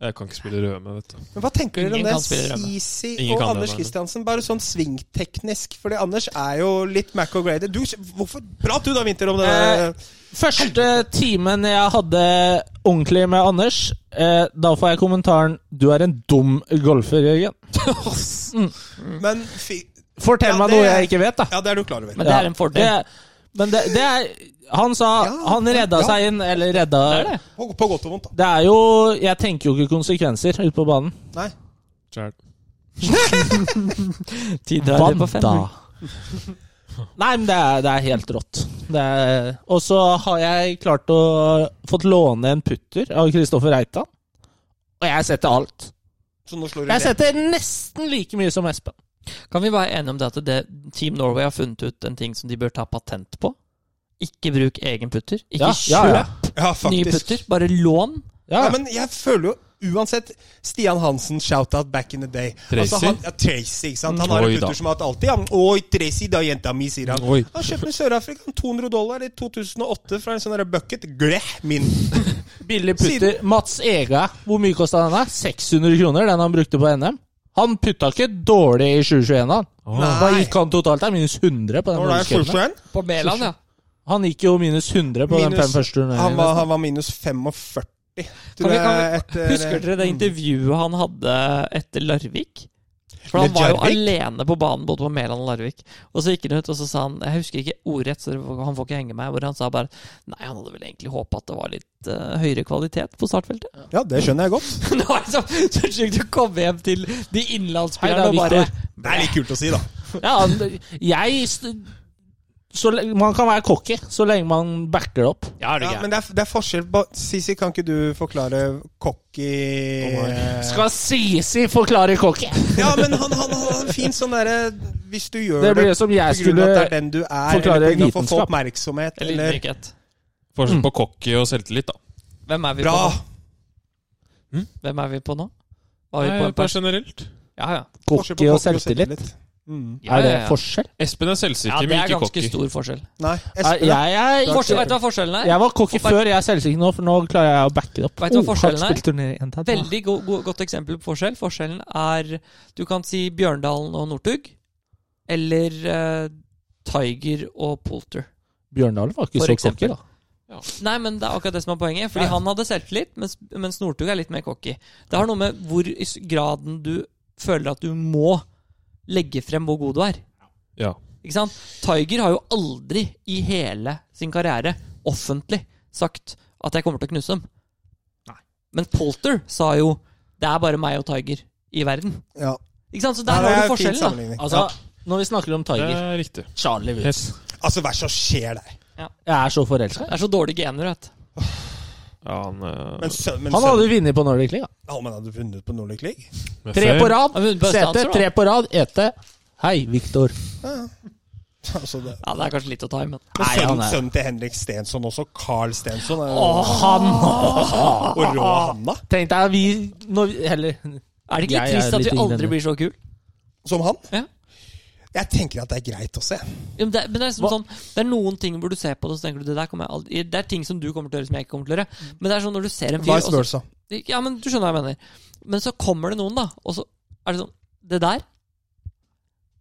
D: Jeg kan ikke spille rødme, vet du.
B: Men hva tenker dere om
E: Ingen
B: det?
E: kan spille rømme.
B: Sisi
D: Ingen
B: og
D: kan
B: Anders
D: rømme.
B: Kristiansen, bare sånn svingteknisk, fordi Anders er jo litt Mac O'Grady. Du, hvorfor Prat du da, Winter, om det
F: Eh, Første timen jeg hadde ordentlig med Anders, eh, da får jeg kommentaren 'Du er en dum golfer', Jørgen.
B: Men fi,
F: Fortell
B: Ja,
F: meg
B: det-
F: noe jeg ikke vet, da.
B: Ja, det er du klar over.
E: Men det er en fordel.
F: Det, men det, det er Han sa
B: Ja,
F: Han redda
B: ja.
F: seg inn, eller redda
E: Det er det.
B: På, på godt og vondt, da.
F: Det er jo Jeg tenker jo ikke konsekvenser ute på banen.
B: Nei.
D: Skjær.
E: Tidligere på fem.
F: Nei, men det er, det er helt rått. Det er, og så har jeg klart å fått låne en putter av Kristoffer Reitan. Og jeg setter alt.
B: Så nå slår du
F: Jeg
B: det.
F: setter nesten like mye som Espen.
E: Kan vi være enige om det at det, Team Norway har funnet ut en ting som de bør ta patent på? Ikke bruk egen putter. Ikke
F: Ja, ja, ja.
E: kjøp
B: Ja,
E: nye
B: faktisk.
E: putter. Bare lån.
F: Ja,
B: Ja, men jeg føler jo uansett Stian Hansen, shout-out back in the day. Altså,
D: Tracy.
B: han, ja, Tracy, ikke sant? Han har
D: Oi
B: en
D: da.
B: gutter som har hatt alltid han, Oi, Tracy, da jenta mi, sier han.
D: Oi.
B: Han kjøpte en Sør-Afrika en 200 dollar i 2008 fra en sånn der bucket. Gleh, min.
F: Billig putter. Mats Ega, hvor mye kosta denne? 600 kroner, den han brukte på NM. Han putta ikke dårlig i 2021, han. Da
B: Nei.
F: gikk han totalt der, minus 100 på den.
B: Når det er
F: norske
B: full
F: enden.
B: strand,
E: På Mæland, ja.
F: Han gikk jo minus 100 på den
B: minus-
F: fem første
B: han,
F: turneringene.
B: var, han var minus 45.
E: Kan
B: Tror
E: vi-
B: jeg,
E: kan
B: etter,
E: Husker dere det intervjuet han hadde etter Larvik? For han
B: Med
E: var jo
B: Jarvik?
E: alene på banen både på Mæland og Larvik. Og så gikk han ut, og så sa han Jeg husker ikke ordrett, så dere får- han får ikke henge meg. Hvor han sa bare Nei, han hadde vel egentlig håpa at det var litt eh, høyere kvalitet på startfeltet.
B: Ja, det skjønner jeg godt.
E: Det var liksom så sjukt å komme hjem til de
F: Hei da,
E: innlandsspillerne og bare
F: Victor.
B: Det er litt kult å si, da.
F: Ja, han- jeg st- så, le- Man kan være cocky så lenge man backer det opp.
E: Ja,
B: Ja, men det er, det er forskjell på Sisi, kan ikke du forklare cocky
F: Skal Sisi forklare cocky?
B: Ja, men han han- han har en fin sånn derre Hvis du gjør
F: Det
B: det
F: blir som jeg
B: på grunn av at det er
F: skulle
B: den du er,
F: forklare
B: eller på grunn av å få
F: vitenskap.
B: oppmerksomhet,
E: Eller
B: eller
E: ydmykhet. Mm.
D: Forskjell på cocky og selvtillit, da.
E: Hvem er vi
B: Bra!
E: på nå? Hvem er vi på nå? Var vi på en
D: Nei,
E: pers?
D: generelt.
E: Ja, ja.
B: Forskjell på
F: Cocky og selvtillit.
B: Mm.
E: ja,
F: Er
E: ja,
F: det
E: ja.
F: forskjell?
D: Espen er
E: Ja,
D: selvsikker,
E: det
D: men
E: er
D: ikke
E: ganske
D: cocky.
E: stor forskjell.
B: Nei,
F: Jeg,
B: Espen, da?
F: jeg, jeg,
E: forskjell vet du hva forskjellen er?
F: Jeg var cocky før, jeg er selvsikker nå, for nå klarer jeg å backe det opp.
E: Vet du hva
F: har
E: forskjellen er?
F: spilt turné igjen, tatt.
E: Veldig go go godt eksempel på forskjell. Forskjellen er Du kan si Bjørndalen og Northug, eller eh, Tiger og Polter.
F: Bjørndalen var ikke
E: For
F: så cocky,
E: eksempel.
F: da.
E: Nei, men det er akkurat det som er poenget. Fordi han hadde selvtillit, mens, mens Northug er litt mer cocky. Det har noe med hvor i s- graden du føler at du må legge frem hvor god du er.
D: Ja.
E: Ikke sant? Tiger har jo aldri i hele sin karriere offentlig sagt at jeg kommer til å knuse dem. Men Polter sa jo 'det er bare meg og Tiger i verden'.
B: Ja.
E: Ikke sant? Så
B: Nei,
E: der har
B: det
E: du
B: er en fin
E: forskjellen. da.
B: sammenligning.
F: Altså, når vi snakker om
D: Det
F: Tiger
D: er riktig.
F: Charlie Woods.
D: Yes.
B: Altså, hva er det som skjer der?
F: Jeg er så forelska.
E: Det er så dårlige gener, vet du.
D: Ja, han, eh,
B: Men, sø- men,
F: Han hadde vunnet på Nordic League. da.
B: sø- Å, men hadde du vunnet på Nordic League?
D: med
F: Tre
D: feil.
F: på rad.
E: Han vunnet på
F: Sete,
E: Østlandser, da.
F: tre på rad. Ete. Hei, Viktor.
B: Altså, det.
E: Ja, det er kanskje litt å ta i, men
B: Men
F: Nei, han
B: sønnen,
F: er-
B: sønnen til Henrik Stensson også, Carl Stensson, er,
F: Han
B: og rå Hanna,
F: Tenk deg, vi når vi, Heller
E: Er
F: Jeg
E: det ikke litt
F: er
E: trist at
F: litt
E: vi
F: enig.
E: aldri blir så kul?
B: som han.
E: Ja.
B: Jeg tenker at det er greit å se.
E: Ja, Men det, er- men det, er liksom sånn, det er noen ting hvor du ser på det og så tenker du, det der kommer jeg aldri Det er ting som du kommer til å gjøre som jeg ikke kommer til å gjøre. Men det er sånn når du ser en fyr
B: Vice
E: og så,
B: versa.
E: Ja, men du skjønner hva jeg mener. Men så kommer det noen, da, og så er det sånn Det der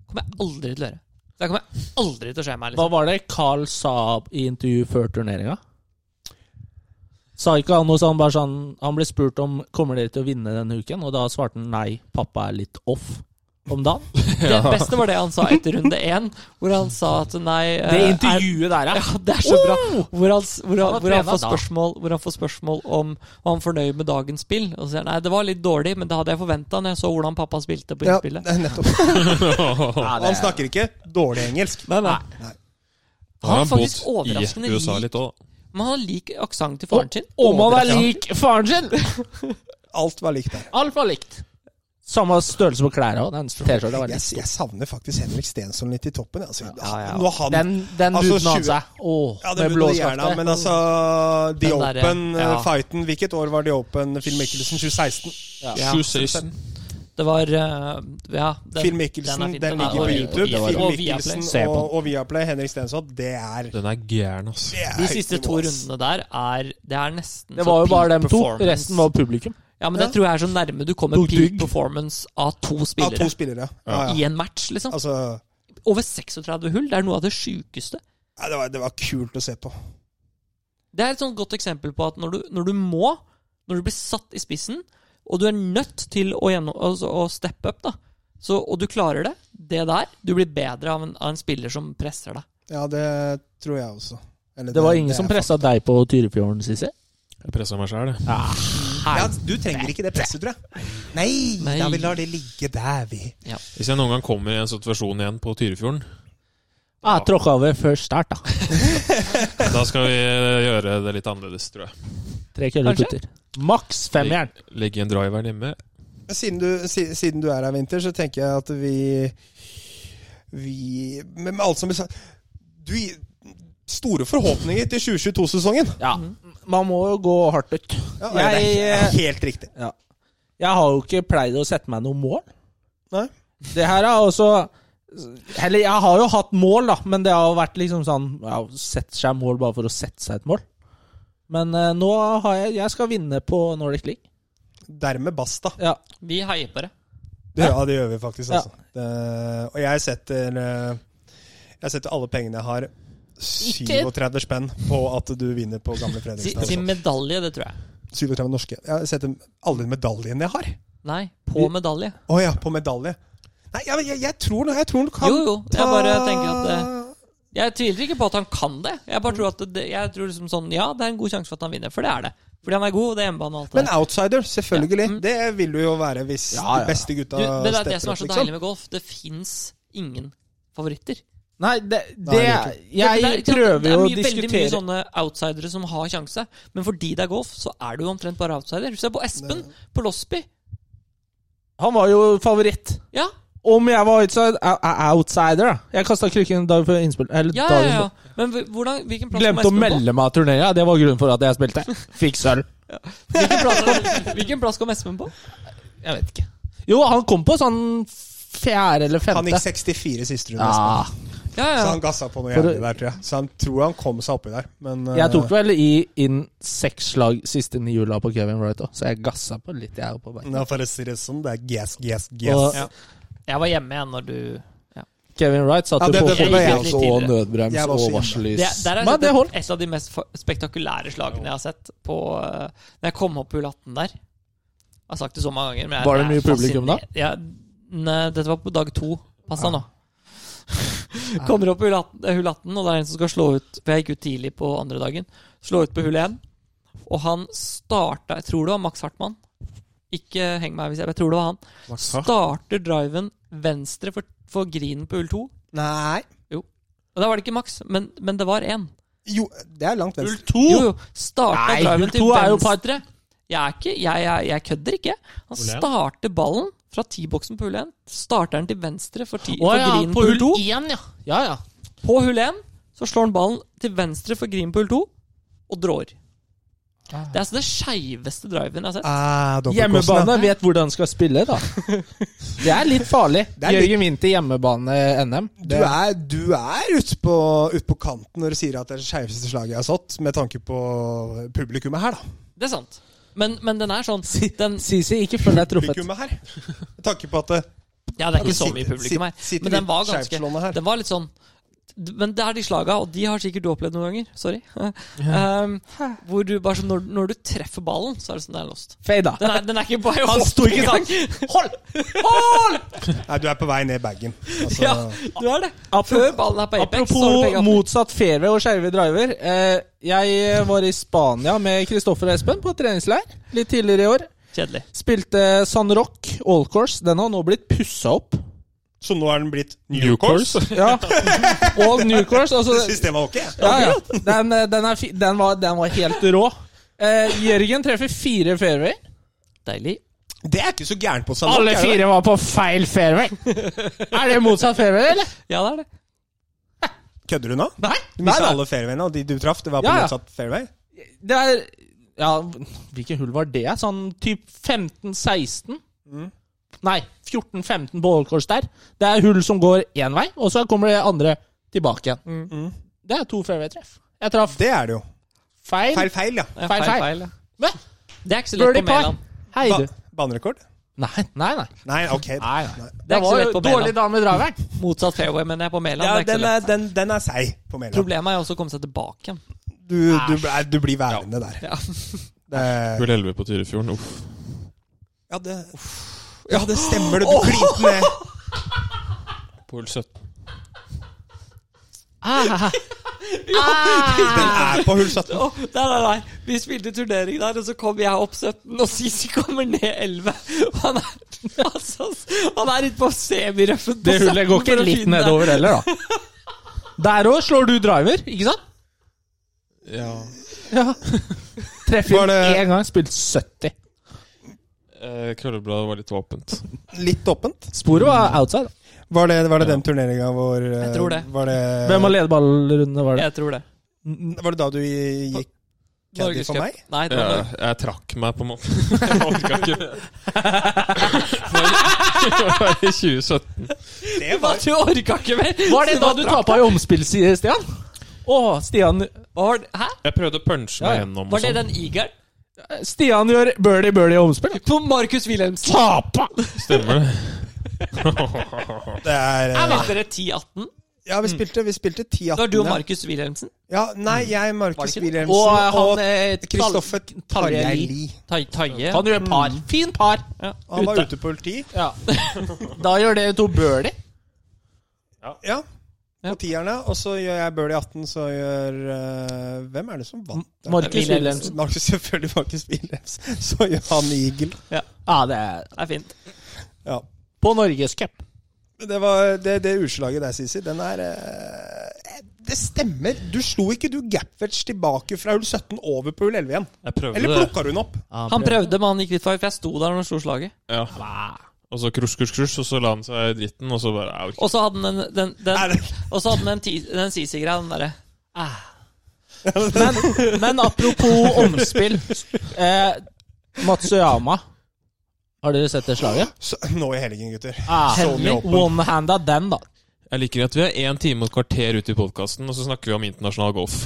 E: kommer jeg aldri til å gjøre. Det kommer jeg aldri til å skje meg.
F: Hva
E: Liksom.
F: var det Carl sa i intervju før turneringa? Sa ikke han noe sånn, bare sånn Han ble spurt om kommer dere til å vinne denne uken, og da svarte han nei, pappa er litt off om dagen.
E: Det beste var det han sa etter runde én, hvor han sa at nei eh,
F: Det
E: er-
F: intervjuet der, ja. Oh!
E: Ja, det er så bra. Hvor han, hvor, han,
F: var
E: hvor, han
F: trena
E: får
F: da.
E: spørsmål, hvor han får spørsmål om var han fornøyd med dagens spill. Og så sier han nei, det var litt dårlig, men det hadde jeg forventa når jeg så hvordan pappa spilte på
B: Ja,
E: innspillet.
B: det er nettopp.
F: Ja,
B: Og
F: det-
B: han snakker ikke dårlig engelsk.
E: Nei, nei.
D: Han
E: Han
D: har
E: er faktisk
D: bodd i
E: overraskende
D: USA
E: lik.
D: litt òg, da.
E: Men han har lik aksent til faren sin.
F: Om han er lik faren sin!
B: Alt var likt der.
F: Alt var likt. Samme størrelse på klærne òg. Den T-skjorta var
B: Jeg,
F: litt
B: jeg savner faktisk Henrik Stensson litt i toppen. Altså,
F: ja.
B: Når han
F: Den, den
B: altså,
F: duden han
B: 20
F: seg. Åh,
B: Ja, det
F: med
B: burde du gjerne,
F: blåskaftet.
B: men altså The
E: Den der, ja.
B: Open-fighten Hvilket år var The Open? Phil Mickelson 2016.
E: Ja.
D: Shoe Station.
E: Det var eh, Ja. Den,
B: Phil Mickelson, den,
E: fin, den er- og-
B: ligger på
E: og-
B: YouTube.
E: og- og-
B: Phil
E: og Viaplay.
B: Mickelsen
F: Se på den.
B: og, og Viaplay, Henrik Stensson, det er, det
D: Den er gæren, ass.
B: er
E: De siste
B: høyt
E: to
B: nivå, ass.
E: rundene der er Det er nesten
F: Det
E: så
F: var jo
E: peak
F: bare dem to.
E: performance.
F: Resten var publikum.
E: Ja, men det tror jeg er så nærme du kommer
F: Dog
E: peak
F: dug.
E: performance av to
B: Av
E: spillere
B: to spillere. Ja, ja.
E: i en match, liksom.
B: Altså,
E: Over 36 hull. Det er noe av det sjukeste.
B: ja, det, var, det var kult å se på.
E: Det er et sånt godt eksempel på at når du, når du må, når du blir satt i spissen, og du er nødt til å, gjennom, altså, å steppe up, da, så, og du klarer det, det der Du blir bedre av en, av en spiller som presser deg.
B: Ja, det tror jeg også. Eller
F: Det var ingen
B: det
F: som
B: er
F: pressa deg på Tyrifjorden, Sissy?
D: Jeg pressa meg sjæl, jeg.
B: fa- Ja, du trenger ikke det presset, tror jeg. Nei,
E: Nei.
B: da vi lar det ligge der, vi.
D: Hvis jeg noen gang kommer i en situasjon igjen på Tyrifjorden,
F: Ah, Tråkka over før start, da.
D: da skal vi eh, gjøre det litt annerledes, tror jeg.
F: Tre køller
E: Kanskje?
F: putter. Maks femjern.
D: Legge en driver hjemme.
B: Siden du, si- siden du er her, Winter, så tenker jeg at vi Vi Med, med alt som blir sagt Du Store forhåpninger til 2022-sesongen.
F: Ja. Mm. Man må jo gå hardt ut.
B: Ja, eh,
F: Jeg-
B: det er he- helt riktig.
F: Jeg har jo ikke pleid å sette meg noe mål.
B: Nei.
F: Det her er også Eller jeg har jo hatt mål, da, men det har jo vært liksom sånn ja, Sette seg mål bare for å sette seg et mål. Men eh, nå har jeg Jeg skal vinne på Nordic League.
B: Dermed basta.
F: Ja.
E: Vi heier på det.
B: Det, ja, det gjør vi faktisk,
F: Ja.
B: altså. Det, og jeg setter eh, Jeg setter alle pengene jeg har, 37 spenn, på at du vinner på
E: Si,
B: Gamle Fredrikstad.
E: si
B: altså.
E: medalje, det tror jeg.
B: 37 norske. Jeg setter alle medaljene jeg har.
E: Nei, på medalje.
B: Å ja, på medalje. Nei, jeg, jeg, jeg tror nå- jeg tror han kan
E: Jo, jo. Jeg bare
B: ta-
E: tenker at eh, Jeg tviler ikke på at han kan det. Jeg bare tror at det, jeg tror liksom sånn Ja, det er en god sjanse for at han vinner, for det er det. Fordi han er god, og det er hjemmebane og alt det
B: Men
E: der.
B: outsider, selvfølgelig. Det vil du jo være hvis de beste gutta
E: Du, det er det som
B: stepper
E: er så
B: opp, liksom.
E: deilig med golf. Det fins ingen favoritter.
F: Nei, det, det
B: Nei, det er
F: Jeg
E: Det er- det er-
F: prøver
E: det er
F: jo å
E: mye- sånn- Veldig mye
F: diskutere
E: sånne outsidere som har sjanse, men fordi det er golf, så er du jo omtrent bare outsider. Se på Espen på Losby.
F: Han var jo favoritt.
E: Ja,
F: Om jeg var outside, ou- ou- outsider, da. Jeg kasta krykken dag før innspill. Eller
E: ja, ja,
F: dagen
E: ja.
F: før.
E: Men hv- hvordan, hvilken plass
F: Glemte å
E: kom Espen på?
F: melde meg av turneringa. Det var grunnen for at jeg spilte. Fikk sølv.
E: Hvilken plass, hvilken plass kom Espen på?
F: Jeg vet ikke. Jo, han kom på sånn fjerde eller femte.
B: liksom. Han gikk 64 siste runde, nesten.
F: Ja,
B: så
E: Ja, ja.
B: han gassa på noe
F: For-
B: jævlig der, tror jeg. Så han tror han kom seg oppi der, men eh,
F: jeg tok vel i inn seks slag siste ni jula på Kevin Wright òg, så jeg gassa på litt, jeg òg, på back.
B: ja, For å si det sånn, det er gas, gas,
F: Og
B: gas.
E: Ja. Jeg var hjemme igjen når du
F: Kevin Wright satt
B: Ja,
F: jo
B: det-
F: på
B: det ble jeg
F: forbremse
E: også.
F: og
B: Jeg var
F: nødbrems
B: også
F: og
B: hjemme.
E: det,
F: varslys.
E: Der har
F: Men
E: jeg
F: det
E: sett
F: holdt.
E: et av de mest fa- spektakulære slagene jeg har sett på eh, Når jeg kom opp på hull 18 der. Jeg har sagt det så mange ganger. Men jeg,
F: Var det
E: jeg er
F: mye publikum da?
E: fasciner- Ja, ne, dette var på dag to. Pass deg nå. Kommer opp på hull 18, eh, hull 18, og det er en som skal slå ut For jeg gikk ut tidlig på andre dagen. Slå ut på hull 1. Og han starta Jeg tror det var Max Hartmann. Ikke heng meg hvis jeg Jeg tror det var han. Starter driven venstre for, for grinen på hull 2.
B: Nei.
E: Og da var det ikke Max, men, men det var én.
B: Jo, det er langt venstre.
E: Jo, jo. Starta
G: Nei,
E: driven
G: hull
E: til
G: to er jo
E: venstre. Jeg, er ikke, jeg, jeg, jeg kødder ikke. Han
D: Hvor er han?
E: starter ballen fra T-boksen på hull 1. Starter den til venstre for, ti,
G: Å
E: for
G: ja,
E: green
G: på hull
E: to.
G: 1, ja. Ja, ja.
E: På hull 1 så slår han ballen til venstre for green på hull 2 og drår. Det er altså det skeiveste driven jeg har sett.
B: Ah,
F: Hjemmebane vet hvordan han skal spille, da. Det er litt farlig.
B: Det er litt-
F: Jørgen Winther hjemmebane-NM.
B: Du er, du er ute på, ut på kanten når du sier at det er det skeiveste slaget jeg har satt, med tanke på publikummet her, da.
E: Det er sant. Men, men den er sånn den,
F: Sisi, ikke føl deg truffet.
B: Publikummet her. Med tanke på at det,
E: Ja, det er ikke så
B: Sitter-
E: mye publikum her.
B: sitter
E: Men den
B: litt
E: var ganske
B: skjevslående her.
E: Den var litt sånn Men det er de slaga, og de har sikkert du opplevd noen ganger. Sorry. Um, hvor du bare sånn når, når du treffer ballen, så er det sånn det er lost.
F: Fade, da.
E: Den er, den er ikke bare
F: Han sto ikke sånn.
E: Hold! Hold!
B: Nei, du er på vei ned bagen. Altså,
E: Ja, du er det. Før
F: Apropos,
E: ballen er på Apex, så har du
F: apropos
E: begge mot...
F: motsatt fairway og skeive driver. Eh, jeg var i Spania med Kristoffer og Espen på treningsleir litt tidligere i år.
E: Kjedelig.
F: Spilte San Rock all course. Den har nå blitt pussa opp.
B: så nå er den blitt
D: New course.
F: Ja. All new course.
B: Jeg
F: Altså,
B: synes det var ok.
F: ja, ja. Den, eh, den, er fi, den, var, den var helt rå. Eh, Jørgen treffer fire fairway.
E: Deilig.
B: Det er ikke så gærent på seg.
G: Alle fire var på feil fairway. Er det motsatt fairway, eller?
E: Ja, det er det.
B: Kødder du nå?
F: Nei,
B: Du
F: nei,
B: mista
F: nei.
B: alle fairwayene, og de du traff, det var på
F: Ja, ja.
B: motsatt fairway?
F: Det er Ja, hvilke hull var det? Sånn typ 15-16? Nei, 14-15 på holdkors der. Det er hull som går én vei, og så kommer det andre tilbake igjen. Det er to fairway-treff. Jeg traff
B: Det er det jo.
F: feil.
B: Feil feil, ja.
E: Ja,
F: Feil, feil.
E: ja.
F: Hva?
E: Det er ikke så lett
F: Birdie
E: på
F: par.
E: Mæland.
F: Hei,
B: Ba
F: du.
B: banerekord?
F: Nei, nei. nei.
B: Nei, ok.
F: Nei, nei.
E: Det er ikke
G: Det
E: så
G: var
E: lett
G: jo
E: på
G: dårlig
E: Mæland.
G: dame driveren.
E: Motsatt fairway, men jeg er på Mæland.
B: Ja,
E: det er ikke
B: den
E: så lett.
B: er, den, den er seig på Mæland.
E: Problemet er jo også å komme seg tilbake igjen.
B: Du, du, ble- du blir værende der.
E: Ja.
B: Det,
D: Hull 11 på Tyrifjorden. Uff.
B: ja, det, ja, det stemmer det. Du klinte ned.
D: På hull 17.
B: Den er på hull 17.
E: Å, nei, nei, nei. Vi spilte turnering der, og så kom jeg opp 17, og Sisi kommer ned 11. Og Han er, altså, han er ute på semirøffen. på
F: Det hullet går
E: 17 for
F: ikke
E: å
F: litt
E: finne.
F: nedover heller, da. Der òg slår du driver, ikke sant?
D: Ja.
B: Var
F: Treffer
B: det-
F: én gang, spilt 70.
D: Eh, Krøllebladet var litt åpent.
B: Litt åpent.
F: Sporet var outside. da.
B: Var det, var det den turneringa hvor eh,
E: Jeg tror det.
B: Var det,
F: Hvem av ledeballrundene var det?
E: Jeg tror det.
B: var det da du gikk caddy for
E: Norgescup.
B: meg?
E: Nei, det var
D: Jeg,
E: Norge.
D: jeg trakk meg på en måte. Jeg orka ikke det. Det var i 2017.
B: Det
E: Hva, Du orka ikke mer!
F: Var det
E: Så
F: da du tapa i omspill, sier Stian? Å, Stian
E: var det- Hæ?
D: Jeg prøvde å punche
F: Ja,
D: meg
F: ja.
D: gjennom.
E: Var
D: Og
E: det den
D: sånn.
E: igeren?
F: Stian gjør birdie birdie i omspill.
E: På Markus Wilhelmsen.
F: Tapa!
D: Stemmer det?
B: Det er eh,
E: Jeg vet dere 10-18.
B: Ja, vi spilte, vi spilte 10-18.
E: Det var du og
B: ja.
E: Markus Wilhelmsen.
B: Ja, nei, jeg,
E: Var det
B: Markus
E: ikke det?
B: Wilhelmsen
F: Og
B: og
F: han eh,
B: Kristoffer
F: Tarjei
B: Tarjei.
E: Tai- Taie.
F: Han gjør par. Fin par.
E: Mm. Ja.
B: Han var ute på hull 10.
F: Ja. Da gjør dere to birdie.
B: Ja.
E: Ja.
B: På tierne. Og så gjør jeg birdie 18, så gjør eh, Hvem er det som vant? der?
F: Markus
E: Wilhelmsen.
F: Wilhelmsen.
B: Markus, selvfølgelig Markus Wilhelmsen. Så gjør han eagle.
F: Ja, det er
E: Det er fint.
B: Ja.
F: på Norgescup.
B: Men Det var det, det utslaget der, Sisi. Den er eh, Det stemmer. Du slo ikke du Gapwetch tilbake fra hull 17 over på hull 11 igjen?
D: Jeg prøvde
B: Eller
D: det.
B: plukka du den opp?
E: Han prøvde, men han gikk litt feil, for jeg sto der når han slo slaget.
D: Ja. Og så krusj, krusj, krusj, og så la han seg i dritten, og så bare jeg orker
E: Og så hadde han den, den,
B: Nei,
E: den,
B: det-
E: og så hadde han den, ti- den Sisi-greia, den derre
F: Ah. Men, men apropos omspill. Eh, Matsuyama. Har dere sett det slaget?
B: Så, nå i helgen, gutter.
F: Ah,
B: Henley.
F: One-handa den, da.
D: Jeg liker at vi er én time og et kvarter ute i podkasten, og så snakker vi om internasjonal golf.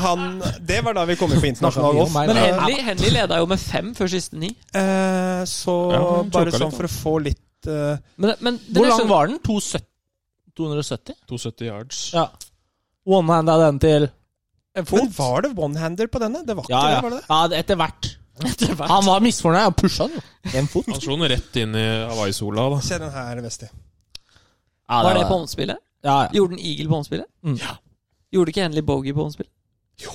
B: Han, det var da vi kom inn på internasjonal golf.
F: Snakker mye om meg,
E: Men
F: Ja.
E: Henley, Henley leda jo med fem før siste ni.
B: Eh, så
D: Ja, han
B: bare
D: choka
B: sånn
D: litt,
B: for å få litt eh,
E: Men, men
F: Hvor lang var den? 270? 270?
D: 270 yards.
F: Ja. One-handa den til
B: Men var det one-hander på denne? Det var ikke
F: Ja,
B: det, var
F: ja.
B: det det?
F: ja etter hvert.
E: det var
F: Han var misfornøyd. Han pusha den. En fot.
D: Han slo den rett inn i Hawaii-sola, da.
B: Se den her, Vesti.
I: Ja,
E: Var det på omspillet?
I: Ja, ja.
E: Gjorde den eagle på omspillet?
I: Mm.
E: Ja. Gjorde ikke endelig bogey på omspillet? Jo.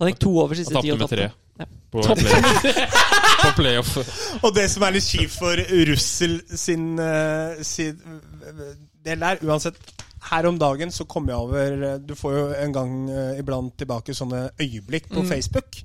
E: Han gikk to over siste
D: Han
E: ti
D: tapte
E: og
D: med tre
E: tapte.
D: på playoff. på playoff.
B: Og det som er litt kjipt for Russell sin, eh, sin eh, del der, uansett Her om dagen så kom jeg over eh, Du får jo en gang eh, iblant tilbake sånne øyeblikk
E: Mm.
B: på Facebook.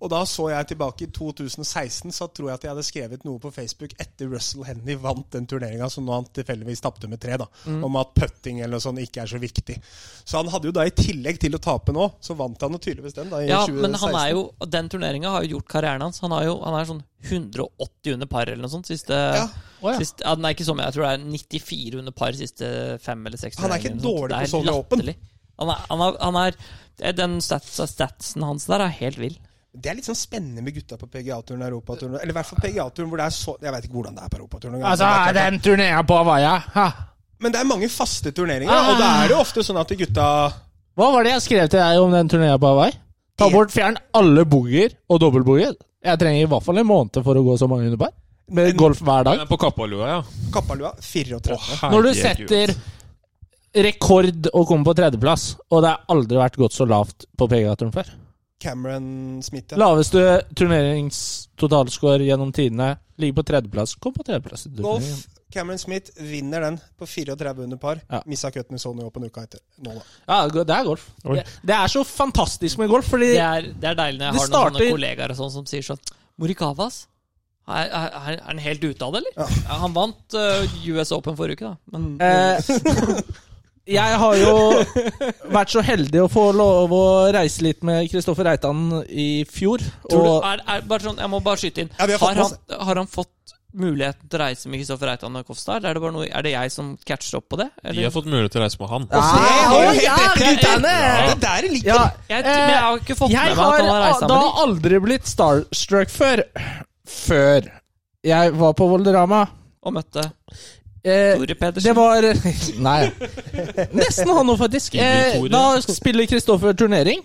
B: Og da så jeg tilbake i 2016, så tror jeg at jeg hadde skrevet noe på Facebook etter Russell Henry vant den turneringa som nå han tilfeldigvis tapte med tre, da,
E: Mm.
B: om at putting eller noe sånt ikke er så viktig. Så han hadde jo da i tillegg til å tape nå, så vant han jo tydeligvis den da i
E: Ja,
B: 2016.
E: men han er jo, den turneringa har jo gjort karrieren hans. Han, har jo, han er sånn 180 under par eller noe sånt siste
B: Ja.
F: Å, ja.
E: Sist, ja, den er ikke så mye. Jeg tror det er 94 under par siste fem eller seks.
B: Han er ikke
E: turneringer eller noe
B: dårlig
E: sånt.
B: på Solheim Open.
E: latterlig. Han er, han er, han er, det er den stats, statsen hans der er helt vill.
B: Det er litt sånn spennende med gutta på PGA-turen og Europaturen. Eller i hvert fall PGA-turen, hvor det er så Jeg veit ikke hvordan det er på Europaturen.
F: Altså, er den turneringa på Hawaii ha.
B: Men det er mange faste turneringer,
F: Ah.
B: og da er det jo ofte sånn at de gutta
F: Hva var det jeg skrev til deg om den turneringa på Hawaii? Ta bort, fjern alle boogier og dobbeltboogier. Jeg trenger i hvert fall en måned for å gå så mange underpar. Med golf hver dag.
D: Den er på Kappalua, ja.
B: Kappalua 34.
F: Når du
D: herregud.
F: setter rekord og kommer på tredjeplass, og det har aldri vært gått så lavt på PGA-turen før
B: Cameron Smith, ja.
F: Laveste turneringstotalscore gjennom tidene ligger på tredjeplass. Kom på tredjeplass. i turneringen.
B: Golf. Cameron Smith vinner den på 34 under par.
F: Ja.
B: Missa cutten i Sony Open uka etter. Nå, da.
F: Ja, det er golf.
D: Oi.
F: Det, det er så fantastisk med golf, fordi
B: Eh,
E: Det er, det er deilig
F: Det
E: når jeg har noen sånne
F: starter-
E: kollegaer og sånn som sier sånn Morikavas, er, er, er er han helt ute av det, eller? Ja, han vant øh, US Open forrige uke, da. Men
F: Eh, jeg har jo vært så heldig å få lov å reise litt med Kristoffer Reitan i fjor.
E: tror du,
F: Og
E: er, er, bare sånn, jeg må bare skyte inn.
B: Ja, vi har fått
E: har, han, har han fått muligheten til å reise med Kristoffer Reitan og Kofstad? eller Er det, bare noe, er det jeg som catcher opp på det?
D: De har fått mulighet til å reise med han.
F: Ja,
B: Se, jeg har jo
F: Ah,
B: helt
F: ja,
B: rett i gutta.
F: Reitane!
B: Det der ligger
F: ja,
E: Jeg, men jeg har ikke fått
F: jeg
E: med meg at han har
F: har
E: reist
F: da
E: sammen med dem.
F: aldri blitt starstruck før. Før jeg var på Volderama.
E: Og møtte
F: Eh,
E: Tore
F: det
E: Pedersen.
F: var Nei. Nesten han nå, faktisk. Eh, da spiller Kristoffer turnering.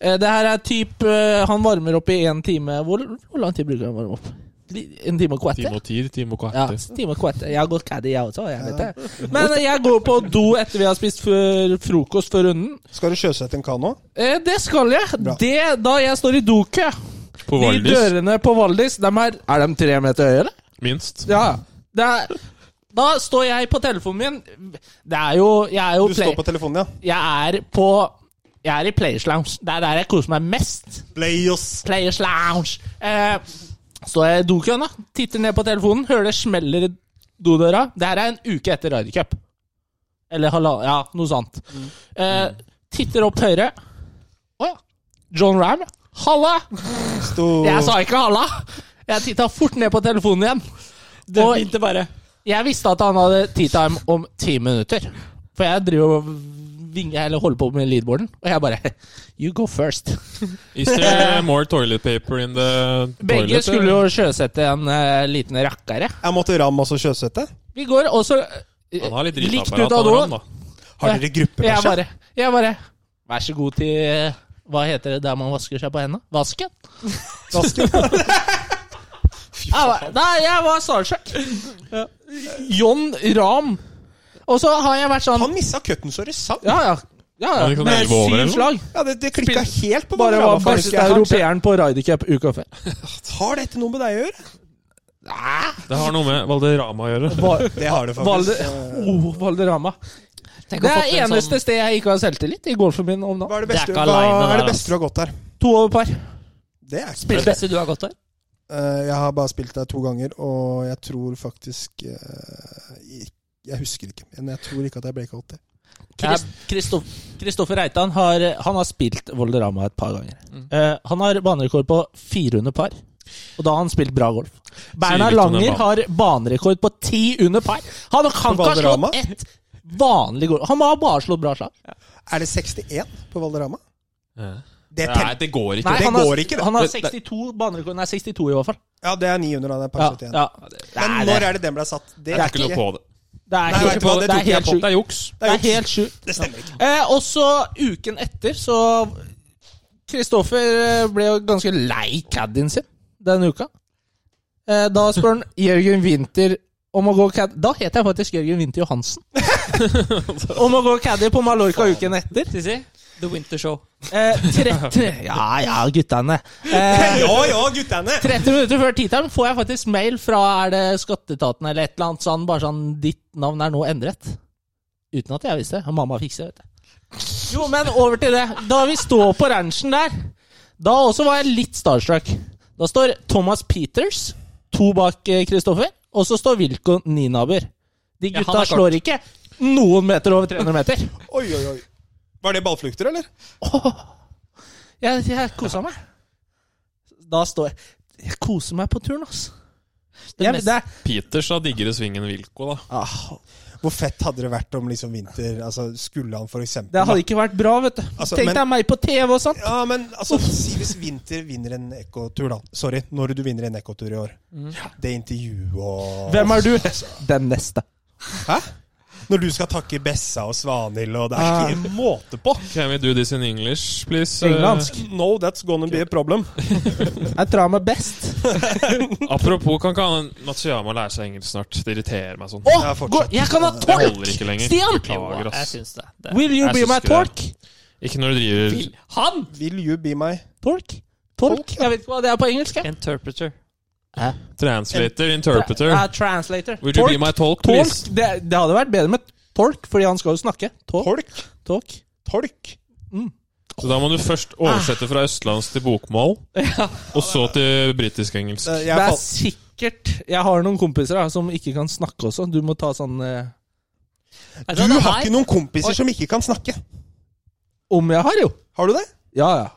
F: Eh, det her er typ eh, Han varmer opp i én time. Hvor, hvor lang tid bruker han å varme opp? Li- En time og kvarter?
D: Time og tid, time og
F: Ja,
D: kvarter.
F: time og kvarter. Jeg har gått caddy, jeg også. Jeg vet det. Men jeg går på do etter vi har spist før frokost før runden.
B: Skal du sjøsette en kano?
F: Eh, det skal jeg.
B: Bra.
F: Det Da jeg står i dokø
D: På
F: De
D: Valdres,
F: dørene på Valdis de er, er de tre meter høye, eller?
D: minst.
F: Ja. Det er, da står jeg på telefonen min. Det er jo Jeg er jo
B: Du
F: play,
B: står på telefonen, ja.
F: Jeg er på Jeg er i Players Lounge. Det er der jeg koser meg mest.
B: Playos.
F: Players Lounge. Eh, står jeg i dokøen, da. Titter ned på telefonen, hører det smeller i dodøra. Det her er en uke etter Ryder Cup. Eller halvannen Ja, noe sånt. Eh, titter opp høyre. Å ja. John Ram. Halla!
B: Sto-
F: Jeg sa ikke halla! Jeg titta fort ned på telefonen igjen.
E: Det
F: Og
E: begynte bare
F: jeg visste at han hadde tea time om ti minutter. For jeg driver og vinger, eller holder på med leadboarden, og jeg bare You go first.
D: Is there more toilet paper in the
F: Begge
D: toilet?
F: skulle jo sjøsette en eh, liten rakkere.
B: Jeg måtte ram også sjøsette.
F: Vi går også eh,
D: Han har litt
F: likt
D: drittapparat,
F: ut av
D: han,
F: do.
D: han, da.
B: Har dere gruppe,
F: Jeg
B: kanskje?
F: bare, jeg bare Vær så god til eh, Hva heter det der man vasker seg på hendene? Vasken? Jeg var, nei, jeg var starstruck. John Ram. Og så har jeg vært sånn
B: Han missa cutten så det sang.
F: Ja, ja. ja,
D: Ja, det
F: ja.
D: kan
F: Med
D: elve over,
F: syv
D: eller noe.
F: slag.
B: Ja, det, det klikka helt på
F: Bare var
B: Panorama,
F: beste
B: faktisk. Jeg har-
F: europeeren på Rydercup uka før.
B: Har dette noe med deg å gjøre?
D: Det har noe med Valderama å gjøre.
F: Val-
B: Det har det
F: Valde,
B: faktisk.
F: oh, Valderama.
E: Tenk å
F: Det
E: ha
F: er
E: fått en
F: eneste sted jeg ikke har selvtillit i golfen min om nå.
B: Hva er det
E: Det er
B: beste,
E: ikke
B: hva
E: alene
B: er
E: der,
B: det beste du har gått der?
F: To over par.
B: Det er ikke
E: sånn Beste du har gått der?
B: Eh, Jeg har bare spilt der to ganger, og jeg tror faktisk eh, ik- Jeg husker ikke, men jeg tror ikke at jeg breaka det.
F: Krist- Kristoff- Kristoffer Reitan har, han har spilt Volderama et par ganger. Eh, han har banerekord på 4 under par. Og da har han spilt bra golf. Bernhard
D: litt om den
F: Langer
D: banen.
F: har banerekord på 10 under par. Han kan ikke ha
B: Valderama?
F: slått ett vanlig golf. Han må ha bare slått bra slag.
B: Er det 61 på Valderama? Det,
D: Nei,
B: tel-
D: det går ikke.
F: Nei,
B: det
F: han har-
B: går ikke, det.
F: Han har 62 banerekord. Nei, 62 i hvert fall.
B: Ja, det er 900 av
F: Ja,
B: det. par 71.
F: ja.
B: Men når er det den ble satt? Det
D: Det er ikke noe på det.
F: Det er,
B: Nei,
F: helt
B: vet du hva,
F: sjukt.
B: det
F: det
B: tok
F: er
B: jeg
F: helt
B: på.
F: sjukt.
D: Det er juks.
F: Det er helt sjukt.
B: Det stemmer ikke.
F: Eh, og så uken etter så Kristoffer eh, ble jo ganske lei caddien sin denne uka. Eh, da spør han Jørgen Winther om å gå caddy Da het jeg faktisk Jørgen Winther Johansen. om å gå caddy på Mallorca uken etter.
E: Sissi? The Winter Show.
F: Eh, tre, tre, ja ja, guttene. Eh,
B: Ja ja, guttene!
F: 30 minutter før titelen får jeg faktisk mail fra er det skatteetaten eller et eller annet sånn, bare sånn 'Ditt navn er nå endret'. Uten at jeg visste det. og Mamma fikser det, vet du. Jo, men over til det. Da vi står på ranchen der, da også var jeg litt starstruck. Da står Thomas Peters to bak eh, Kristoffer, og så står Wilco ni naboer. De
E: Ja, han
F: gutta
E: er kort.
F: slår ikke noen meter over 300 meter.
B: Oi, oi, oi. Var det ballflukter, eller?
F: Jeg, jeg kosa meg. Da står jeg Jeg koser meg på turen, ass.
E: Det
F: Jeg,
E: mest-
F: det er
D: Peters da digger i svingen Wilco, da.
F: ah,
B: Hvor fett hadde det vært om liksom vinter altså Skulle han for eksempel
F: Det hadde ikke vært bra, vet du.
B: Altså,
F: Tenk
B: men-
F: deg meg på TV og sånn.
B: Ja, men altså, si hvis Vinter vinner en ekkotur, da. Sorry, når du vinner en ekkotur i år. Det intervjuet og
F: Hvem er du?
B: altså.
F: Den neste.
B: Hæ? Når du skal takke Bessa og Svanhild, og det
F: Ah.
B: er ikke måte på!
D: Can we do this in English, please?
F: Englandsk.
B: No, that's gonna be a problem.
F: Jeg tror han er best.
D: Eh, apropos, kan ikke han Matsuyama lære seg engelsk snart? Det irriterer meg sånn.
F: Å,
B: Ja, fortsett.
F: gå- jeg kan ha
D: Jeg
F: tolk!
D: holder ikke lenger.
F: Stian!
D: Beklager,
E: jeg
D: ass.
E: syns det. det.
F: Will you
D: Jeg
F: be
D: syns
F: my
D: ikke det.
F: tork?
D: Ikke når du driver
E: Han!
B: Will you be my
F: Tork? Tork? Jeg vet ikke hva det er på engelsk. jeg.
E: Interpreter.
D: translator, interpreter.
F: Tra- eh, translator.
D: Would you be
F: Tork.
D: my
F: Tork.
D: talk, please?
F: Det, det hadde vært bedre med tork, fordi han skal jo snakke. Tork.
B: tolk?
F: Tork.
B: Tolk?
D: Så da må du først oversette fra østlandsk til bokmål, og så til britisk-engelsk.
B: Eh,
F: Det
B: Jeg
F: er
B: falt
F: sikkert Jeg har noen kompiser da, som ikke kan snakke også. Du må ta sånn eh,
E: Vet hva,
B: Du
E: Altså, det
B: har
E: her-
B: ikke noen kompiser som ikke kan snakke.
F: Om jeg har, jo.
B: Har du det?
F: Ja ja.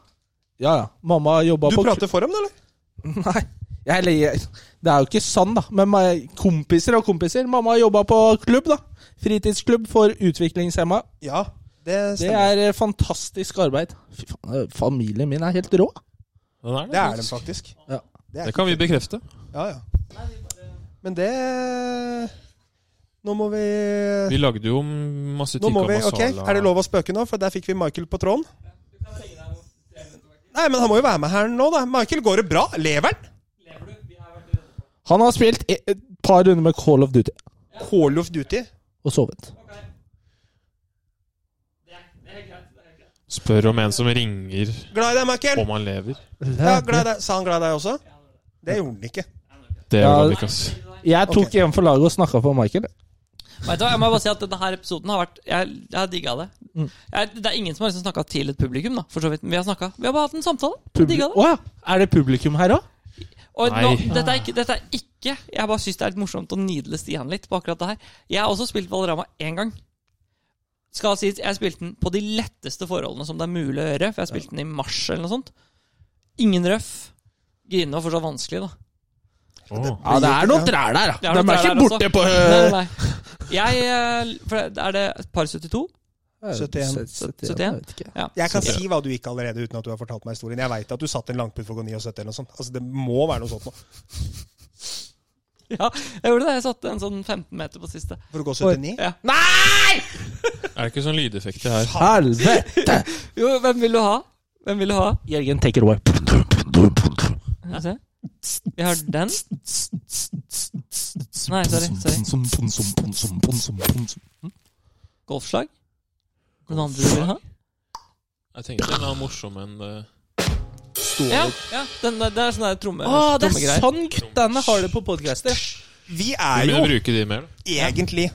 F: Ja ja. Mamma jobba
B: Du
F: på
B: prater for dem, da, eller?
F: Nei. Jeg, eller, jeg, det er jo ikke sånn, da. Men ma- kompiser og kompiser. Mamma har jobba på klubb, da. Fritidsklubb for utviklingshemma.
B: Ja,
F: Det
B: det stemmer.
F: er eh, fantastisk arbeid. Fy faen, eh, familien min er helt rå.
D: Den er
B: Det er dem faktisk.
F: Ja.
B: er
D: Det kan vi bekrefte.
B: Ja, ja. Men det Nå må vi
D: Vi lagde jo masse
B: Nå
D: tikka
B: må vi, ok,
D: masala.
B: Er det lov å spøke nå? For der fikk vi Michael på tråden. Nei, men han må jo være med her nå, da. Michael, går det bra? Lever han?
F: Han har spilt e- et par runder med Call of Duty
B: Call of Duty?
F: og sovet.
D: Spør om en som ringer
B: Glad i deg, Michael!
D: om han lever.
B: Ja, glad i deg. Sa han glad i deg også? Det gjorde han ikke.
D: Det
F: Ja.
D: gjør han ikke, ass.
F: Jeg tok
B: Ok.
F: igjen for laget og snakka for Michael.
E: Vet du hva, jeg må bare si at denne her episoden har vært Jeg, jeg har digga det. Jeg, det er ingen som har liksom snakka til et publikum, da, for så vidt. Men Vi har snakket. Vi har bare hatt en samtale.
F: Publi
E: Digga det.
F: Å ja. Er det publikum her òg?
E: Og
D: Nei.
E: nå, dette, er ikke, dette er ikke Jeg bare syns det er litt morsomt å nidle Stian litt på akkurat det her. Jeg har også spilt Valderama én gang. Skal sies, Jeg spilte den på de letteste forholdene som det er mulig å gjøre. For jeg spilte den i mars eller noe sånt. Ingen røff. Grine var fortsatt vanskelig, da.
D: Åh.
F: Ja, det er noen trær der,
E: Det
F: da.
E: er noen
F: De er
E: trær
F: ikke
E: der også.
F: borte på
E: Nei, nei. Jeg eh, for det- Er det par 72?
B: 71.
E: 71,
F: Jeg vet ikke.
E: Ja.
B: Jeg kan si hva du ikke allerede, uten at du har fortalt meg historien. Jeg veit at du satt en langputt for å gå 79 eller noe sånt. Altså, det må være noe sånt nå.
E: ja, jeg gjorde det. Jeg satte en sånn 15 meter på siste.
B: For å gå 79?
E: Ja.
D: Er det ikke sånn lydeffekter her?
F: Helvete!
E: Jo, hvem vil du ha? Hvem vil du ha?
F: Jørgen, take it away.
E: Skal vi se. Vi har den. Nei, sorry. sorry. Golfslag. Den andre du vil ha?
D: Jeg tenkte en annen morsom enn eh,
E: Ja, ja den, der- det er sånn der tromme,
F: Å, det er
E: trommegreier.
F: sånn guttene har det på podcaster.
B: Vi
D: Vi
B: er jo
D: begynner å bruke de mer. da.
B: egentlig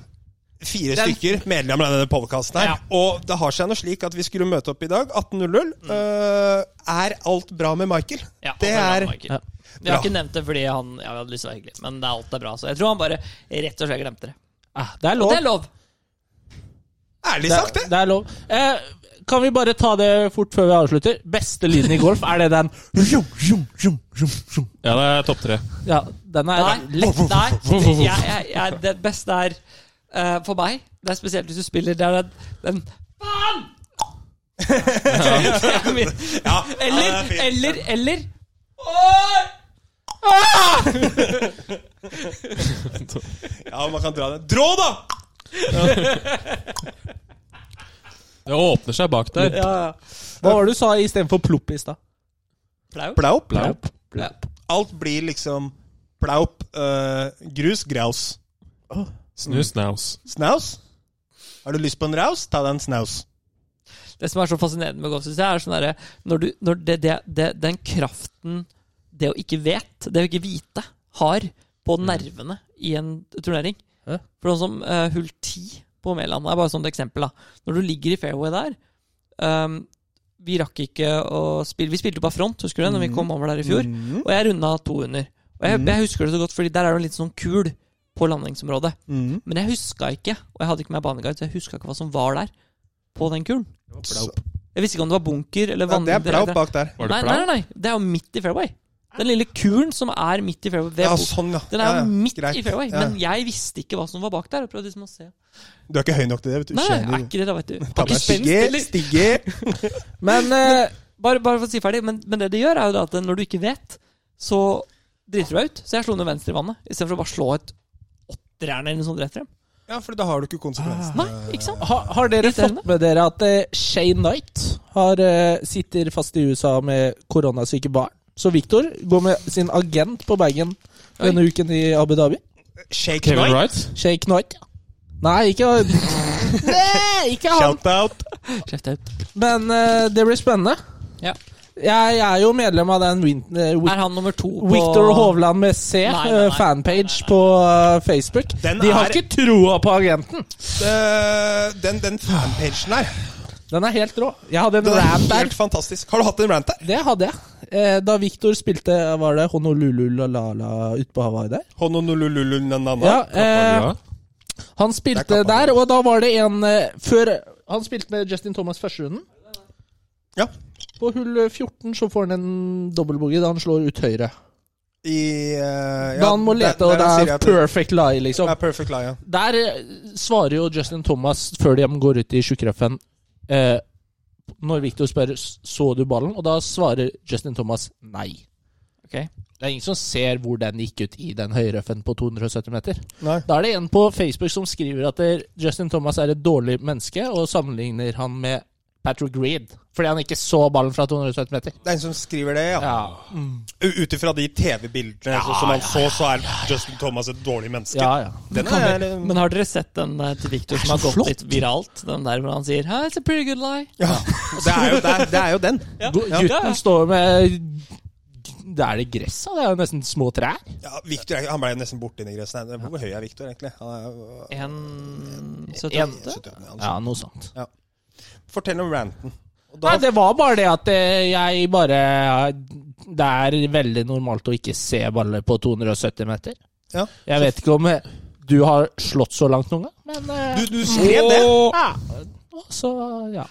B: fire stykker medlemmer av denne podkasten her. Og det har seg noe slik at vi skulle møte opp i dag, 18.00. Øh, er alt bra med Michael?
E: Mm. Ja,
B: det er
E: ja. Vi har
B: bra.
E: ikke nevnt det fordi han ja, vi hadde lyst til å være hyggelig, men det er alt er bra. Så jeg tror han bare rett og slett glemte det.
F: Ah, det er
E: Og
F: lov.
E: det er lov!
B: ærlig
F: Det
B: sagt,
F: er,
B: det.
F: det er lov. Eh, kan vi bare ta det fort før vi avslutter? Beste lyden i golf, er det den
D: Ja, det er topp tre.
F: Ja, den er
E: Nei,
F: lett.
E: nei det, jeg, jeg, jeg, det beste er eh, for meg Det er spesielt hvis du spiller der den, den Faen! Det er min-
B: Ja, ja, det er
E: eller,
B: fint.
E: eller, eller Oi!
B: Ja, man kan dra den. Drå, da!
D: Det åpner seg bak der.
E: Ja, ja.
F: Hva var det du sa istedenfor plopp i stad?
E: Flau?
B: Plaup.
E: Flau.
B: Alt blir liksom plaup, øh, eh, grus, graus.
D: Snu snaus.
B: Snaus? Har du lyst på en raus? Ta deg en snaus.
E: Det som er så fascinerende med golf, synes jeg, er sånn derre Når du når det, det, det, Den kraften det å ikke vet, det å ikke vite, har på nervene i en turnering.
F: Ja.
E: For sånn som eh, hull 10 på Mæland er bare sånn et eksempel. da. Når du ligger i fairway der ehm, Vi rakk ikke å spille Vi spilte jo bare front, husker du det? Når vi kom over der i fjor.
B: Mm.
E: Og jeg runda to under. Og jeg, jeg husker det så godt, Fordi der er det en liten sånn kul på landingsområdet.
B: Mm.
E: Men jeg huska ikke, og jeg hadde ikke med baneguide, så jeg huska ikke hva som var der på den kulen.
B: Så-
E: Jeg visste ikke om det var bunker eller
B: Ja,
E: vann...
B: det er blau bak der.
D: Var det
E: Nei, nei,
D: plan?
E: nei, nei, det er jo midt i fairway. Den lille kulen som er midt i fairway. Ved
B: Ja,
E: bok-
B: sånn, ja.
E: den er jo
B: Ja, ja.
E: midt i
B: Greit.
E: fairway,
B: Ja.
E: men jeg visste ikke hva som var bak der. Jeg prøvde liksom å se.
B: Du er ikke høy nok til det, vet du.
E: Nei, jeg er
B: Skjønner.
E: ikke det, da, vet du.
B: Ta
E: Har
B: deg
E: ikke spenst,
B: stigge,
E: eller?
B: stigge.
E: Men eh, bare, bare for å si ferdig, men, men det det gjør, er jo da at når du ikke vet, så driter du deg ut. Så jeg slo ned venstre i vannet, istedenfor å bare slå et åtterjern eller noe sånt rett frem.
B: Ja, for da har du ikke konsekvensene.
E: Nei, ikke sant?
F: Ha, har dere
E: Irriterende.
F: fått med dere at eh, Shane Knight har, eh, sitter fast i USA med koronasyke barn? Så Victor går med sin agent på bagen denne uken i Abu Dhabi.
B: Shake
D: Kevin
B: Knight.
D: Wright?
F: Shane Knight. ja. Nei, ikke Nei, ikke han.
B: Shout-out.
E: Kjeft ut.
F: Men eh, det blir spennende.
E: Ja.
F: Jeg, jeg er jo medlem av den Win- eh, Win-
E: Er han nummer to på
F: Victor Hovland med C,
E: Nei, nei, nei.
F: eh, fanpage på eh, Facebook.
B: Den
F: De har
B: er-
F: ikke troa på agenten.
B: Eh, Den, den fanpagen der,
F: Den er helt rå. Jeg hadde en
B: den er
F: rant der.
B: helt fantastisk. Har du hatt en rant der?
F: Det hadde jeg. Eh, da Victor spilte Var det Honolulu La-La ute på Hawaii der?
B: Hononulululunanana.
F: Ja, eh,
D: Kappa Lua?
F: han
B: Det
F: spilte
B: er kappa.
F: der, og da var det en eh, Før Han spilte med Justin Thomas første runden.
B: Ja.
F: På hull 14 så får han en dobbeltboogie da han slår ut høyre.
B: I eh, ja,
F: da han må
B: der-
F: lete, og
B: der
F: det
B: sier
F: er
B: jeg-
F: perfect lie, liksom.
B: Det er perfect lie, ja.
F: Der eh, svarer jo Justin Thomas før de går ut i tjukkraffen eh, Når Victor spør så du ballen, og da svarer Justin Thomas nei.
E: Ok.
F: Det er ingen som ser hvor den gikk ut i den høyrøffen på 270 meter.
B: Nei.
F: Da er det en på Facebook som skriver at eh, Justin Thomas er et dårlig menneske, og sammenligner han med Patrick Reed fordi han ikke så ballen fra 270 meter.
B: Det er en som skriver det, ja.
F: Ja,
B: U- Ut ifra de TV-bildene så- som han så, så er Justin Thomas et dårlig menneske.
F: ja, ja.
B: Den er, eh,
E: Men har dere sett den eh, til Victor som
F: så
E: har gått
F: flott.
E: litt viralt? Den der hvor han sier «Ah, It's a pretty good lie.
B: ja. det, er jo, det, er, det er jo den.
F: Gu-
B: Ja.
F: Gutten står med Det er det gress av, det er jo nesten små trær.
B: Ja, Victor, er- han ble nesten borte inni gresset. Nei, Hvor høy er Victor, egentlig? Han er, øh,
E: En
F: En-
E: 78?
B: 78, ja, altså.
F: Ja, noe sånt.
B: Fortell om ranten. Og da,
F: Nei, det var bare det at eh, jeg bare Det er veldig normalt å ikke se baller på 270 meter.
B: Ja.
F: Jeg vet ikke om eh, du har slått så langt noen gang, men eh,
B: du, du skrev det!
F: ja. Så ja.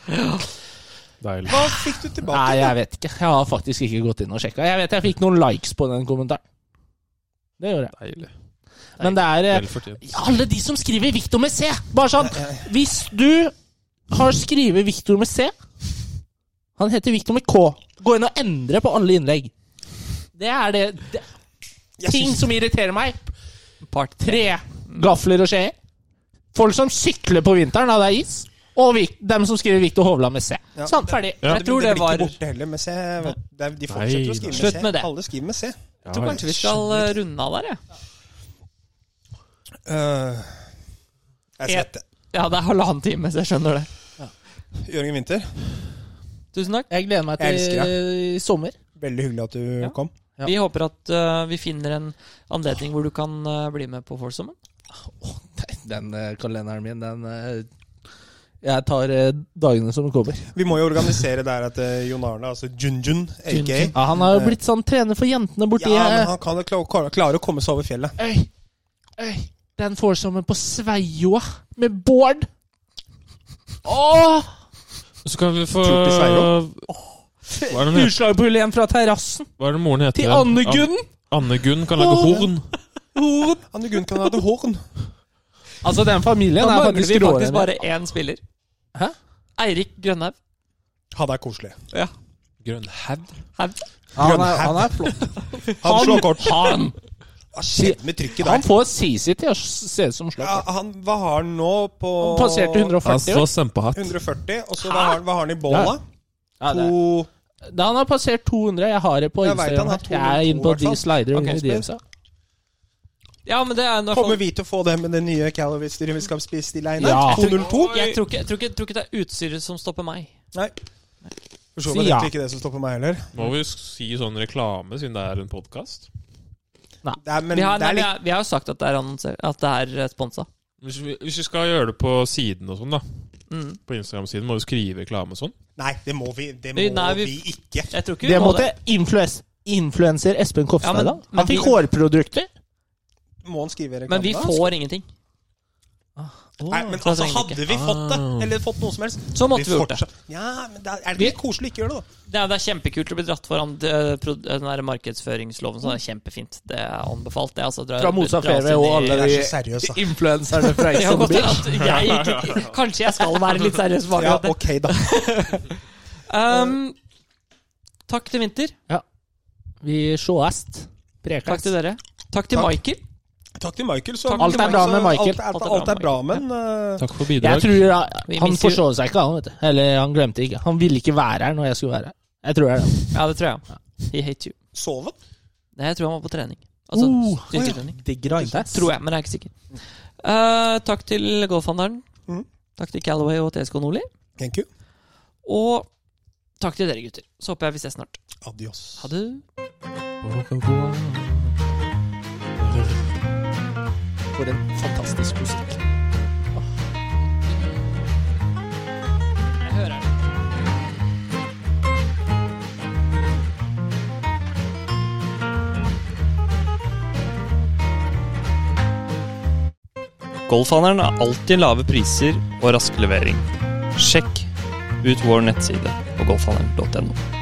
D: Deilig.
B: Hva fikk du tilbake?
F: Nei, jeg vet ikke. Jeg har faktisk ikke gått inn og sjekka. Jeg vet jeg fikk noen likes på den kommentaren. Det gjorde jeg.
D: Deilig.
F: Men det er eh,
D: Vel fortjent.
F: alle de som skriver Victor med C! Bare sånn. Hvis du har skrevet Victor med C Han heter Victor med K. Gå inn og endre på alle innlegg. Det er det, det
B: Jeg
F: Ting
B: synes-
F: som irriterer meg.
E: Part
F: Tre gafler og skjeer. Folk som sykler på vinteren da det er is. Og Vic, dem som skriver Victor Hovland med C.
B: Ja.
F: Sånn, ferdig.
D: Ja.
E: Jeg tror det
B: blir
E: var
B: ikke borte heller med C. vet du. Det er, de fortsetter
D: Nei,
B: å skrive med
E: slutt
B: C.
E: med det.
B: Alle skriver med C.
D: Ja,
E: Jeg tror kanskje vi skal eh, runde av der, jeg. Ja.
B: Øh, jeg
E: Ja.
B: svetter.
E: det er halvannen time, så jeg skjønner det.
B: Jørgen Winther,
E: Tusen takk.
F: Jeg gleder meg
B: Jeg elsker
F: til eh, sommer.
B: veldig hyggelig at du kom.
F: Ja.
E: Vi håper at eh, vi finner en anledning hvor du kan eh, bli med på Forsommen.
F: Den eh, kalenderen min, den eh, Jeg tar eh, dagene som kommer.
B: Vi må jo organisere der at eh, Jon Arne, altså Junjun, aka
E: Junjun.
F: Ja, han har jo blitt sånn trener for jentene borti
B: Ja, men han kan jo kla- kla- klare å komme seg over fjellet.
F: Øy, øy, den foresommen på Sveioa med Bård. Åh,
D: Så kan vi få
B: Tror til Sveio.
D: Hva er det, hun het-
F: utslag på hull igjen fra terrassen
D: hva er det moren heter?
F: til Anne Gunn.
D: Anne Gunn kan lage horn.
B: Anne Gunn kan ha det horn.
F: Altså, den
E: Da
F: familien er
E: mangler
F: faktisk
E: vi faktisk
F: råere.
E: bare én spiller.
F: Hæ?
E: Eirik Grønhaug.
B: Ha det er koselig.
D: Grønnhaug?
E: Haug.
F: Han, er- han er flott.
B: Han slår kort.
F: Han,
B: Hva skjedde med trykket
F: han
B: der?
F: får Sisi til å se ut som
B: Ja,
F: slag.
B: han, hva har han nå på
F: Han passerte 140.
D: Altså
F: vel?
D: sempehatt.
B: 140, og så hva har, han- hva har han i bånn, da?
F: Ja, det er-
B: To
F: Da han har passert 200. Jeg har det på
B: Jeg vet
F: Instagram.
B: han har
F: her. Jeg er inne på
B: 202 i hvert
F: de
B: fall.
F: slider.
B: Ok,
F: under de
B: spør.
F: også.
E: Ja, men det er i hvert
B: Kommer
E: fall
B: vi til å få det med det nye Calorie-styret vi skal spise til Einar?
F: Ja.
B: 202?
E: jeg tror, ikke, jeg, tror ikke, jeg tror ikke det er utstyret som stopper meg.
B: Nei. For så
F: Si
B: vidt
F: ja.
B: egentlig ikke det som står på meg heller.
D: Må vi si sånn reklame, siden det er en podkast?
B: Det er, men
E: vi, har,
B: det
E: nei,
B: er
E: vi,
B: litt,
E: har, vi har jo sagt at det er, annonser, at det er eh, sponsa.
D: Hvis, vi- hvis vi skal gjøre det på siden og sånn, da.
E: Mm.
D: På Instagram-siden må vi skrive reklame og sånn.
B: nei, det må vi, det må
E: Vi- nei,
B: vi,
E: vi-
B: ikke.
E: Jeg tror ikke vi
G: Det
E: må
G: måtte influens- influenser Espen
E: Ja,
G: Kofstad
E: men-
G: da.
E: men
G: Han fikk
E: vi-
G: hårprodukter.
B: Må han skrive
E: Men vi
B: reklame? da?
E: får ingenting.
B: Nei, men
E: Så
B: altså,
E: trenger vi
B: hadde vi fått det, eller fått noe som helst
E: Så måtte vi gjort det.
B: fortsatt- Ja, men da er det ikke litt koselig å ikke gjøre det, da?
E: Det er, det er kjempekult å bli dratt foran eh, pro- den der markedsføringsloven. Så det er kjempefint. Det er anbefalt, det. Altså, dra,
G: Fra Mosa
E: dra oss
G: Fairway
E: inn i-
G: og alle
B: Det er
G: de
B: så seriøst, da.
G: influenserne fra
E: Det kan godt
G: Exxon
E: hende at jeg ikke, Kanskje jeg skal være litt seriøs på
B: Ja,
E: akkurat det.
B: ok, da.
E: Ehm, takk til Winter.
G: Vi sjåast.
E: Takk
G: Prekast.
E: til dere. Takk til
B: Takk.
E: Michael.
B: Takk til Michael. Så
E: Takk. Alt
G: er bra med Michael.
B: Alt, alt, alt er bra, men eh,
D: Takk for
G: Jeg
D: bidrag.
G: tror ja,
E: Vi
G: Han
E: mister-
G: forså seg ikke, han. vet du Eller han glemte ikke. Han ville ikke være her når jeg skulle være her. Jeg tror det er det.
E: Ja, det tror jeg. He hate you.
B: sov han?
E: Nei, jeg tror han var på trening. Altså
G: Oh,
E: styrketrening.
G: Digger iPads.
E: Tror jeg, men jeg er ikke sikker. Eh, takk til Golfhandleren.
G: Mm.
B: Mhm.
E: Takk til Callaway og TSK Nordli.
B: Thank you.
E: Og takk til dere, gutter. Så håper jeg vi ses snart.
B: Adios.
E: Ha det.
G: For en fantastisk musikk.
E: Jeg hører det.
J: Golfhandelen har alltid lave priser og rask levering. Sjekk ut vår nettside på golfhandelen.no.